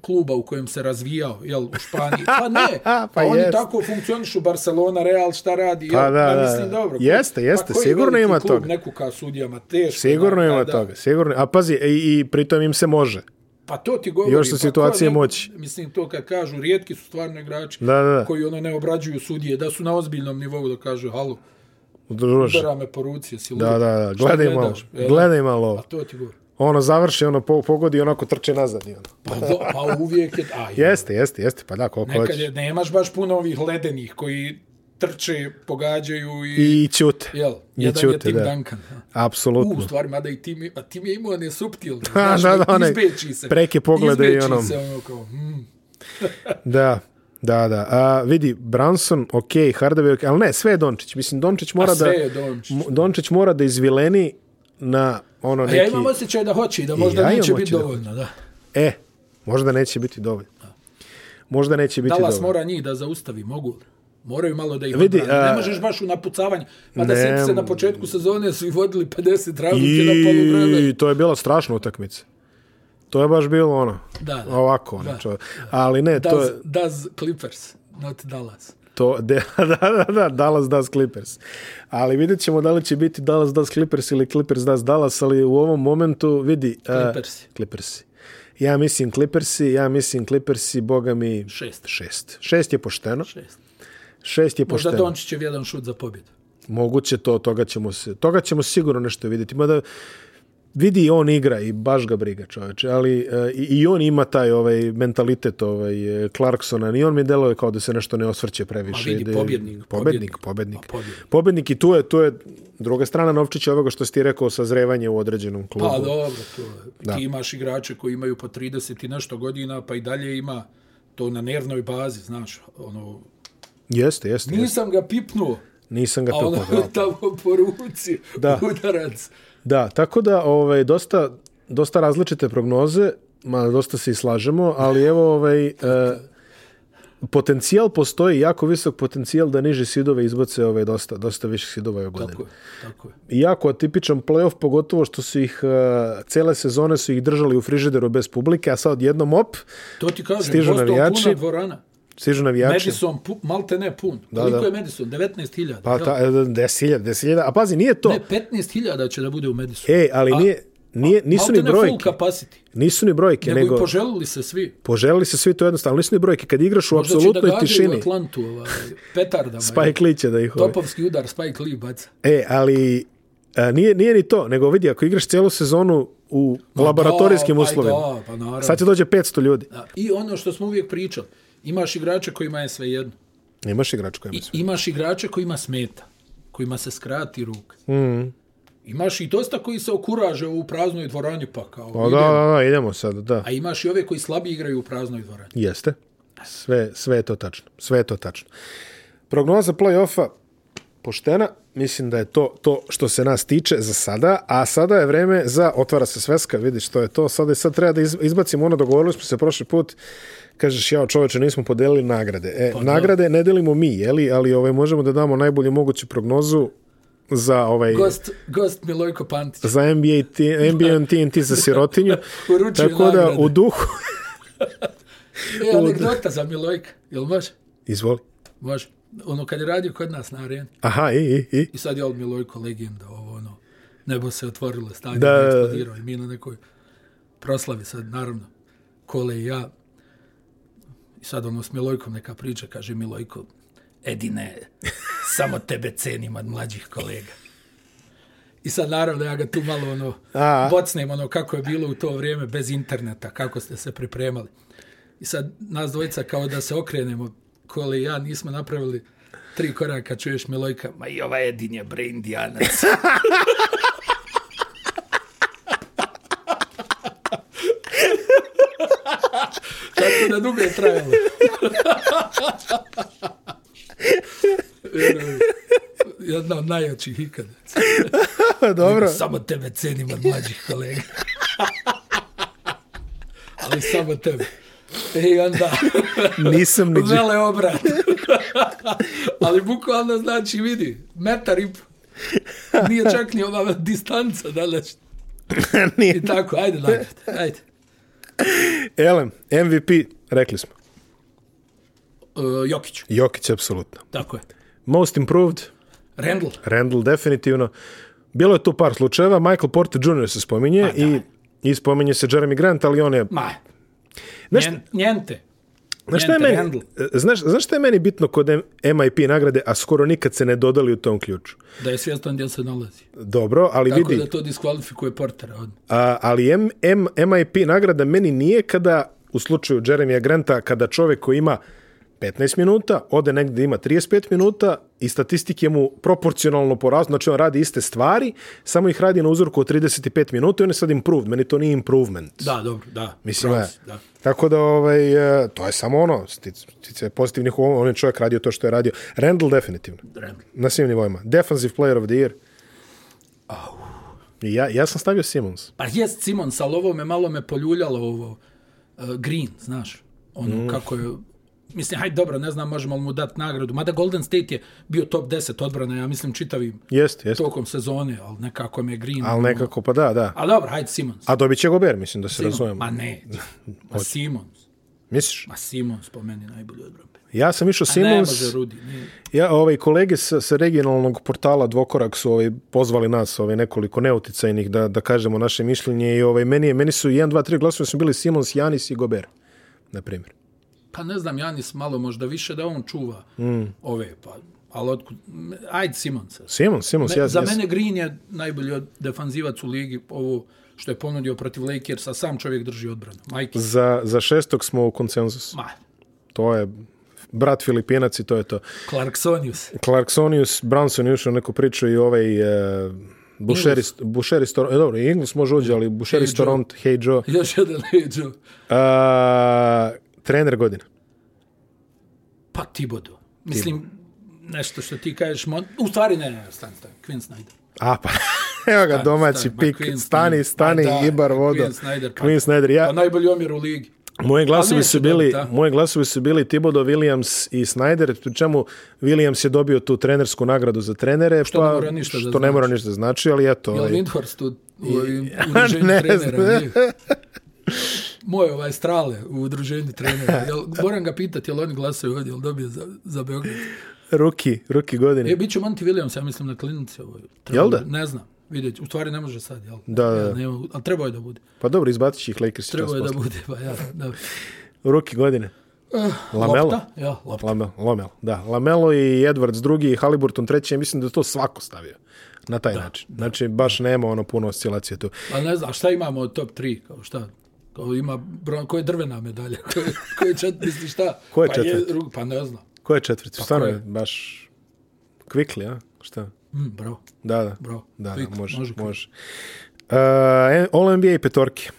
[SPEAKER 2] kluba u kojem se razvijao, jel, u Španiji? Pa
[SPEAKER 1] <laughs>
[SPEAKER 2] ne,
[SPEAKER 1] Pa
[SPEAKER 2] pa, oni
[SPEAKER 1] jest.
[SPEAKER 2] tako funkcionišu, Barcelona, Real, šta radi, jel?
[SPEAKER 1] Pa da, da,
[SPEAKER 2] mislim,
[SPEAKER 1] da.
[SPEAKER 2] dobro. pa
[SPEAKER 1] Jeste, jeste,
[SPEAKER 2] koji
[SPEAKER 1] sigurno
[SPEAKER 2] veliki
[SPEAKER 1] ima
[SPEAKER 2] klub
[SPEAKER 1] toga.
[SPEAKER 2] Ne kuka sudijama, teško.
[SPEAKER 1] Sigurno
[SPEAKER 2] da,
[SPEAKER 1] ima
[SPEAKER 2] da,
[SPEAKER 1] toga, sigurno. A pazi, i, i pritom im se može.
[SPEAKER 2] Pa to ti govori.
[SPEAKER 1] Još su
[SPEAKER 2] pa ko
[SPEAKER 1] situacije
[SPEAKER 2] ne-
[SPEAKER 1] moći.
[SPEAKER 2] Mislim, to kad kažu, rijetki su stvarno igrači
[SPEAKER 1] Da, da, da.
[SPEAKER 2] koji ono ne obrađuju sudije, da su na ozbiljnom nivou da kažu, halo,
[SPEAKER 1] Druže.
[SPEAKER 2] udara me po ruci, jesi lud?
[SPEAKER 1] Da, da, da.
[SPEAKER 2] Šta
[SPEAKER 1] Gledaj malo,
[SPEAKER 2] gledaš? E, da.
[SPEAKER 1] gledaj malo
[SPEAKER 2] A
[SPEAKER 1] ovo.
[SPEAKER 2] to ti govori.
[SPEAKER 1] Ono završi, ono po- pogodi, i onako trče nazad. i Ono.
[SPEAKER 2] Pa, do, pa uvijek je... Aj,
[SPEAKER 1] Jeste, jeste, jeste, pa da, koliko
[SPEAKER 2] nekad
[SPEAKER 1] hoćeš.
[SPEAKER 2] je, nemaš baš puno ovih ledenih koji trče, pogađaju i...
[SPEAKER 1] I ćute.
[SPEAKER 2] jel,
[SPEAKER 1] i
[SPEAKER 2] jedan je
[SPEAKER 1] ćute,
[SPEAKER 2] Tim
[SPEAKER 1] da.
[SPEAKER 2] Duncan. a. U, u
[SPEAKER 1] Apsolutno.
[SPEAKER 2] stvari, mada i Tim, a Tim je imao one
[SPEAKER 1] <laughs>
[SPEAKER 2] subtilne.
[SPEAKER 1] Ha, da, da, one
[SPEAKER 2] izbeći se.
[SPEAKER 1] preke poglede i
[SPEAKER 2] izbeći
[SPEAKER 1] onom.
[SPEAKER 2] se ono kao, mm,
[SPEAKER 1] Da, da, da. A, vidi, Branson, ok, Hardaway, ok, ali ne, sve je Dončić. Mislim, Dončić mora da...
[SPEAKER 2] sve je Dončić.
[SPEAKER 1] Mo- Dončić mora da izvileni na ono
[SPEAKER 2] A
[SPEAKER 1] neki...
[SPEAKER 2] ja imam osjećaj da hoće i da
[SPEAKER 1] E, ja
[SPEAKER 2] možda
[SPEAKER 1] imam
[SPEAKER 2] neće biti
[SPEAKER 1] osjećaj da
[SPEAKER 2] dovoljno, da.
[SPEAKER 1] E, možda neće biti dovoljno. Možda neće biti
[SPEAKER 2] Dallas
[SPEAKER 1] dovoljno.
[SPEAKER 2] mora njih da zaustavi, mogu li? Moraju malo da ih
[SPEAKER 1] Vidi,
[SPEAKER 2] Vidi, odbrane.
[SPEAKER 1] a-
[SPEAKER 2] Ne možeš baš u napucavanje. Pa da
[SPEAKER 1] Ne-
[SPEAKER 2] sjeti se na početku sezone su ih vodili 50 razlike na poluvreme.
[SPEAKER 1] I to je bila strašna utakmica. To je baš bilo ono.
[SPEAKER 2] Da, da.
[SPEAKER 1] Ovako, ono, čo- ali ne, to
[SPEAKER 2] Does,
[SPEAKER 1] je...
[SPEAKER 2] does Clippers, not Dallas.
[SPEAKER 1] To, <laughs> de, da, da, da, Dallas Daz Clippers. Ali vidjet ćemo da li će biti Dallas Daz Clippers ili Clippers Daz Dallas, ali u ovom momentu vidi... a,
[SPEAKER 2] Clippersi.
[SPEAKER 1] Clippersi. Ja mislim Clippersi, ja mislim Clippersi, boga mi...
[SPEAKER 2] Šest.
[SPEAKER 1] Šest. Šest je pošteno.
[SPEAKER 2] Šest.
[SPEAKER 1] Šest je
[SPEAKER 2] Možda
[SPEAKER 1] pošteno.
[SPEAKER 2] Dončićev jedan šut za pobjedu.
[SPEAKER 1] Moguće to, toga ćemo, se, toga ćemo sigurno nešto vidjeti. Mada vidi i on igra i baš ga briga čoveče, ali e, i, i on ima taj ovaj mentalitet ovaj e, Clarksona, ni on mi deluje kao da se nešto ne osvrće previše.
[SPEAKER 2] Ma vidi,
[SPEAKER 1] da je-
[SPEAKER 2] pobjednik,
[SPEAKER 1] pobjednik,
[SPEAKER 2] pobjednik.
[SPEAKER 1] pobjednik.
[SPEAKER 2] Ma, pobjednik.
[SPEAKER 1] Pobjednik i tu je, tu je druga strana Novčića ovoga što si ti rekao, sazrevanje u određenom klubu.
[SPEAKER 2] Pa dobro, to je. Ti imaš igrače koji imaju po 30 i nešto godina, pa i dalje ima to na nervnoj bazi, znaš. Ono,
[SPEAKER 1] Jeste, jeste, jeste.
[SPEAKER 2] nisam ga pipnuo,
[SPEAKER 1] Nisam ga
[SPEAKER 2] a ono
[SPEAKER 1] pipao. da.
[SPEAKER 2] tamo po ruci,
[SPEAKER 1] Da.
[SPEAKER 2] udarac.
[SPEAKER 1] Da, tako da ovaj dosta dosta različite prognoze, ma dosta se i slažemo, ali evo ovaj e, potencijal postoji, jako visok potencijal da niže sidove izbace ovaj dosta dosta više sidova ove godine.
[SPEAKER 2] Tako je, tako je.
[SPEAKER 1] I jako atipičan plej-of, pogotovo što su ih e, cele sezone su ih držali u frižideru bez publike, a sad odjednom op,
[SPEAKER 2] To ti kažem,
[SPEAKER 1] Stižu
[SPEAKER 2] Stižu
[SPEAKER 1] navijači.
[SPEAKER 2] puna dvorana.
[SPEAKER 1] stižu navijači.
[SPEAKER 2] Madison, pu, malte ne pun. Da, Koliko
[SPEAKER 1] da.
[SPEAKER 2] je Madison? 19.000.
[SPEAKER 1] Pa ta, e, 10.000, 10.000, a pazi, nije to.
[SPEAKER 2] Ne, 15.000 će da bude u Madisonu.
[SPEAKER 1] Ej, ali nije, nije, E, nisu ni
[SPEAKER 2] Malte ne full
[SPEAKER 1] brojke.
[SPEAKER 2] capacity.
[SPEAKER 1] Nisu ni brojke,
[SPEAKER 2] Nego, i
[SPEAKER 1] nego...
[SPEAKER 2] poželili se svi.
[SPEAKER 1] Poželili se svi to jednostavno, nisu ni brojke. Kad igraš u
[SPEAKER 2] Možda će da
[SPEAKER 1] apsolutnoj
[SPEAKER 2] gađaju u
[SPEAKER 1] tišini,
[SPEAKER 2] Atlantu ovaj,
[SPEAKER 1] <laughs>
[SPEAKER 2] petardama.
[SPEAKER 1] Spike Lee će da ih... Ovaj.
[SPEAKER 2] Topovski udar Spike Lee baca.
[SPEAKER 1] E, ali a, nije, nije ni to, nego vidi, ako igraš celu sezonu u laboratorijskim
[SPEAKER 2] da, pa i
[SPEAKER 1] uslovima,
[SPEAKER 2] Da, pa naravno.
[SPEAKER 1] sad će dođe 500 ljudi.
[SPEAKER 2] Da. I ono što smo uvijek pričali, imaš igrače kojima je sve jedno.
[SPEAKER 1] Nemaš igrač koja
[SPEAKER 2] I,
[SPEAKER 1] mislim.
[SPEAKER 2] imaš igrače kojima smeta, kojima se skrati ruka. Mm. Imaš i dosta koji se okuraže u praznoj dvorani, pa kao...
[SPEAKER 1] Da,
[SPEAKER 2] idem.
[SPEAKER 1] da, da, idemo sad, da.
[SPEAKER 2] A Pa imaš i ove koji slabije igraju u praznoj dvorani.
[SPEAKER 1] Jeste. Sve, sve je to tačno. Sve je to tačno. Prognoza play-offa poštena. Mislim da je to to što se nas tiče za sada, a sada je vreme za otvara se sveska, vidiš što je to. Sada je sad treba da iz- izbacimo ono, dogovorili smo se prošli put, kažeš jao čoveče, nismo podelili nagrade. E, pa, nagrade ne delimo mi, jeli, ali ovaj, možemo da damo najbolju moguću prognozu za ovaj
[SPEAKER 2] Gost, gost Milojko Pantić. <laughs>
[SPEAKER 1] za NBA, ti, NBA on TNT za sirotinju.
[SPEAKER 2] Uručuju
[SPEAKER 1] Tako da
[SPEAKER 2] nagrade.
[SPEAKER 1] u duhu... <laughs>
[SPEAKER 2] E, anegdota za Milojka. Jel može?
[SPEAKER 1] Izvoli.
[SPEAKER 2] Može. Ono kad je radio kod nas na areni.
[SPEAKER 1] Aha, i, i, i.
[SPEAKER 2] I sad je od Milojko legenda, ovo ono, nebo se otvorilo, stadion
[SPEAKER 1] Da.
[SPEAKER 2] je eksplodirao i mi na nekoj proslavi sad, naravno, Kole i ja. I sad ono s Milojkom neka priča, kaže Milojko, Edine,
[SPEAKER 1] <laughs>
[SPEAKER 2] samo tebe cenim od mlađih kolega. I sad naravno ja ga tu malo ono,
[SPEAKER 1] A.
[SPEAKER 2] bocnem ono kako je bilo u to vrijeme bez interneta, kako ste se pripremali. I sad nas dvojica kao da se okrenemo, Kole i ja nismo napravili tri koraka, čuješ Milojka, ma i ovaj Edin je bre indijanac. Tako da dugo je trajalo. Jedna od najjačih ikada.
[SPEAKER 1] Pa dobro.
[SPEAKER 2] Samo tebe cenim od mlađih kolega. Ali samo tebe. E, I onda...
[SPEAKER 1] Nisam ni
[SPEAKER 2] Vele obrat. Ali bukvalno znači, vidi, metar i po. Nije čak ni ova distanca današnja.
[SPEAKER 1] <laughs> Nije.
[SPEAKER 2] I tako, ajde, nagrad, ajde.
[SPEAKER 1] Elem, MVP, rekli smo.
[SPEAKER 2] Uh, Jokić,
[SPEAKER 1] Jokić, apsolutno.
[SPEAKER 2] tako je.
[SPEAKER 1] Most improved,
[SPEAKER 2] Rendl,
[SPEAKER 1] Randall, definitivno. Bilo je tu par slučajeva, Michael Porter Jr. se spominje i, i spominje se Jeremy Grant, ali on je...
[SPEAKER 2] Pa, ma,
[SPEAKER 1] Znaš,
[SPEAKER 2] njen, njente.
[SPEAKER 1] znaš, šta je
[SPEAKER 2] Njente,
[SPEAKER 1] meni, e, znaš, znaš šta je meni bitno kod M- MIP nagrade, a skoro nikad se ne dodali u tom ključu?
[SPEAKER 2] Da je svjestan gdje se nalazi.
[SPEAKER 1] Dobro, ali
[SPEAKER 2] Tako
[SPEAKER 1] vidi,
[SPEAKER 2] da to diskvalifikuje Portera. odmah.
[SPEAKER 1] a, ali M, M, MIP nagrada meni nije kada, u slučaju Jeremija Granta, kada čovek koji ima 15 minuta, ode negde ima 35 minuta i statistike mu proporcionalno porastu, znači on radi iste stvari, samo ih radi na uzorku od 35 minuta i on je sad improved, meni to nije improvement.
[SPEAKER 2] Da, dobro, da.
[SPEAKER 1] Mislim,
[SPEAKER 2] pravo
[SPEAKER 1] je.
[SPEAKER 2] si, da.
[SPEAKER 1] Tako da, ovaj, e, to je samo ono, stice pozitivnih, on je čovjek radio to što je radio. Randall definitivno,
[SPEAKER 2] Rendl.
[SPEAKER 1] na svim nivoima. Defensive player of the year. I Ja, ja sam stavio Simmons.
[SPEAKER 2] Pa jest Simon, ali ovo me malo me poljuljalo ovo. uh, Green, znaš, ono mm. kako je Mislim, hajde, dobro, ne znam, možemo li mu dati nagradu. Mada Golden State je bio top 10 odbrana, ja mislim, čitavim
[SPEAKER 1] Jeste, jeste.
[SPEAKER 2] tokom sezone, ali nekako me Green...
[SPEAKER 1] Ali nekako, pa da, da.
[SPEAKER 2] Ali dobro, hajde, Simons.
[SPEAKER 1] A dobit će Gober, mislim, da se
[SPEAKER 2] Simons.
[SPEAKER 1] razumemo. <laughs>
[SPEAKER 2] Ma ne, ma Simons.
[SPEAKER 1] Misliš?
[SPEAKER 2] Ma Simons po meni najbolji odbran.
[SPEAKER 1] Ja sam išao
[SPEAKER 2] Ne
[SPEAKER 1] Simons,
[SPEAKER 2] može Rudi. Ne.
[SPEAKER 1] ja, ovaj, kolege sa, sa regionalnog portala Dvokorak su ovaj, pozvali nas, ovaj, nekoliko neuticajnih, da, da kažemo naše mišljenje i ovaj, meni, je, meni su 1, 2, 3 glasove su bili Simons, Janis i Gober, na primjer.
[SPEAKER 2] Pa ne znam, Janis malo možda više da on čuva mm. ove, pa, ali otkud... Ajde Simonsa.
[SPEAKER 1] Simons, Simons,
[SPEAKER 2] Me,
[SPEAKER 1] ja,
[SPEAKER 2] za
[SPEAKER 1] ja,
[SPEAKER 2] mene Green je najbolji od- defanzivac u ligi, ovo što je ponudio protiv Lakersa, sam čovjek drži odbranu. Majke,
[SPEAKER 1] za, za šestog smo u konsenzus.
[SPEAKER 2] ma,
[SPEAKER 1] To je brat Filipinac i to je to.
[SPEAKER 2] Clarksonius.
[SPEAKER 1] Clarksonius, Branson je ušao u neku priču i ovaj e, Bušeri, Bušeri, e, dobro, i Ingles može uđe, ali Bušeri
[SPEAKER 2] Joe.
[SPEAKER 1] hey, Toront, Hey Joe,
[SPEAKER 2] <laughs> Još jedan leđo.
[SPEAKER 1] A, trener godine.
[SPEAKER 2] Pa Tibodo. Mislim, nešto što ti kažeš, mon... u stvari ne, ne, stan, stan, Quinn Snyder.
[SPEAKER 1] A, pa, <laughs> evo ga domaći
[SPEAKER 2] Stan, ma,
[SPEAKER 1] pik,
[SPEAKER 2] Quinn
[SPEAKER 1] stani,
[SPEAKER 2] Snyder.
[SPEAKER 1] stani,
[SPEAKER 2] Pa da,
[SPEAKER 1] Ibar vodo.
[SPEAKER 2] Quinn Snyder, pa-
[SPEAKER 1] Quinn Snyder, ja,
[SPEAKER 2] Pa najbolji omjer u ligi.
[SPEAKER 1] Moje glasovi
[SPEAKER 2] neće
[SPEAKER 1] su bili,
[SPEAKER 2] dobiti, a?
[SPEAKER 1] moje glasovi su bili Tibodo, Williams i Snyder, pri čemu Williams je dobio tu trenersku nagradu za trenere, što
[SPEAKER 2] ne
[SPEAKER 1] pa
[SPEAKER 2] mora ništa da
[SPEAKER 1] što ne
[SPEAKER 2] znači.
[SPEAKER 1] mora ništa da znači, ali eto,
[SPEAKER 2] Jel
[SPEAKER 1] ovaj,
[SPEAKER 2] Windhorst u, u, u
[SPEAKER 1] A, <laughs>
[SPEAKER 2] udruženju
[SPEAKER 1] ne
[SPEAKER 2] trenera?
[SPEAKER 1] znam.
[SPEAKER 2] nije? Moj ovaj strale u udruženju trenera. Jel, moram ga pitati, jel oni glasaju ovdje, jel dobije za, za Beograd?
[SPEAKER 1] ruki, ruki godine.
[SPEAKER 2] E, bit će Monty Williams, ja mislim, na klinici ovoj.
[SPEAKER 1] Jel da?
[SPEAKER 2] Ne znam, vidjet ću. U stvari ne može sad, jel?
[SPEAKER 1] Da, da, da.
[SPEAKER 2] Ja, nema, ali trebao je da bude.
[SPEAKER 1] Pa dobro, izbacit će ih Lakers čas
[SPEAKER 2] Trebao je da
[SPEAKER 1] posle.
[SPEAKER 2] bude, pa ja,
[SPEAKER 1] <laughs>
[SPEAKER 2] da.
[SPEAKER 1] Ruki godine. Lamelo?
[SPEAKER 2] Lopta, ja, lopta.
[SPEAKER 1] Lame, Lomel, da. Lamelo i Edwards drugi i Haliburton treći, ja mislim da je to svako stavio na taj način. Znači, baš nema ono puno oscilacije tu.
[SPEAKER 2] Pa ne znam, šta imamo od top 3, kao šta? Kao ima, bron, koje drvena medalja, <laughs> koje, koje čet, misli šta?
[SPEAKER 1] Ko je
[SPEAKER 2] pa
[SPEAKER 1] četvrti?
[SPEAKER 2] ru- pa ne znam.
[SPEAKER 1] Ko je četvrti? Pa Stvarno
[SPEAKER 2] ko
[SPEAKER 1] je
[SPEAKER 2] je?
[SPEAKER 1] baš kvikli, a? Šta?
[SPEAKER 2] Mm, bravo.
[SPEAKER 1] Da, da.
[SPEAKER 2] Bravo.
[SPEAKER 1] Da, da,
[SPEAKER 2] Kvikli,
[SPEAKER 1] može, može.
[SPEAKER 2] može
[SPEAKER 1] može. Uh, All NBA petorke.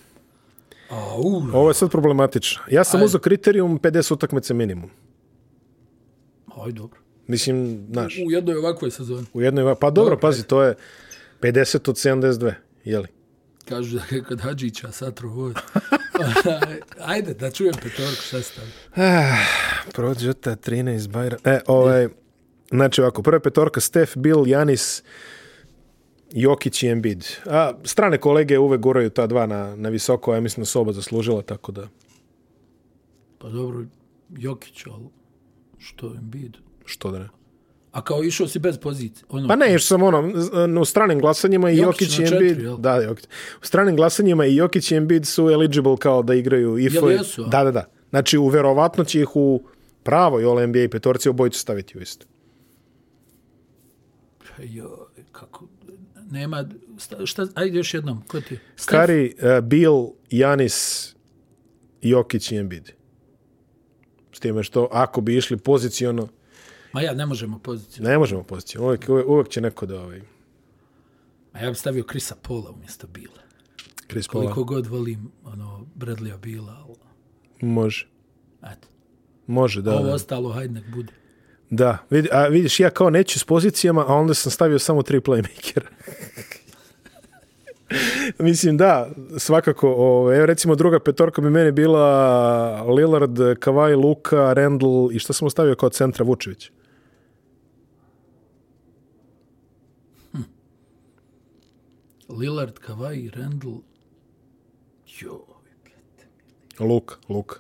[SPEAKER 2] A, u,
[SPEAKER 1] Ovo je sad problematično. Ja sam
[SPEAKER 2] Ajde.
[SPEAKER 1] uzeo kriterijum 50 utakmice minimum.
[SPEAKER 2] aj, dobro.
[SPEAKER 1] Mislim, znaš,
[SPEAKER 2] U jednoj ovakvoj sezoni.
[SPEAKER 1] u jednoj... Pa dobro, pazi, to je 50 od 72, jeli?
[SPEAKER 2] Kažu da je <laughs> kod Hadžića satro vod. <laughs> Ajde, da čujem petorku šta stavi.
[SPEAKER 1] Prođota, 13, Bajra... E, ovaj... Znači ovako, prva petorka, Steph, Bill, Janis, Jokić i Embiid. A, strane kolege uvek guraju ta dva na, na visoko, a ja mislim da su oba zaslužila, tako da...
[SPEAKER 2] Pa dobro, Jokić, ali što Embiid?
[SPEAKER 1] Što da ne?
[SPEAKER 2] A kao išao si bez pozicije. Ono,
[SPEAKER 1] Pa ne, još sam ono, z- na- u stranim glasanjima i
[SPEAKER 2] Jokić
[SPEAKER 1] Jokić i
[SPEAKER 2] na
[SPEAKER 1] Embiid,
[SPEAKER 2] četiri, jel?
[SPEAKER 1] da, Jokić. U stranim glasanjima i Jokić i Embiid su eligible kao da igraju i
[SPEAKER 2] Jel jesu, a?
[SPEAKER 1] Da, da, da. Znači, u verovatno će ih u pravoj All NBA petorci obojicu staviti u isto.
[SPEAKER 2] Jo, pa kako, nema, šta, šta, ajde još jednom, ko ti je? Steph?
[SPEAKER 1] Kari, uh, Bill, Janis, Jokić i Embiid. S time što ako bi išli poziciono,
[SPEAKER 2] Ma ja, ne možemo poziciju.
[SPEAKER 1] ne možemo poziciono. Uvijek, uvijek, uvijek će neko da ovaj,
[SPEAKER 2] Ma ja bi stavio Krisa Pola umjesto Bila.
[SPEAKER 1] Chris Paul
[SPEAKER 2] Koliko god volim, ono, Bradleya Bila, ali,
[SPEAKER 1] može.
[SPEAKER 2] eto.
[SPEAKER 1] Može, Pa da.
[SPEAKER 2] Ovo
[SPEAKER 1] da.
[SPEAKER 2] ostalo, hajde nek bude.
[SPEAKER 1] da. Vidi, a vidiš, ja kao neću s pozicijama, a onda sam stavio samo tri playmakera. <laughs> Mislim, da, svakako. Ovaj, evo, recimo, druga petorka bi meni bila Lillard, Kawhi, Luka, Randall i šta sam ostavio kao centra Vučević?
[SPEAKER 2] Lillard, Kawhi, Randall, jo,
[SPEAKER 1] Luka, Luka.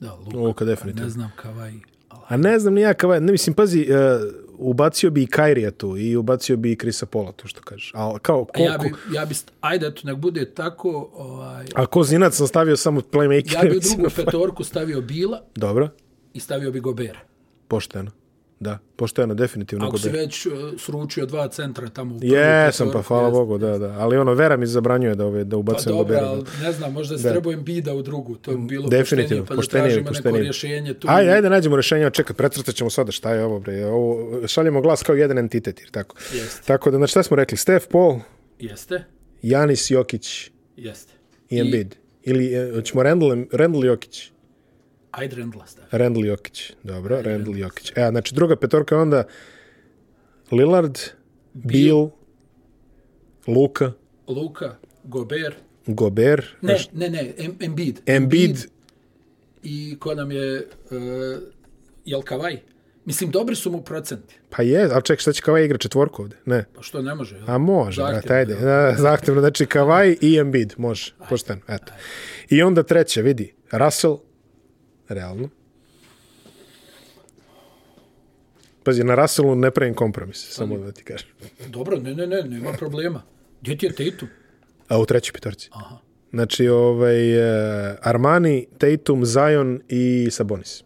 [SPEAKER 2] da, Luka.
[SPEAKER 1] Luka, definitivno.
[SPEAKER 2] Ne znam Kawhi, ali
[SPEAKER 1] A ne znam ni ja kava, ne mislim, pazi, uh, ubacio bi i Kairija tu i ubacio bi i Krisa Pola, to što kažeš. Ali kao,
[SPEAKER 2] A ja
[SPEAKER 1] koliko...
[SPEAKER 2] bi, ja bi, st- ajde, eto, nek bude tako, ovaj,
[SPEAKER 1] A ko zinac sam stavio samo playmaker.
[SPEAKER 2] ja bi u drugu petorku stavio Bila
[SPEAKER 1] <laughs> Dobro,
[SPEAKER 2] i stavio bi Gobera.
[SPEAKER 1] pošteno. Da, pošteno, definitivno.
[SPEAKER 2] Ako si
[SPEAKER 1] Gober.
[SPEAKER 2] već e, sručio dva centra tamo u prvu
[SPEAKER 1] Jesam, pa
[SPEAKER 2] petorku,
[SPEAKER 1] hvala
[SPEAKER 2] jes-
[SPEAKER 1] Bogu, da, da. Ali ono, Vera mi zabranjuje da, ove, da
[SPEAKER 2] Pa
[SPEAKER 1] ubacam
[SPEAKER 2] dobro,
[SPEAKER 1] Gobera.
[SPEAKER 2] ali ne znam, možda se trebao Embida u drugu, to bi bilo
[SPEAKER 1] Definitivno,
[SPEAKER 2] poštenije, pa
[SPEAKER 1] poštenije,
[SPEAKER 2] da tražimo
[SPEAKER 1] poštenije.
[SPEAKER 2] neko rješenje tu.
[SPEAKER 1] Ajde, ajde, nađemo rješenje, čekaj, precrtat ćemo sada šta je ovo, bre. Ovo, šaljemo glas kao jedan entitet, jer tako.
[SPEAKER 2] Jeste.
[SPEAKER 1] Tako da, znači, šta smo rekli? Steph, Paul,
[SPEAKER 2] Jeste,
[SPEAKER 1] Janis, Jokić
[SPEAKER 2] jeste.
[SPEAKER 1] i Embiid. Ili, e, hoćemo Randall, Randall Jokić.
[SPEAKER 2] Ajde Rendla stavi.
[SPEAKER 1] Randall Jokić, dobro, Randall Jokić. E, a znači druga petorka je onda Lillard, Bill, Luka,
[SPEAKER 2] Luka, Gober,
[SPEAKER 1] Gober,
[SPEAKER 2] ne, ne, ne, Em- Embiid.
[SPEAKER 1] Embiid,
[SPEAKER 2] i ko nam je uh, Jelkavaj. Mislim, dobri su mu procenti.
[SPEAKER 1] Pa je, ali ček, šta će Kavaj igra četvorku ovde? Ne.
[SPEAKER 2] Pa što ne može? jel?
[SPEAKER 1] A može,
[SPEAKER 2] Zahtjevno,
[SPEAKER 1] brate, ajde.
[SPEAKER 2] jel?
[SPEAKER 1] Da, <laughs> zahtevno, znači Kavaj i Embiid, može, pošteno, eto. I onda treće, vidi, Russell, realno. Pazi, na Russellu ne pravim kompromis, samo da ti kažem.
[SPEAKER 2] Dobro, ne, ne, ne, nema problema. Gdje ti je Tatum?
[SPEAKER 1] A u trećoj petorci.
[SPEAKER 2] Aha.
[SPEAKER 1] Znači, ovaj, eh, Armani, Tatum, Zion i Sabonis.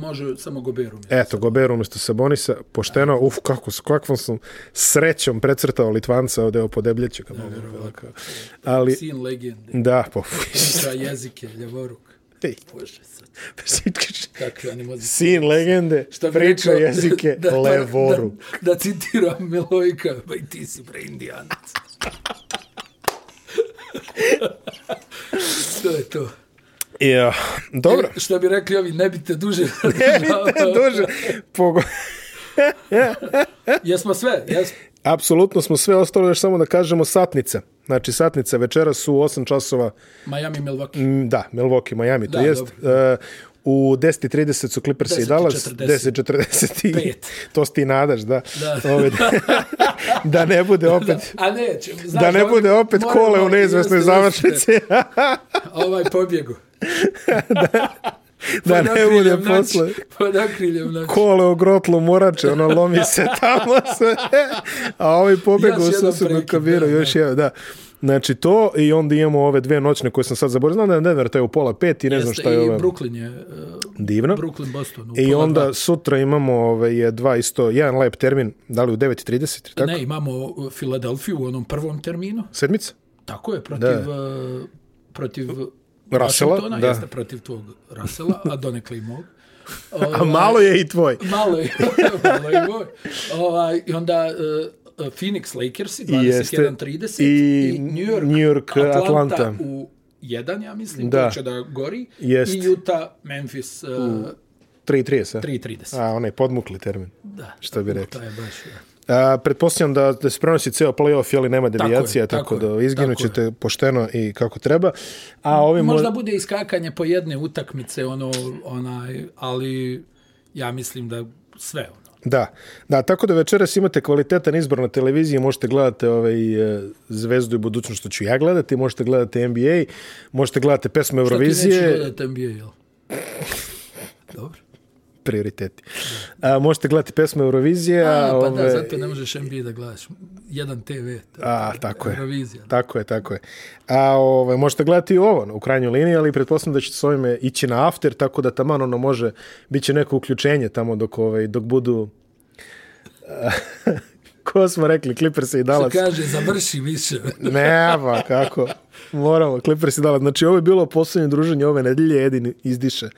[SPEAKER 2] Može samo Goberu. E.
[SPEAKER 1] Eto, Gober umjesto Sabonisa, pošteno, uf, kako, s kakvom sam srećom precrtao Litvanca ovde o podebljeću. Kad mogu, ovako. ali,
[SPEAKER 2] Sin legende.
[SPEAKER 1] da, po, <laughs>
[SPEAKER 2] Sa jezike, ljevoruk.
[SPEAKER 1] Ej.
[SPEAKER 2] Bože, sad,
[SPEAKER 1] Sitkiš.
[SPEAKER 2] kakve animozije.
[SPEAKER 1] Sin legende,
[SPEAKER 2] Šta bi
[SPEAKER 1] priča
[SPEAKER 2] rekao- <laughs>
[SPEAKER 1] jezike levoru.
[SPEAKER 2] Da, da citiram Milojka, ba i ti si pre indijanac. to je to.
[SPEAKER 1] Ja,
[SPEAKER 2] <laughs>
[SPEAKER 1] dobro.
[SPEAKER 2] E, Šta bi rekli ovi, ne bi te
[SPEAKER 1] <laughs>
[SPEAKER 2] duže <laughs>
[SPEAKER 1] Elite duže. Pogo...
[SPEAKER 2] Jesmo sve, jesmo.
[SPEAKER 1] Apsolutno smo sve ostalo još samo da kažemo satnica. Znači satnica večera su u 8 časova,
[SPEAKER 2] Miami, Milwaukee.
[SPEAKER 1] mm, da, Milwaukee, Miami, to
[SPEAKER 2] Da,
[SPEAKER 1] jest. E, u 10.30 su Clippers i
[SPEAKER 2] 10:40.
[SPEAKER 1] Dallas, 10.40 i
[SPEAKER 2] Pet.
[SPEAKER 1] <laughs> to se ti nadaš, da. <laughs>
[SPEAKER 2] Da.
[SPEAKER 1] Ove, da, da ne bude opet...
[SPEAKER 2] A neće. Znaš,
[SPEAKER 1] Da ne
[SPEAKER 2] ovaj-
[SPEAKER 1] bude opet
[SPEAKER 2] moramo-
[SPEAKER 1] kole u neizvesnoj
[SPEAKER 2] jeste, jeste.
[SPEAKER 1] završnici. <laughs>
[SPEAKER 2] A ovaj pobjegu.
[SPEAKER 1] da
[SPEAKER 2] Pod
[SPEAKER 1] ne bude
[SPEAKER 2] okriljem noći,
[SPEAKER 1] posle.
[SPEAKER 2] Pod okriljem noći.
[SPEAKER 1] kole u grotlu morače, ono
[SPEAKER 2] <laughs>
[SPEAKER 1] lomi se tamo se, a ovi pobegu
[SPEAKER 2] Još
[SPEAKER 1] u
[SPEAKER 2] jedan
[SPEAKER 1] susjednu
[SPEAKER 2] prekid,
[SPEAKER 1] kabiru,
[SPEAKER 2] da,
[SPEAKER 1] još jedan, da. Znači to i onda imamo ove dve noćne koje sam sad zaboravio, znam da je Denver, to je u pola pet i ne znam
[SPEAKER 2] Jeste,
[SPEAKER 1] šta je
[SPEAKER 2] I
[SPEAKER 1] ovo
[SPEAKER 2] Brooklyn je, uh,
[SPEAKER 1] divno.
[SPEAKER 2] Brooklyn, Boston. u
[SPEAKER 1] I
[SPEAKER 2] pola
[SPEAKER 1] onda
[SPEAKER 2] dva.
[SPEAKER 1] sutra imamo ove, je dva isto, jedan lep termin, da li u 9.30, tako?
[SPEAKER 2] Ne, imamo uh, Filadelfiju u onom prvom terminu.
[SPEAKER 1] Sedmica?
[SPEAKER 2] Tako je, protiv... uh, protiv
[SPEAKER 1] Russella,
[SPEAKER 2] Washingtona,
[SPEAKER 1] da.
[SPEAKER 2] Jeste protiv tvog Rasela, a donekle i
[SPEAKER 1] <laughs>
[SPEAKER 2] mog. Ovaj,
[SPEAKER 1] A malo je i tvoj.
[SPEAKER 2] Malo je, <laughs> malo je moj. Ovaj, I onda uh, Phoenix Lakersi, 21-30.
[SPEAKER 1] I
[SPEAKER 2] New York,
[SPEAKER 1] New York,
[SPEAKER 2] Atlanta,
[SPEAKER 1] Atlanta.
[SPEAKER 2] u jedan, ja mislim,
[SPEAKER 1] Da.
[SPEAKER 2] da. će da gori.
[SPEAKER 1] Jest.
[SPEAKER 2] I Utah, Memphis, uh,
[SPEAKER 1] 3.30, a?
[SPEAKER 2] 3-30.
[SPEAKER 1] A, onaj podmukli termin,
[SPEAKER 2] Da.
[SPEAKER 1] što bi rekli.
[SPEAKER 2] To je baš, e, ja.
[SPEAKER 1] A, pretpostavljam da, da se prenosi ceo playoff, jeli nema devijacija, tako,
[SPEAKER 2] tako
[SPEAKER 1] tako,
[SPEAKER 2] je,
[SPEAKER 1] da izginut
[SPEAKER 2] tako je.
[SPEAKER 1] ćete pošteno i kako treba. A ovi
[SPEAKER 2] Možda bude iskakanje po jedne utakmice, ono, onaj, ali ja mislim da sve, ono.
[SPEAKER 1] Da, da, tako da večeras imate kvalitetan izbor na televiziji, možete gledati ovaj, e, Zvezdu i budućnost što ću ja gledati, možete gledati NBA, možete gledati pesme
[SPEAKER 2] Šta ti nećeš
[SPEAKER 1] Eurovizije,
[SPEAKER 2] gledati NBA,
[SPEAKER 1] <laughs>
[SPEAKER 2] jel? Dobro.
[SPEAKER 1] prioriteti. A, možete gledati pesme Eurovizije, a, ovaj-
[SPEAKER 2] A, pa
[SPEAKER 1] ove,
[SPEAKER 2] da, zato ne možeš NBA da gledaš. Jedan TV, ta,
[SPEAKER 1] a, tako je.
[SPEAKER 2] Eurovizija.
[SPEAKER 1] Tako je, tako je. A ovaj, možete gledati i ovo u krajnjoj liniji, ali pretpostavljam da ćete s ovime ići na after, tako da taman ono može, bit će neko uključenje tamo dok, ovaj, dok budu... <laughs> Ko smo rekli, Clippers i
[SPEAKER 2] Što
[SPEAKER 1] Dallas.
[SPEAKER 2] kaže, završi više.
[SPEAKER 1] Nema, kako. Moramo, Clippers i Dallas. Znači, ovo je bilo posljednje druženje ove nedelje, jedini izdiše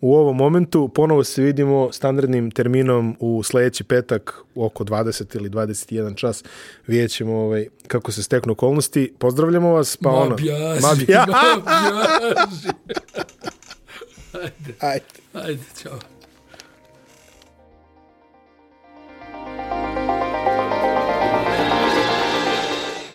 [SPEAKER 1] u ovom momentu. Ponovo se vidimo standardnim terminom u sljedeći petak u oko 20 ili 21 čas. Vidjet ćemo ovaj, kako se steknu okolnosti. Pozdravljamo vas, pa ono...
[SPEAKER 2] Ma bjaži,
[SPEAKER 1] Ma
[SPEAKER 2] ma <laughs>
[SPEAKER 1] bja-
[SPEAKER 2] bjaži.
[SPEAKER 1] Ajde.
[SPEAKER 2] Ajde, čao.